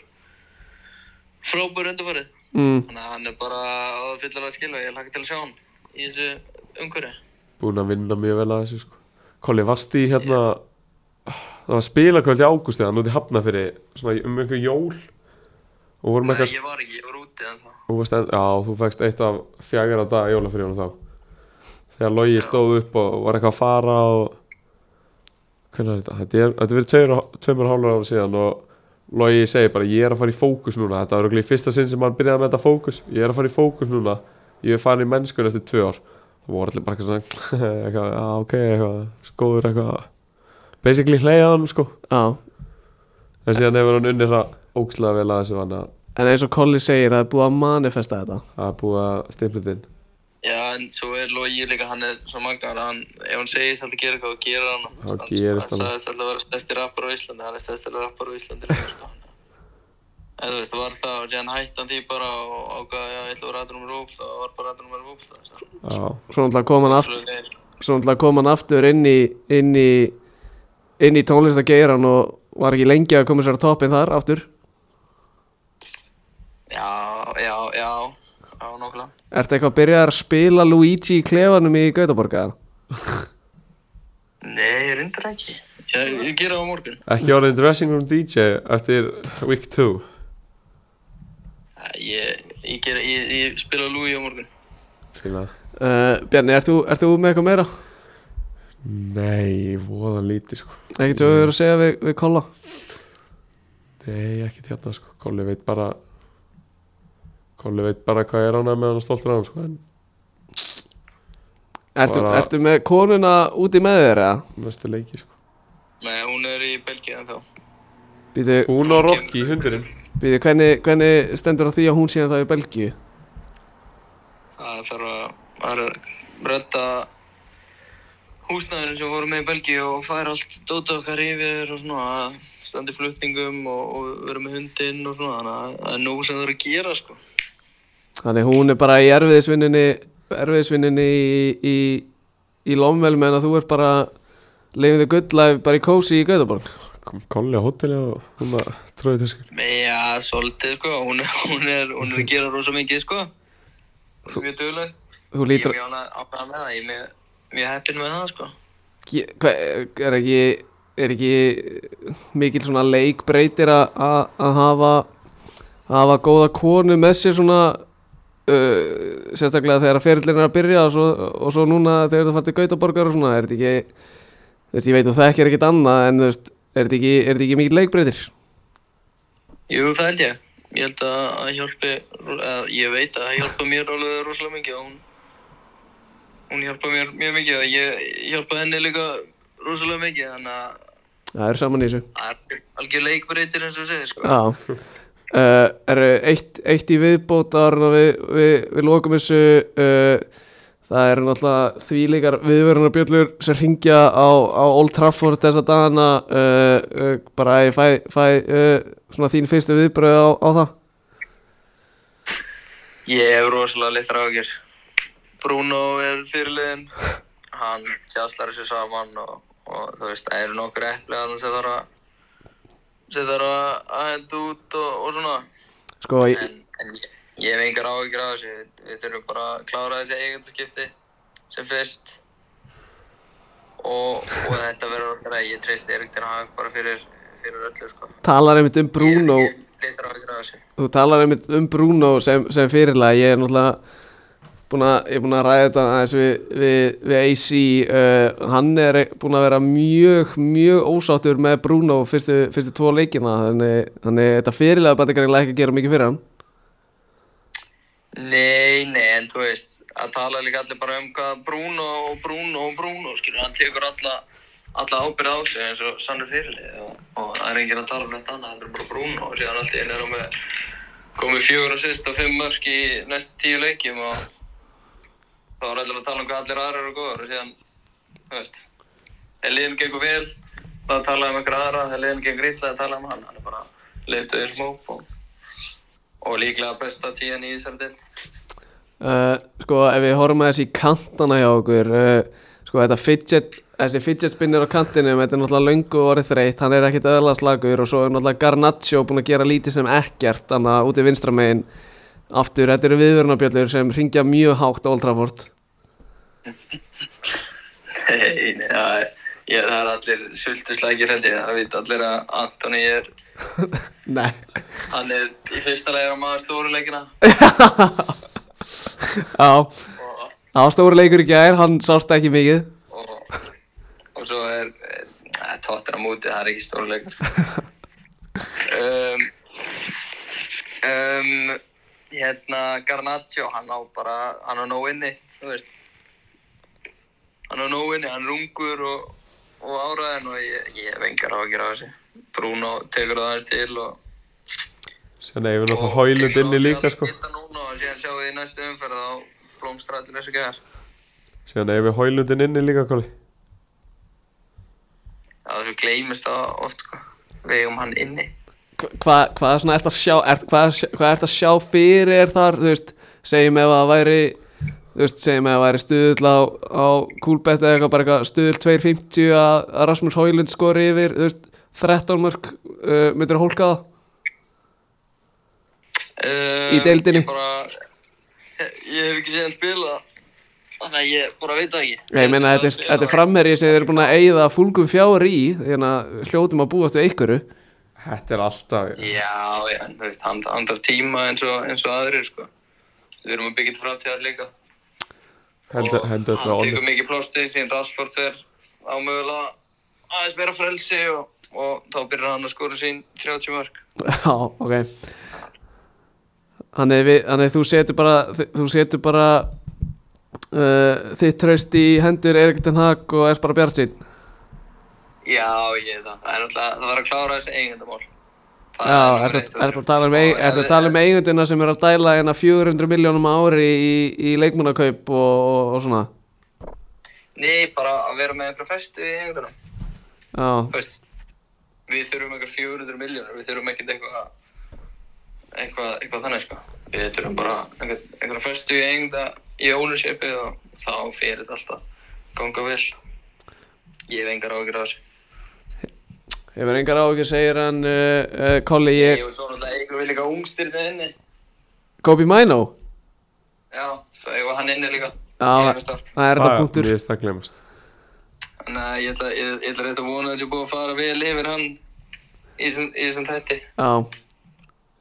Speaker 3: frábær undarfarið.
Speaker 1: mm,
Speaker 3: Þannig að hann er bara á fyllilega skilja, ég hlakka til að sjá hann í þessu umhverju.
Speaker 2: búin að vinna mjög vel að þessu sko. Kolli, varst í hérna það var spilakvöld í ágústi þannig út í hafna fyrir svona, í- um einhver jól og vorum
Speaker 3: Nei,
Speaker 2: eitthvað
Speaker 3: ég var ekki, ég var úti en það.
Speaker 2: og varst, en, já, þú fegst eitt af fjagra dag jólafríðunum þá þegar logi stóð upp og var eitthvað að fara og hvernig er þetta? Þetta er, þetta er verið tveir og- tveimur og hálfur ára síðan og logi segir bara ég er að fara í fókus núna þetta var örugglega í fyrsta sinn sem hann byrjaði með þetta fókus ég er að fara í fókus núna ég er farin í mennskun eftir tvö ár það voru allir bara eitthvað svona eitthvað, "Já, ok, eitthvað, skoður eitthvað basically hleyjaði hann sko
Speaker 1: Já,
Speaker 2: en síðan hefur hann unnið það ókslega vel að þessu hann að
Speaker 1: en eins og Colli segir Það er búið að manifesta þetta
Speaker 2: að búa stimplið inn
Speaker 3: Já, en svo er Logi líka, hann er svo magnar, hann, ef hann segist alltaf að gera eitthvað, þá gerir hann.
Speaker 2: Þá
Speaker 3: Hann-
Speaker 2: gerist
Speaker 3: hann.
Speaker 2: hann.
Speaker 3: Hann sagðist alltaf að vera stærsti rappar á Íslandi, hann er stærsti rappar á Íslandi. líka, sko. En þú veist, það var alltaf, og síðan hætti hann því bara og ákvaði, já, ég ætla að vera aðrunum rúf, þá var bara aðrunum verið rúf, það er
Speaker 2: já
Speaker 1: Svo náttúrulega kom hann aftur
Speaker 3: svolítið.
Speaker 1: Svo náttúrulega kom hann aftur inn í Inn í, inn í tónlistageiran Og var ekki lengi að koma sér á toppin þar Aftur
Speaker 3: Já, já, já, já, nokkulega.
Speaker 1: Ertu eitthvað að byrja að spila Luigi í klefanum í Gautaborga?
Speaker 3: Nei, ég reyndar ekki. Ég, ég gera það á morgun.
Speaker 2: Ekki orðin dressing room DJ eftir week 2
Speaker 3: Æ, Ég, ég, gera, ég, ég spila Lúi á morgun.
Speaker 2: Fíla
Speaker 1: Uh, Bjarni, ert þú, ert þú með eitthvað meira?
Speaker 2: Nei, voða lítið sko
Speaker 1: Ekkert sem við verðum að segja við, við Kolla
Speaker 2: Nei, ekkert hérna sko Kolli veit bara Kolli veit bara hvað ég er ánað með hann og stoltur af hann sko En
Speaker 1: Ertu,
Speaker 2: Bara-
Speaker 1: ertu með konuna úti með þér eða?
Speaker 2: næstu leiki sko
Speaker 3: Nei, hún er í Belgíu en þá.
Speaker 1: Býtu,
Speaker 2: Hún og Rocky, hundurinn
Speaker 1: býtu hvernig, hvernig stendur á því að hún síðan það í Belgíu?
Speaker 3: Það þarf að, að rötta húsnæðinu sem voru með í Belgíu og færa allt dóta okkar yfir og svona að standi flutningum og, og vera með hundinn og svona þannig að það er nóg sem það er að gera sko.
Speaker 1: Þannig hún er bara í erfiðisvinninni erfiðisvinninni í, í, í Lomvel meðan að þú ert bara lifið þig gull life bara í kósi í Gautaborg
Speaker 2: Kom Kolli á hóteli og hún að sko. tróði töskur
Speaker 3: Já, svolítið sko, hún, er- hún, er, hún er að gera rosa mikið sko. Hún er Mjög dugleg.
Speaker 1: Þú
Speaker 3: Ég
Speaker 1: lítur
Speaker 3: er mjög ánægð- ánægð með það, ég er mjög- mjög heppinn með það sko.
Speaker 1: Ge- hva- er ekki er ekki mikil svona leikbreytir að- að að hafa að hafa góða konu með sér svona uh, sérstaklega þegar ferillin er að byrja og svo, og svo núna þegar þú fætti gautaborgar og svona er þetta ekki Þú veist, ég veit að það ekki er ekkit annað en þú veist, er þetta ekki, er þetta ekki mikið leikbreytir?
Speaker 3: Jú, það held ég. Ég held að að hjálpi, að ég veit að það hjálpa mér alveg rosalega mikið og hún, hún hjálpa mér mjög mikið og ég hjálpa henni líka rosalega mikið þannig að
Speaker 1: Það er saman í þessu.
Speaker 3: það er algjör leikbreytir eins og þú segir sko.
Speaker 1: Já. Uh, er eitt, eitt í viðbót áður en að við, við, við lokum þessu uh, það eru náttúrulega þvíleikar viðverunarbjöllur sem ringja á, á Old Trafford þessa dagana uh, uh, bara að ég fæ, fæ uh, svona þín fyrstu viðbröð á, á það
Speaker 3: Ég hef rosalega litrar ágjör. Bruno er fyrirliðin, hann sjáslar þessu saman og, og þú veist, það eru nokkur eplið að hann sem þarf að sem þarf að að henda út og, og svona.
Speaker 1: sko, ég,
Speaker 3: En, en ég, ég hef engar ágjör af þessu, Við- við þurfum bara að klára þessi eigandaskipti sem fyrst og, og þetta verður okkar að ég treysti Erik til að hafa bara fyrir, fyrir öllu sko.
Speaker 1: talar einmitt um Bruno
Speaker 3: Ég, ég litrar ágjör af þessu.
Speaker 1: þú talar einmitt um Bruno sem, sem fyrirlega ég er náttúrulega búin að, ég er búin að ræða þetta aðeins við, við, við AC uh, hann er búin að vera mjög mjög ósáttur með Bruno fyrstu, fyrstu tvo leikina þannig, þannig þetta fyrirlega bæti greinlega ekki að gera mikið fyrir hann
Speaker 3: Nei, nei, en þú veist, að tala líka allir bara um hvað Bruno og Bruno og Bruno, skilur, hann tekur alla, alla ábyrð á sig eins og sannur fyrirlið og, og það er enginn að tala um þetta annað, það er bara Bruno og síðan allt í enn er hann með komið fjögur og sýst og fimm mörg í næstu tíu leikjum og þá er allir að tala um hvað allir aðrar eru góður og síðan, þú veist, ef liðin gengur vel, þá tala um einhver aðra, ef liðin gengur illa, þá tala um hann, hann er bara leituðið smóp og, og líklega besta tíjan í þessari dild.
Speaker 1: Uh, sko ef við horfum að þessi kantana hjá okkur uh, sko þetta fidget þessi fidget spinner á kantinum þetta er náttúrulega löngu orðið þreytt hann er ekkit eðla slagur og svo er náttúrulega Garnaccio búin að gera lítið sem ekkert þannig að úti vinstra megin aftur þetta eru viðvörunarbjöllur sem ringja mjög hátt á Old Trafford
Speaker 3: Nei, nei, það er, ég, það er allir sultuslækir held ég, það veit allir að Antoni er,
Speaker 1: Nei
Speaker 3: hann er í fyrsta leið á maður stóruleikina
Speaker 1: Já,
Speaker 3: og,
Speaker 1: það var stóru leikur í gær, hann sást ekki mikið
Speaker 3: og, og svo er, eh, tóttir á múti, það er ekki stóruleikur. Um, um, hérna, Garnaccio, hann á bara, hann á nóg inni, þú veist. Hann á nóg inni, hann er ungur og, og áraðin og ég, ég hef engar áhyggjur af þessu. Bruno tekur það aðeins til og
Speaker 2: Sér neyfum við náttúrulega hólund inni líka sko.
Speaker 3: Geta núna og síðan sjáum við í næstu umferð á blómstrættir þessu gæðar.
Speaker 2: Sér neyfum við hólund inni líka Kolli.
Speaker 3: Það þessu gleymist það oft, sko. Við eigum hann inni.
Speaker 1: Hva- Hvað hva svona ert að sjá er, Hvað hva ert að sjá fyrir er þar Þú veist, segjum ef að væri Þú veist, segjum ef að væri stuðull á, á Kúlbett eða eitthvað bara eitthvað Stuðull 2.50 að að Rasmus Hoylund skori yfir Þú veist, 13 mörg uh, Myndir að hólka það
Speaker 3: Uh,
Speaker 1: Í deildinni?
Speaker 3: Ég bara, ég hef ekki séð hann spila, þannig að ég bara veit það ekki.
Speaker 1: Ég meina, þetta er, þetta er framherji sem þeir eru búin að eigða fúlgum fjár í Þannig að hljótum að búast við einhverju
Speaker 2: Þetta er alltaf
Speaker 3: Já, já, en þú veist, hann, hann þarf tíma eins og, eins og aðrir, sko. Við erum að byggja til framtíðar líka.
Speaker 2: Hendur hendu
Speaker 3: og
Speaker 2: þetta
Speaker 3: hann
Speaker 2: onnur.
Speaker 3: tekur mikið plásti síðan Rashford fer á mögulega aðeins meira frelsi og, og þá byrjar hann að skora sín 30 mörg.
Speaker 1: Já, ok Þannig við- þannig þú setur bara þú setur bara uh, þitt traust í hendur Erik Ten Hag og er bara bjart sín
Speaker 3: Já, ég veit það. Það er náttúrulega, það var að klára þessi eigendamál. Það
Speaker 1: Já,
Speaker 3: númer
Speaker 1: er
Speaker 3: eitt.
Speaker 1: þetta að tala um eig-
Speaker 3: Og
Speaker 1: ertu að
Speaker 3: ef-
Speaker 1: tala um eigundina sem er að dæla hérna 400 miljónum á ári í, í leikmannakaup og, og, og svona
Speaker 3: Nei, bara að vera með einhverja festu í eigendunum.
Speaker 1: Já,
Speaker 3: Þú veist, við þurfum eitthvað 400 miljónir, við þurfum ekkert eitthvað, eitthvað, eitthvað þannig, sko. Við þurfum bara einhver- einhverja festu í eigenda, í ownershipið og þá fyrir þetta alltaf ganga vel. Ég hef engar áhyggjur af þessu.
Speaker 1: hefur engar áhugir segir hann uh, uh, Colli, ég,
Speaker 3: Ég hef svo náttúrulega eigum við líka ungstyrnið inni.
Speaker 1: Kobe Mino
Speaker 3: Já, það eigum hann inni líka.
Speaker 1: Já,
Speaker 3: Ég hef stórt.
Speaker 1: það er þetta punktur
Speaker 2: Mér er það glemast.
Speaker 3: Þannig að ég ætla, ég, ég ætla rétt að vona að ég er búið að fara vel yfir hann í þessum- í þessum þætti.
Speaker 1: Já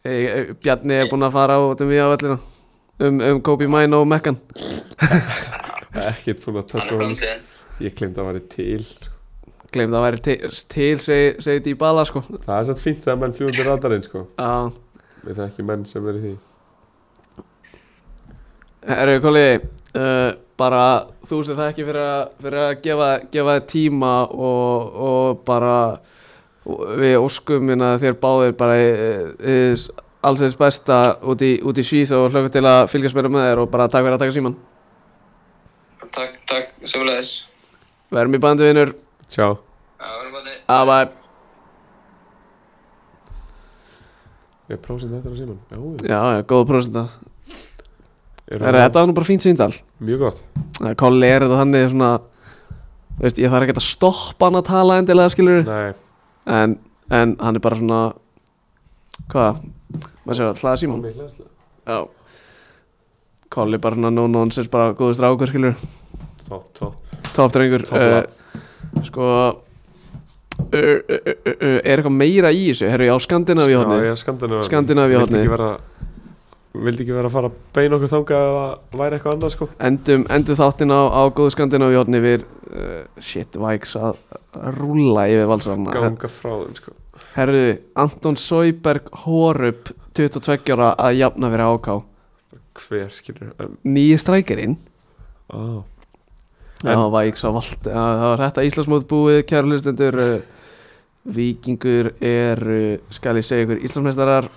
Speaker 1: Ég- ég- Bjarni er búinn að fara á þetta mjög á öllina um, um Kobe Mino og Mekkan
Speaker 2: Ekkert búin að
Speaker 3: Hann
Speaker 2: tötta
Speaker 3: er
Speaker 2: honum.
Speaker 3: framtíðin.
Speaker 2: Ég glemt að hann væri til. sko.
Speaker 1: gleym það að væri til, til segi, segi Dybala sko
Speaker 2: Það er satt fínt þegar menn fljúum til radarinn sko
Speaker 1: Já,
Speaker 2: Við það ekki menn sem er í því
Speaker 1: herru Koli uh, bara þú sem það ekki fyrir að, fyrir að gefa, gefa þér tíma og, og bara við óskum hérna þér báðir bara eh, eh, alls eins besta út í, út í svíð og hlöku til að fylgjast meira með þér og bara takk fyrir að taka síman
Speaker 3: Takk, takk, sömulegis.
Speaker 1: Verum í bandi vinur,
Speaker 2: Tjá
Speaker 3: Já, við erum bara
Speaker 1: að bæ
Speaker 2: Ég prósent þetta á síman Já,
Speaker 1: Já, já, góða prósenta
Speaker 2: er
Speaker 1: Herru, Þetta var nú bara fínt síndal
Speaker 2: Mjög gott
Speaker 1: Nei, Kolli er þetta þannig svona þú veist, ég þarf ekki að stoppa hann að tala endilega skilur
Speaker 2: Nei,
Speaker 1: en, en hann er bara svona hvað, maður sér að hlaða síman
Speaker 2: Tommy hlæðsla
Speaker 1: já Kolli bara svona no nonsense bara góður strákur skilur
Speaker 2: Topp, topp,
Speaker 1: top drengur
Speaker 2: topp lat
Speaker 1: Eh, sko uh, uh, uh, uh, uh, er eitthvað meira í þessu herru, já, Skandinavi
Speaker 2: Já,
Speaker 1: hodni
Speaker 2: já, Skandinavíu
Speaker 1: Skandinavíu
Speaker 2: Vildi
Speaker 1: hornið.
Speaker 2: ekki vera Vildi ekki vera að fara að beina okkur þangað ef að væri eitthvað annað sko
Speaker 1: endum, endum þáttinn á, á góðu Skandinavi hodni við uh, shit, væks að að rúlla yfir valsarna
Speaker 2: Ganga frá þeim sko
Speaker 1: Herðu, Anton Sjöberg Horup, 22 ára að jafna fyrir áká
Speaker 2: Hver skilur En,
Speaker 1: Nýju strækirinn
Speaker 2: á En-
Speaker 1: Það var ekki svo vald Það var þetta Íslandsmót búið, kæra hlustendur eh, Víkingur eru, skal ég segja ykkur, Íslandsmeistarar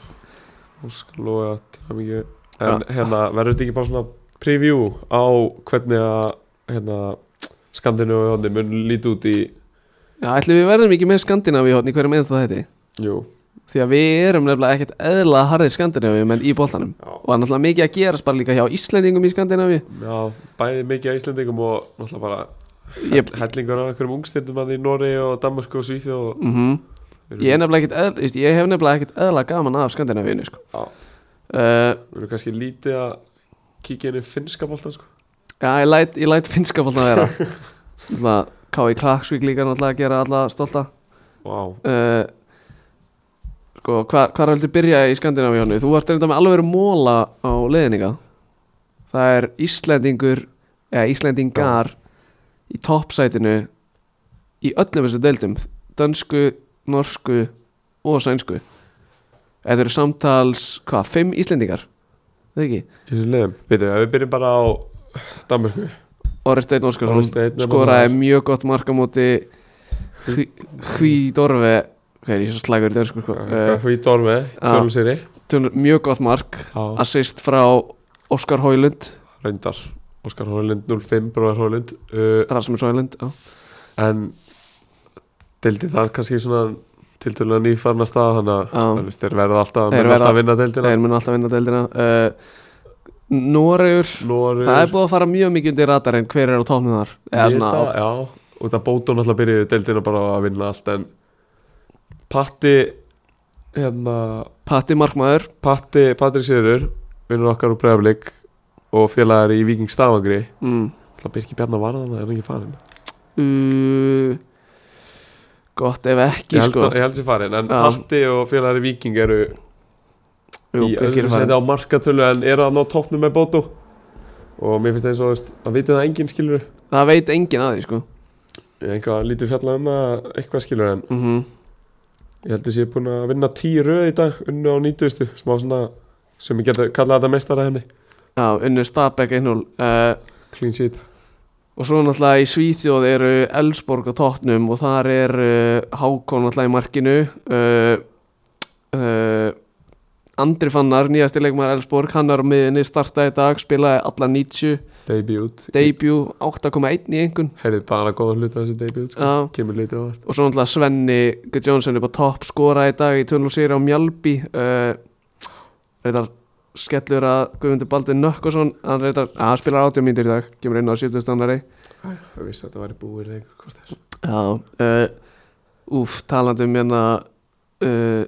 Speaker 2: Óskalói að tala mikið
Speaker 1: Já.
Speaker 2: En hérna, verður þetta ekki bara svona preview á hvernig að hérna, skandinu og hjóndi mun líti út í
Speaker 1: Já, ætli við verðum ekki með Skandinavíu hérna í hverjum einsta þetta
Speaker 2: Jú,
Speaker 1: Því að við erum nefnilega ekkert eðla harðið Skandinavíu menn í boltanum
Speaker 2: já,
Speaker 1: Og það er náttúrulega mikið að gerast bara líka hjá Íslendingum í Skandinavíu
Speaker 2: já bæði mikið að Íslendingum og náttúrulega bara
Speaker 1: Ég,
Speaker 2: hellingur af einhverjum ungstyrnum hann í Noregi og Danmarku og Svíþjóð og
Speaker 1: mm ég, er nefnilega ekkert eðla, veist, ég hef nefnilega ekkert eðla gaman af Skandinavíu sko.
Speaker 2: Já,
Speaker 1: uh,
Speaker 2: við erum kannski lítið að kíkja inn í finnska boltan sko
Speaker 1: Já, ég læt, ég læt finnska fólkna vera Náttúrulega K.I. Klaksvík líka náttúrulega að gera alla stolta
Speaker 2: Vá,
Speaker 1: uh, Sko, hvar, hvar viltu byrja í Skandinavíu honu? Þú varst reynda með alveg verið móla á leðninga Það er Íslendingur eða Íslendingar í toppsætinu í öllum þessu deildum dönsku, norsku og sænsku Þetta eru samtals, hvað, fimm Íslendingar? Það ekki?
Speaker 2: í þessum liðum Býtu, ef við byrjum bara á Danmarku
Speaker 1: Orri Steinn Óskarsson
Speaker 2: Orri Steinn er
Speaker 1: skoraði
Speaker 2: bara-
Speaker 1: mjög gott mark á móti Hví Dorfe hvað er ég svo slagur í dönsku sko uh,
Speaker 2: Hví Dormi, tölum sigri
Speaker 1: tölur- mjög gott mark
Speaker 2: Já,
Speaker 1: assist frá Óskar Hóilund
Speaker 2: reyndar Óskar Hólund 05, bróðar Hólund uh,
Speaker 1: Rasmus Hóilund já.
Speaker 2: en deildi það er kannski svona tiltölulega nýfarna stað þannig
Speaker 1: Já.
Speaker 2: að þú veist, þeir verða alltaf,
Speaker 1: Ah. Þeir
Speaker 2: þeir
Speaker 1: verða-
Speaker 2: alltaf að vinna deildina
Speaker 1: þeir mun alltaf vinna deildina uh, Noregur
Speaker 2: Nóri,
Speaker 1: það er búið að fara mjög mikið undir radarinn hver er á tónum þar eða svona á-
Speaker 2: já, og það bótó náttúrulega byrjuðu deildina bara að vinna allt en Patti hérna,
Speaker 1: Patti Markmaður
Speaker 2: Patti, Patrik Sigurður vinnur okkar úr Breiðablik og félagar í Víking Stafangri
Speaker 1: mm.
Speaker 2: Það Birki Bjarnar var þannig, er hann ekki farin
Speaker 1: uh, gott ef
Speaker 2: Ég
Speaker 1: ekki
Speaker 2: held,
Speaker 1: sko
Speaker 2: að, ég held sér farin, en
Speaker 1: Já.
Speaker 2: Patti og félagar í Víking eru
Speaker 1: Jú,
Speaker 2: í
Speaker 1: ekki er
Speaker 2: öðru
Speaker 1: farinn.
Speaker 2: seti á markatölu en eru að ná toppnum með bótu og mér finnst það eins og veist, að viti það enginn skilur
Speaker 1: það veit enginn að því sko
Speaker 2: eitthvað lítið fjallað um það eitthvað skilur en
Speaker 1: mhm
Speaker 2: ég held að ég er búin að vinna tíu röð í dag unnu á 90. smá svona sem ég geta kallað þetta mestara henni
Speaker 1: Já, unnur Stabæk 1-0 uh,
Speaker 2: clean sheet
Speaker 1: Og svo náttúrulega í Svíþjóð eru Elsborg á tóttnum og þar er uh, Hákon náttúrulega í markinu uh, uh, Andri Fannar, nýjasti leikmaður Elsborg, hann er á miðinni, startaði í dag, spilaði alla 90
Speaker 2: debut
Speaker 1: Debut 8,1 í einhvern
Speaker 2: heyrið bara góða hluta af þessu debut sko.
Speaker 1: Já.
Speaker 2: kemur lítið á það
Speaker 1: Eh, Og svo náttúrulega Svenni Gudjónsson er bara topp skoraði í dag í tunnel á Mjálpi uh, Reyndar skellur að Guðmundur Baldur Nökkvason Hann reyndar, að hann spilar 80 mínútur í dag, kemur inn á 70 stannari
Speaker 2: ég vissi að þetta væri búið eða einhver hvort þess
Speaker 1: Já, uh, úf, talandi um hérna uh,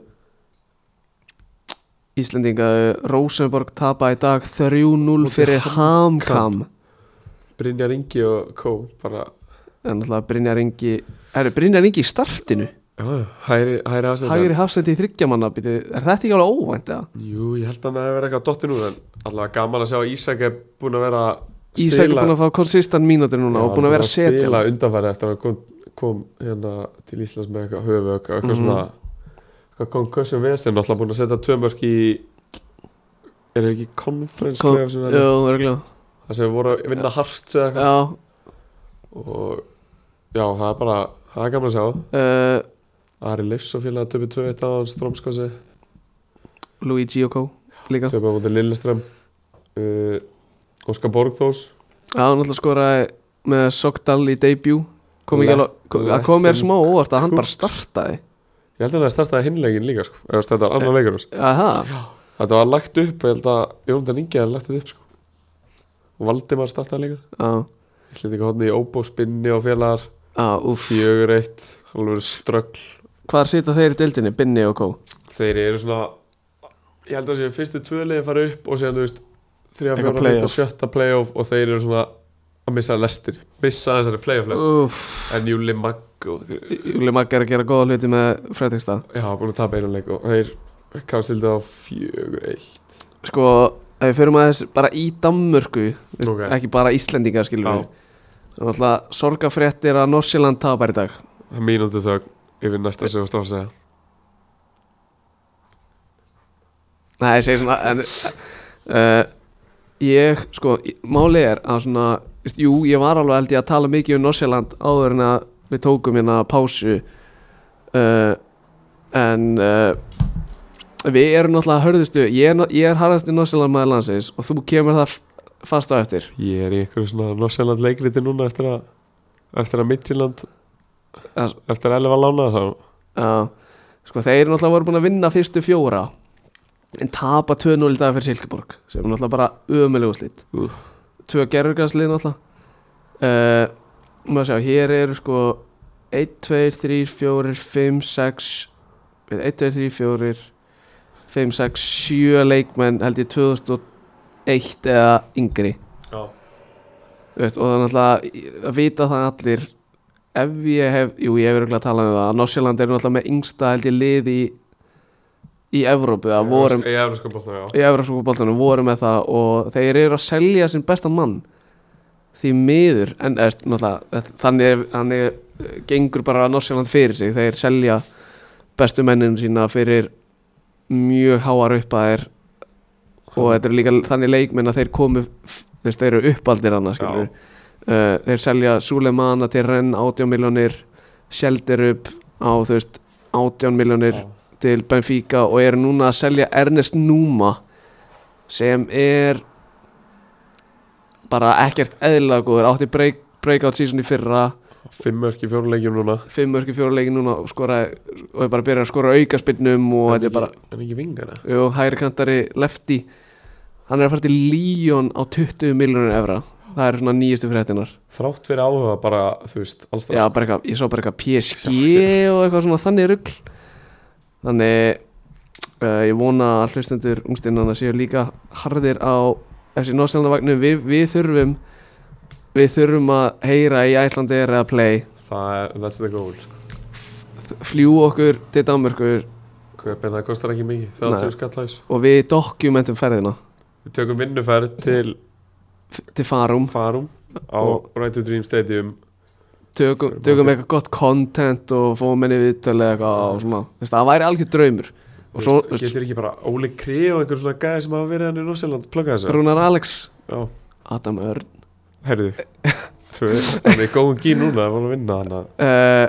Speaker 1: Íslendinga eh, Rosenborg tapa í dag 3-0
Speaker 2: Móti
Speaker 1: fyrir HamKam
Speaker 2: Brynjar Ingi og Kó bara
Speaker 1: En náttúrulega Brynjar Ingi Er Brynjar Ingi í startinu?
Speaker 2: já, já, hægri, hægri afsættan
Speaker 1: Hægri hafsendi í þryggjamanna býtu, Er þetta ekki alveg óvænt eða?
Speaker 2: jú, ég held að hann hefði verið eitthvað dotti nú en allavega gaman að sjá að Ísak er búin að vera að
Speaker 1: Ísak er
Speaker 2: spila-
Speaker 1: búin að fá konsistan mínútur núna og búin að vera
Speaker 2: Já, hann
Speaker 1: setja
Speaker 2: spila undanfæri eftir að hann kom, kom hérna til Íslands með eitthvað höfug eitthvað
Speaker 1: Mhm.
Speaker 2: svona eitthvað concussion vesen alltaf búin að setja tvö mörk í er það ekki conference
Speaker 1: Kom-
Speaker 2: Con
Speaker 1: Jú,
Speaker 2: það
Speaker 1: örgulega
Speaker 2: sem voru að vinna hart eða eitthvað
Speaker 1: Já,
Speaker 2: og já það er bara það er gaman að sjá
Speaker 1: uh,
Speaker 2: Ari Leifs og félaga töpu 2-1 á hans strómskossi
Speaker 1: Luigi og Kó líka Já,
Speaker 2: töpu á móti Lilleström uh, Óskar Borgþós
Speaker 1: hann alltaf skoraði með Sogdal í debut Kom ekki
Speaker 2: Let-
Speaker 1: alveg, kom- það
Speaker 2: let
Speaker 1: kom mér
Speaker 2: him
Speaker 1: smá óvart að hann bara
Speaker 2: cook.
Speaker 1: startaði
Speaker 2: ég held að það startaði hinlegin líka sko eða þetta var
Speaker 1: Eh.
Speaker 2: annar leikur hans
Speaker 1: Aha,
Speaker 2: Þetta var lagt upp, ég held að Jóndan Ingi hafði lagt þetta upp sko. Og Valdimar startaði líka
Speaker 1: já,
Speaker 2: Ég hluti ekki hodni í óbóspinni og félagar
Speaker 1: já, úff
Speaker 2: Fjögur eitt, alveg ströggl
Speaker 1: Hvar sita þeir í deildinni, Binni og Kó?
Speaker 2: Þeir eru svona Ég held að séu fyrstu tvö liði fara upp Og séðan, þú veist, þrjá,
Speaker 1: Eitthvað
Speaker 2: fjóra, fjóra,
Speaker 1: playoff.
Speaker 2: sjötta playoff Og þeir eru svona að missa lestir Missa þessari playoff lestir
Speaker 1: Úff
Speaker 2: En Júli Magg og,
Speaker 1: Júli Magg er að gera góða hluti með Fredrikstad
Speaker 2: Já, búin að tapa einan leik Og þeir kapsildi á fjögur eitt
Speaker 1: Sko, ef við fyrir maður bara í Danmörku
Speaker 2: Ok.
Speaker 1: Ekki bara Íslendinga skilur
Speaker 2: Já.
Speaker 1: við Það er alltaf sorgafréttir að Norsjöland tapar í dag
Speaker 2: Mínútu þögn yfir næsta sem þú stóð að segja
Speaker 1: Nei, ég segi svona en, uh, Ég, sko, í- máli er að svona veist, Jú, ég var alveg held ég að tala mikið um Norsjaland áður en að við tókum hérna pásu uh, En uh, við erum náttúrulega hörðustu Ég er, ná- ég er harðasti Norsjaland maður landsins og þú kemur þar fast á eftir
Speaker 2: Ég er í einhverju svona Norseland leikriti núna eftir að eftir að Midtjylland
Speaker 1: Ja.
Speaker 2: eftir að 11 lána þá
Speaker 1: Já, sko þeir náttúrulega voru búin að vinna fyrstu fjóra en tapa 2-0 í dag fyrir Silkeborg sem er náttúrulega bara ömulegu slitt
Speaker 2: Úff.
Speaker 1: Tvö gerurgræslið náttúrulega uh, Má sjá, hér eru sko 1, 2, 3, 4, 5, 6 við 1, 2, 3, 4 5, 6, 7 leikmenn held ég 2001 eða yngri
Speaker 2: Já.
Speaker 1: Þú veist, og það er náttúrulega að vita það allir ef ég hef, jú ég hef verið að tala um það að Norsjöland er náttúrulega með yngsta held ég lið í í Evrópu að vorum
Speaker 2: Ég er sko bóttan, já
Speaker 1: í Evrópsbóltanum voru með það og þeir eru að selja sinn besta mann því miður en eða, veist, náttúrulega þ- þannig, er- þannig er- gengur bara Norsjöland fyrir sig þeir selja bestu mennin sína fyrir mjög háar uppæðir og þetta er líka þannig leikmenn að þeir komu f- þú veist, þeir eru uppaldir annars skilur uh, þeir selja Suleimana til Renn 18 miljónir Sjeldir upp á þú veist 18 miljónir
Speaker 2: Já.
Speaker 1: til Benfica og eru núna að selja Ernest Numa sem er bara ekkert eðlilega góður átti break, breakout season í fyrra
Speaker 2: Fimm mörk í fjórum leikjum núna
Speaker 1: fimm mörki fjóruleikin núna og skoraði og er bara að byrja að skora aukaspinnum og
Speaker 2: En
Speaker 1: þetta er
Speaker 2: ekki-
Speaker 1: bara
Speaker 2: En ekki vingana
Speaker 1: Jú, hægri kantari lefti Hann er að fara til Líón á 20 miljonir evra Það eru svona nýjustu fréttinar
Speaker 2: Þrátt fyrir áhuga bara, þú veist, sko. allstað
Speaker 1: Já, bara eitthvað, ég sá bara eitthvað PSG og eitthvað svona þannig rugl Þannig uh, ég vona að hlustendur ungstinnana séu líka harðir á FC Norskjálnavagnum við, við þurfum við þurfum að heyra í Æslandir eða Play
Speaker 2: Það er, that's the goal sko.
Speaker 1: fljú okkur til Danmörkur
Speaker 2: Kaupin, það kostar ekki mikið,
Speaker 1: Nei.
Speaker 2: 30 skallæs
Speaker 1: og við dokumentum ferðina
Speaker 2: Við tökum vinnuferð til
Speaker 1: f- til farum
Speaker 2: Farum á
Speaker 1: Og-
Speaker 2: Right to Dream Stadium
Speaker 1: tökum,
Speaker 2: Fyrir
Speaker 1: tökum
Speaker 2: margir.
Speaker 1: eitthvað gott content og fóum henni viðtölu eða eitthvað og svona Þú veist, það væri algjör draumur
Speaker 2: Þú
Speaker 1: og svo
Speaker 2: veist, Getur ekki bara Óli Kri og einhver svona gæði sem hafa verið hann í Norseland Plugga þessu
Speaker 1: Rúnar Alex
Speaker 2: Já
Speaker 1: Adam Örn
Speaker 2: Herðu Tvö Hann er í góðum gín núna Það var að vinna hann að
Speaker 1: uh,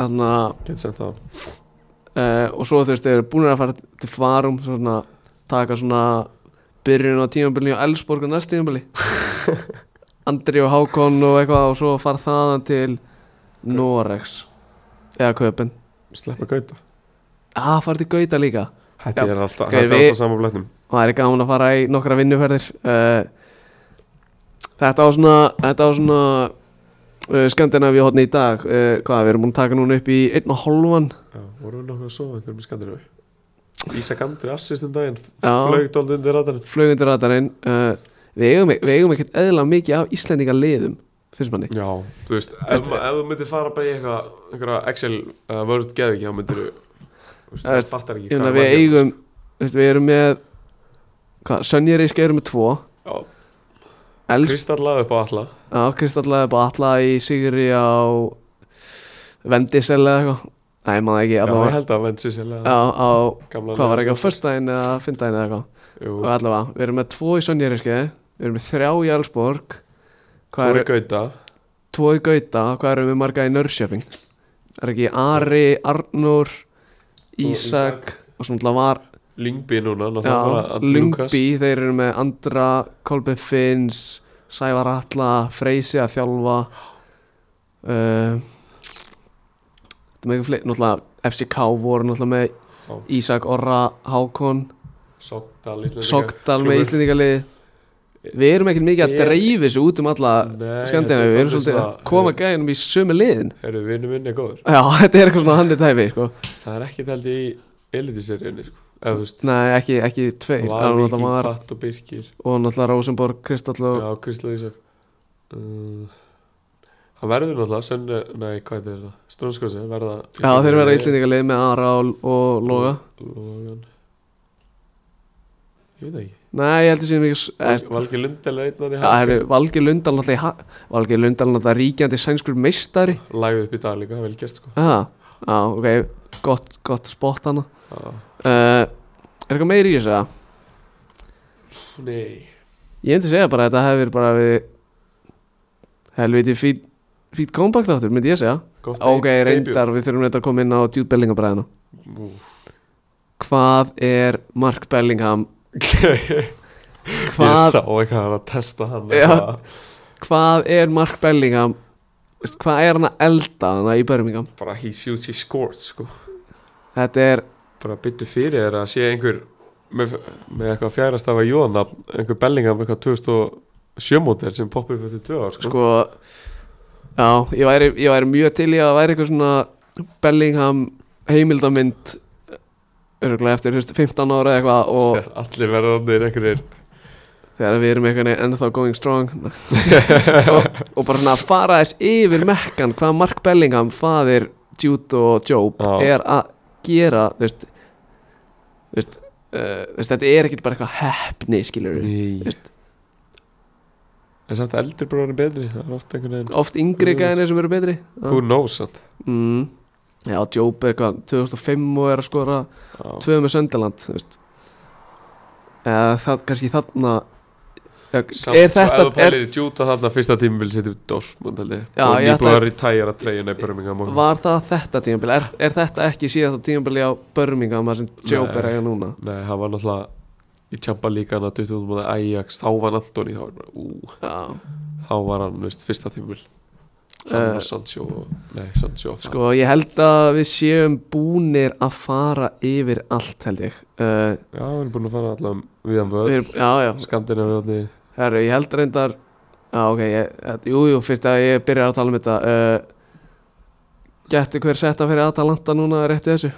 Speaker 1: þannig að
Speaker 2: Get sent á hann
Speaker 1: uh, og svo þú veist, þeir eru búin að fara til farum svona, taka svona byrjun á tímabili og Elsborg og næst tímabili Andri og Hákon og eitthvað og svo fara þaðan til Norex eða Köpen
Speaker 2: Sleppa gauta
Speaker 1: að fara til Gauta líka Já.
Speaker 2: Þetta er alltaf,
Speaker 1: Ok,
Speaker 2: þetta er
Speaker 1: við-
Speaker 2: alltaf saman bletnum
Speaker 1: það er gaman að fara í nokkra vinnuferðir uh, þetta á svona þetta á svona uh, skandinavíu hotni í dag uh, hvað, við erum búin að taka núna upp í einn og hálfan
Speaker 2: Já, voru við nokkuð að sofa einhverjum í Skandinavíu Ísak Andri assist um daginn
Speaker 1: Já.
Speaker 2: Flögt aldrei undir radarinn
Speaker 1: flögundur radarinn uh, við eigum, við eigum ekkert eðla mikið af íslendinga liðum finnst manni
Speaker 2: Já, þú veist, ef, ma- ef þú myndir fara bara í eitthvað einhverja Excel uh, Word geðviki þá myndir þú veist,
Speaker 1: Já, veist,
Speaker 2: þú fattar ekki
Speaker 1: ég meina
Speaker 2: hvað
Speaker 1: við
Speaker 2: var hérna.
Speaker 1: eigum veist, við erum með hvað, Sönjerísk erum með tvo
Speaker 2: Já,
Speaker 1: Els,
Speaker 2: Kristallaði upp á alla
Speaker 1: á, Kristallaði bara alla í Sigri á Vendisel eða eitthvað Nei, ég maður ekki
Speaker 2: Já, ég
Speaker 1: allavega
Speaker 2: held að venn sýsilega
Speaker 1: Já, á,
Speaker 2: Gamla
Speaker 1: hvað var
Speaker 2: liðið
Speaker 1: ekki á
Speaker 2: sem-
Speaker 1: föstudaginn eða fymdaginn eða eitthvað
Speaker 2: Jú,
Speaker 1: Og allavega, við erum með tvo í Sönjariski Við erum með þrjá í Elsborg Hvað
Speaker 2: Tóri
Speaker 1: eru,
Speaker 2: Gauta
Speaker 1: tvo í Gauta, hvað erum við marga í Nörrköping? Er ekki Ari, Arnur, Ísak Og svona alltaf var
Speaker 2: Lyngby núna, náttúrulega bara
Speaker 1: Já,
Speaker 2: Andri Lucas.
Speaker 1: Lungby, þeir eru með Andra, Kolbe Finns, Sævar Alla, Freysi að þjálfa uh, Það með eitthvað fleiri, náttúrulega FCK voru náttúrulega
Speaker 2: Já.
Speaker 1: með Ísak Orra Hákon,
Speaker 2: Sogdal Íslandingar
Speaker 1: Sogdal með
Speaker 2: Klúbbur.
Speaker 1: Íslendingalið Við erum ekkert mikið að
Speaker 2: Er-
Speaker 1: dreifis þessu út um alla
Speaker 2: Nei,
Speaker 1: skandina
Speaker 2: þetta er
Speaker 1: Við erum
Speaker 2: dálítið
Speaker 1: svolítið að
Speaker 2: svona-
Speaker 1: koma gæðinum í sömu liðin
Speaker 2: Herru, vinnu minn er góður
Speaker 1: Já, þetta er eitthvað svona handið dæmi sko.
Speaker 2: Það er ekki taldi í elitiseríunni sko. Eða þú veist
Speaker 1: Nei, ekki, ekki tveir Það er
Speaker 2: Valvíking,
Speaker 1: náttúrulega Mar-
Speaker 2: Patt og Birkir
Speaker 1: Og náttúrulega Rosenborg, Kristall og
Speaker 2: Já, Kristla Ísak um, Hann verður náttúrulega senn, Nei, hvað er þetta? Strónskósi verða
Speaker 1: Já, þeir verða íslendingalið með Ara og, og Loga
Speaker 2: Logan Ég veit ekki
Speaker 1: Nei, ég held að séum ekki s- eh,
Speaker 2: Valgi Lundel er einn manni
Speaker 1: Já, það eru Valgeir Lundal náttúrulega í ha- Valgeir Lundal náttúrulega ríkjandi sænskur meistari
Speaker 2: Lægði upp í dag líka, vel gert sko
Speaker 1: Já, já, ok, gott, gott spott hana
Speaker 2: Já.
Speaker 1: uh, Er eitthvað meiri í þessu að?
Speaker 2: Nei
Speaker 1: Ég myndi segja bara að þetta hefur bara við Helviti fít, fít kompakt áttur, myndi ég segja
Speaker 2: Gott
Speaker 1: Ok,
Speaker 2: de-
Speaker 1: reyndar, við þurfum reynda að koma inn á Jude Bellingham bræðina
Speaker 2: debut. Ú.
Speaker 1: Hvað er Mark Bellingham?
Speaker 2: Ég
Speaker 1: Hvað
Speaker 2: sá eitthvað hann að testa hann
Speaker 1: Já.
Speaker 2: eitthvað.
Speaker 1: hvað er Mark Bellingham veist, hvað er hann að elda hann í Birmingham
Speaker 2: Bara he shoots, he scores sko
Speaker 1: þetta er,
Speaker 2: bara byttu fyrir þér að sé einhver með, með eitthvað fjærastafa Jóna einhver Bellingham eitthvað 2007 mótir sem poppa upp eftir tvö ár sko.
Speaker 1: sko já, ég væri, ég væri mjög til í að það væri eitthvað svona Bellingham heimildamynd örgulega eftir þú veist, 15 ára eða eitthvað og
Speaker 2: Þegar allir verða orðnir einhverjir
Speaker 1: þegar við erum einhvern veginn ennþá going strong og, og bara svona að fara þess yfir mekkan hvað Mark Bellingham, faðir Jude og Job
Speaker 2: Já.
Speaker 1: er að gera þú veist, þú veist, uh, þú veist þetta er ekkert bara eitthvað heppni skilur
Speaker 2: Nei
Speaker 1: Veist.
Speaker 2: En samt eldri bróðin betri það er oft einhvern veginn
Speaker 1: oft yngri gæðinir sem eru betri Já.
Speaker 2: Who knows samt
Speaker 1: mm. Já, Job er hvað 2005 og er að skora
Speaker 2: Já.
Speaker 1: tvö með Söndaland eða það kannski þarna já,
Speaker 2: Samt
Speaker 1: er
Speaker 2: svo
Speaker 1: þetta
Speaker 2: eða
Speaker 1: er,
Speaker 2: pælir í djúta þarna fyrsta tímabil setjum Dortmund held ég
Speaker 1: Já,
Speaker 2: og
Speaker 1: ég
Speaker 2: nýbúið
Speaker 1: ætla-
Speaker 2: að retæra treyjuna í Birmingham og-
Speaker 1: var það þetta tímabili er, er þetta ekki síðan það tímabili á Birmingham þar sem Job
Speaker 2: Nei.
Speaker 1: er eiga núna
Speaker 2: Nei, hann var náttúrulega í Champa líka hann að 20 múti Ajax þá var hann Antoni þá var bara ú
Speaker 1: já,
Speaker 2: þá var hann, veist, fyrsta tímul
Speaker 1: Eh,
Speaker 2: hann og Sancho og, nei, Sancho og
Speaker 1: sko ég held að við séum búnir að fara yfir allt held ég uh,
Speaker 2: já, við erum búin að fara allan viðan
Speaker 1: við
Speaker 2: völd
Speaker 1: erum, já já,
Speaker 2: Skandinavíðanni
Speaker 1: Herru, ég held reyndar Já, ok, ég, þetta- jú, jú, fyrst að ég byrja að tala um þetta uh, Getur hver setta fyrir Atalanta núna rétt í þessu?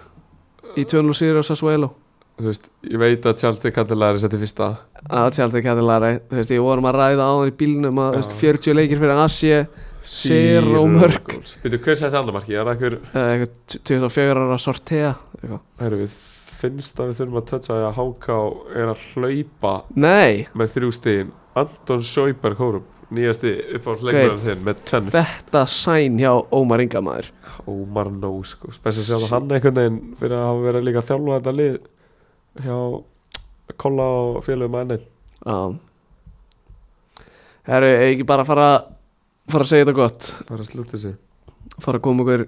Speaker 1: Í 2-0 sigur á Sassuelo
Speaker 2: þú veist, ég veit að Charles de Candelar er settið fyrsta
Speaker 1: Það tjált ekki að læra Þú veist, ég vorum að ræða á í bílnum að, þú veist, 40 leikir fyrir eh, Asi Zero mörk.
Speaker 2: veitu, hver setti annar marki, er það hver
Speaker 1: eða eitthvað 24 ára sortea eitthvað.
Speaker 2: herru, við finnst að við þurfum að tötsa að Háká er að hlaupa
Speaker 1: Nei,
Speaker 2: með þrjú stíðin Anton Sjöberg Hórum nýjasti uppáhaldsleikurinn þinn með tönn
Speaker 1: þetta sæn hjá Ómar Inga maður
Speaker 2: Ómar Nó sko spes að sjá það hann einhvern veginn fyrir að hafa verið líka að þjálfa þetta lið hjá Kolla og félögum að enn
Speaker 1: Já Herru, eigum við ekki bara að fara, fara að segja þetta gott
Speaker 2: bara slutta þessi
Speaker 1: fara að koma okkur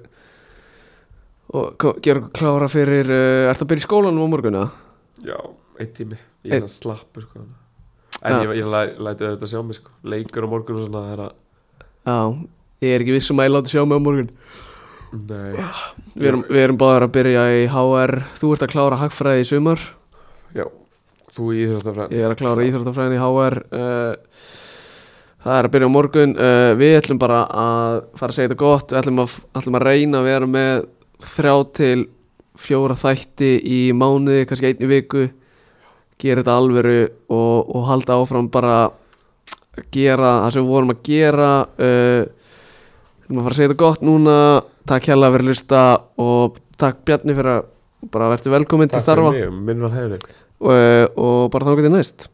Speaker 1: og ko- gera okkur klára fyrir uh, ertu að byrja í skólanum á morgun eða?
Speaker 2: já, einn tími, ég er
Speaker 1: Einn-
Speaker 2: að slappu sko en
Speaker 1: Já.
Speaker 2: ég, ég læ, læti auðvitað sjá mig sko leikur á morgun og svona það er að
Speaker 1: Já, ég er ekki viss um að ég láti sjá mig á morgun
Speaker 2: nei,
Speaker 1: Við erum, við erum báðar að byrja í HR Þú ert að klára hagfræði í sumar
Speaker 2: já, þú í þetta fræð
Speaker 1: Ég er að klára íþróttafræðin í HR uh, Það er að byrja á morgun uh, Við ætlum bara að fara að segja þetta gott Við ætlum að, ætlum að reyna að vera með þrjá til fjóra þætti í mánuði, kannski einni viku gera þetta alvöru og, og halda áfram bara að gera það sem við vorum að gera uh, Við ætlum að fara að segja þetta gott núna Takk hella fyrir að hlusta og takk Bjarni fyrir að bara verður velkominn til
Speaker 2: takk fyrir
Speaker 1: starfa Eh,
Speaker 2: mig, minn var hefri
Speaker 1: og, og bara þá getið næst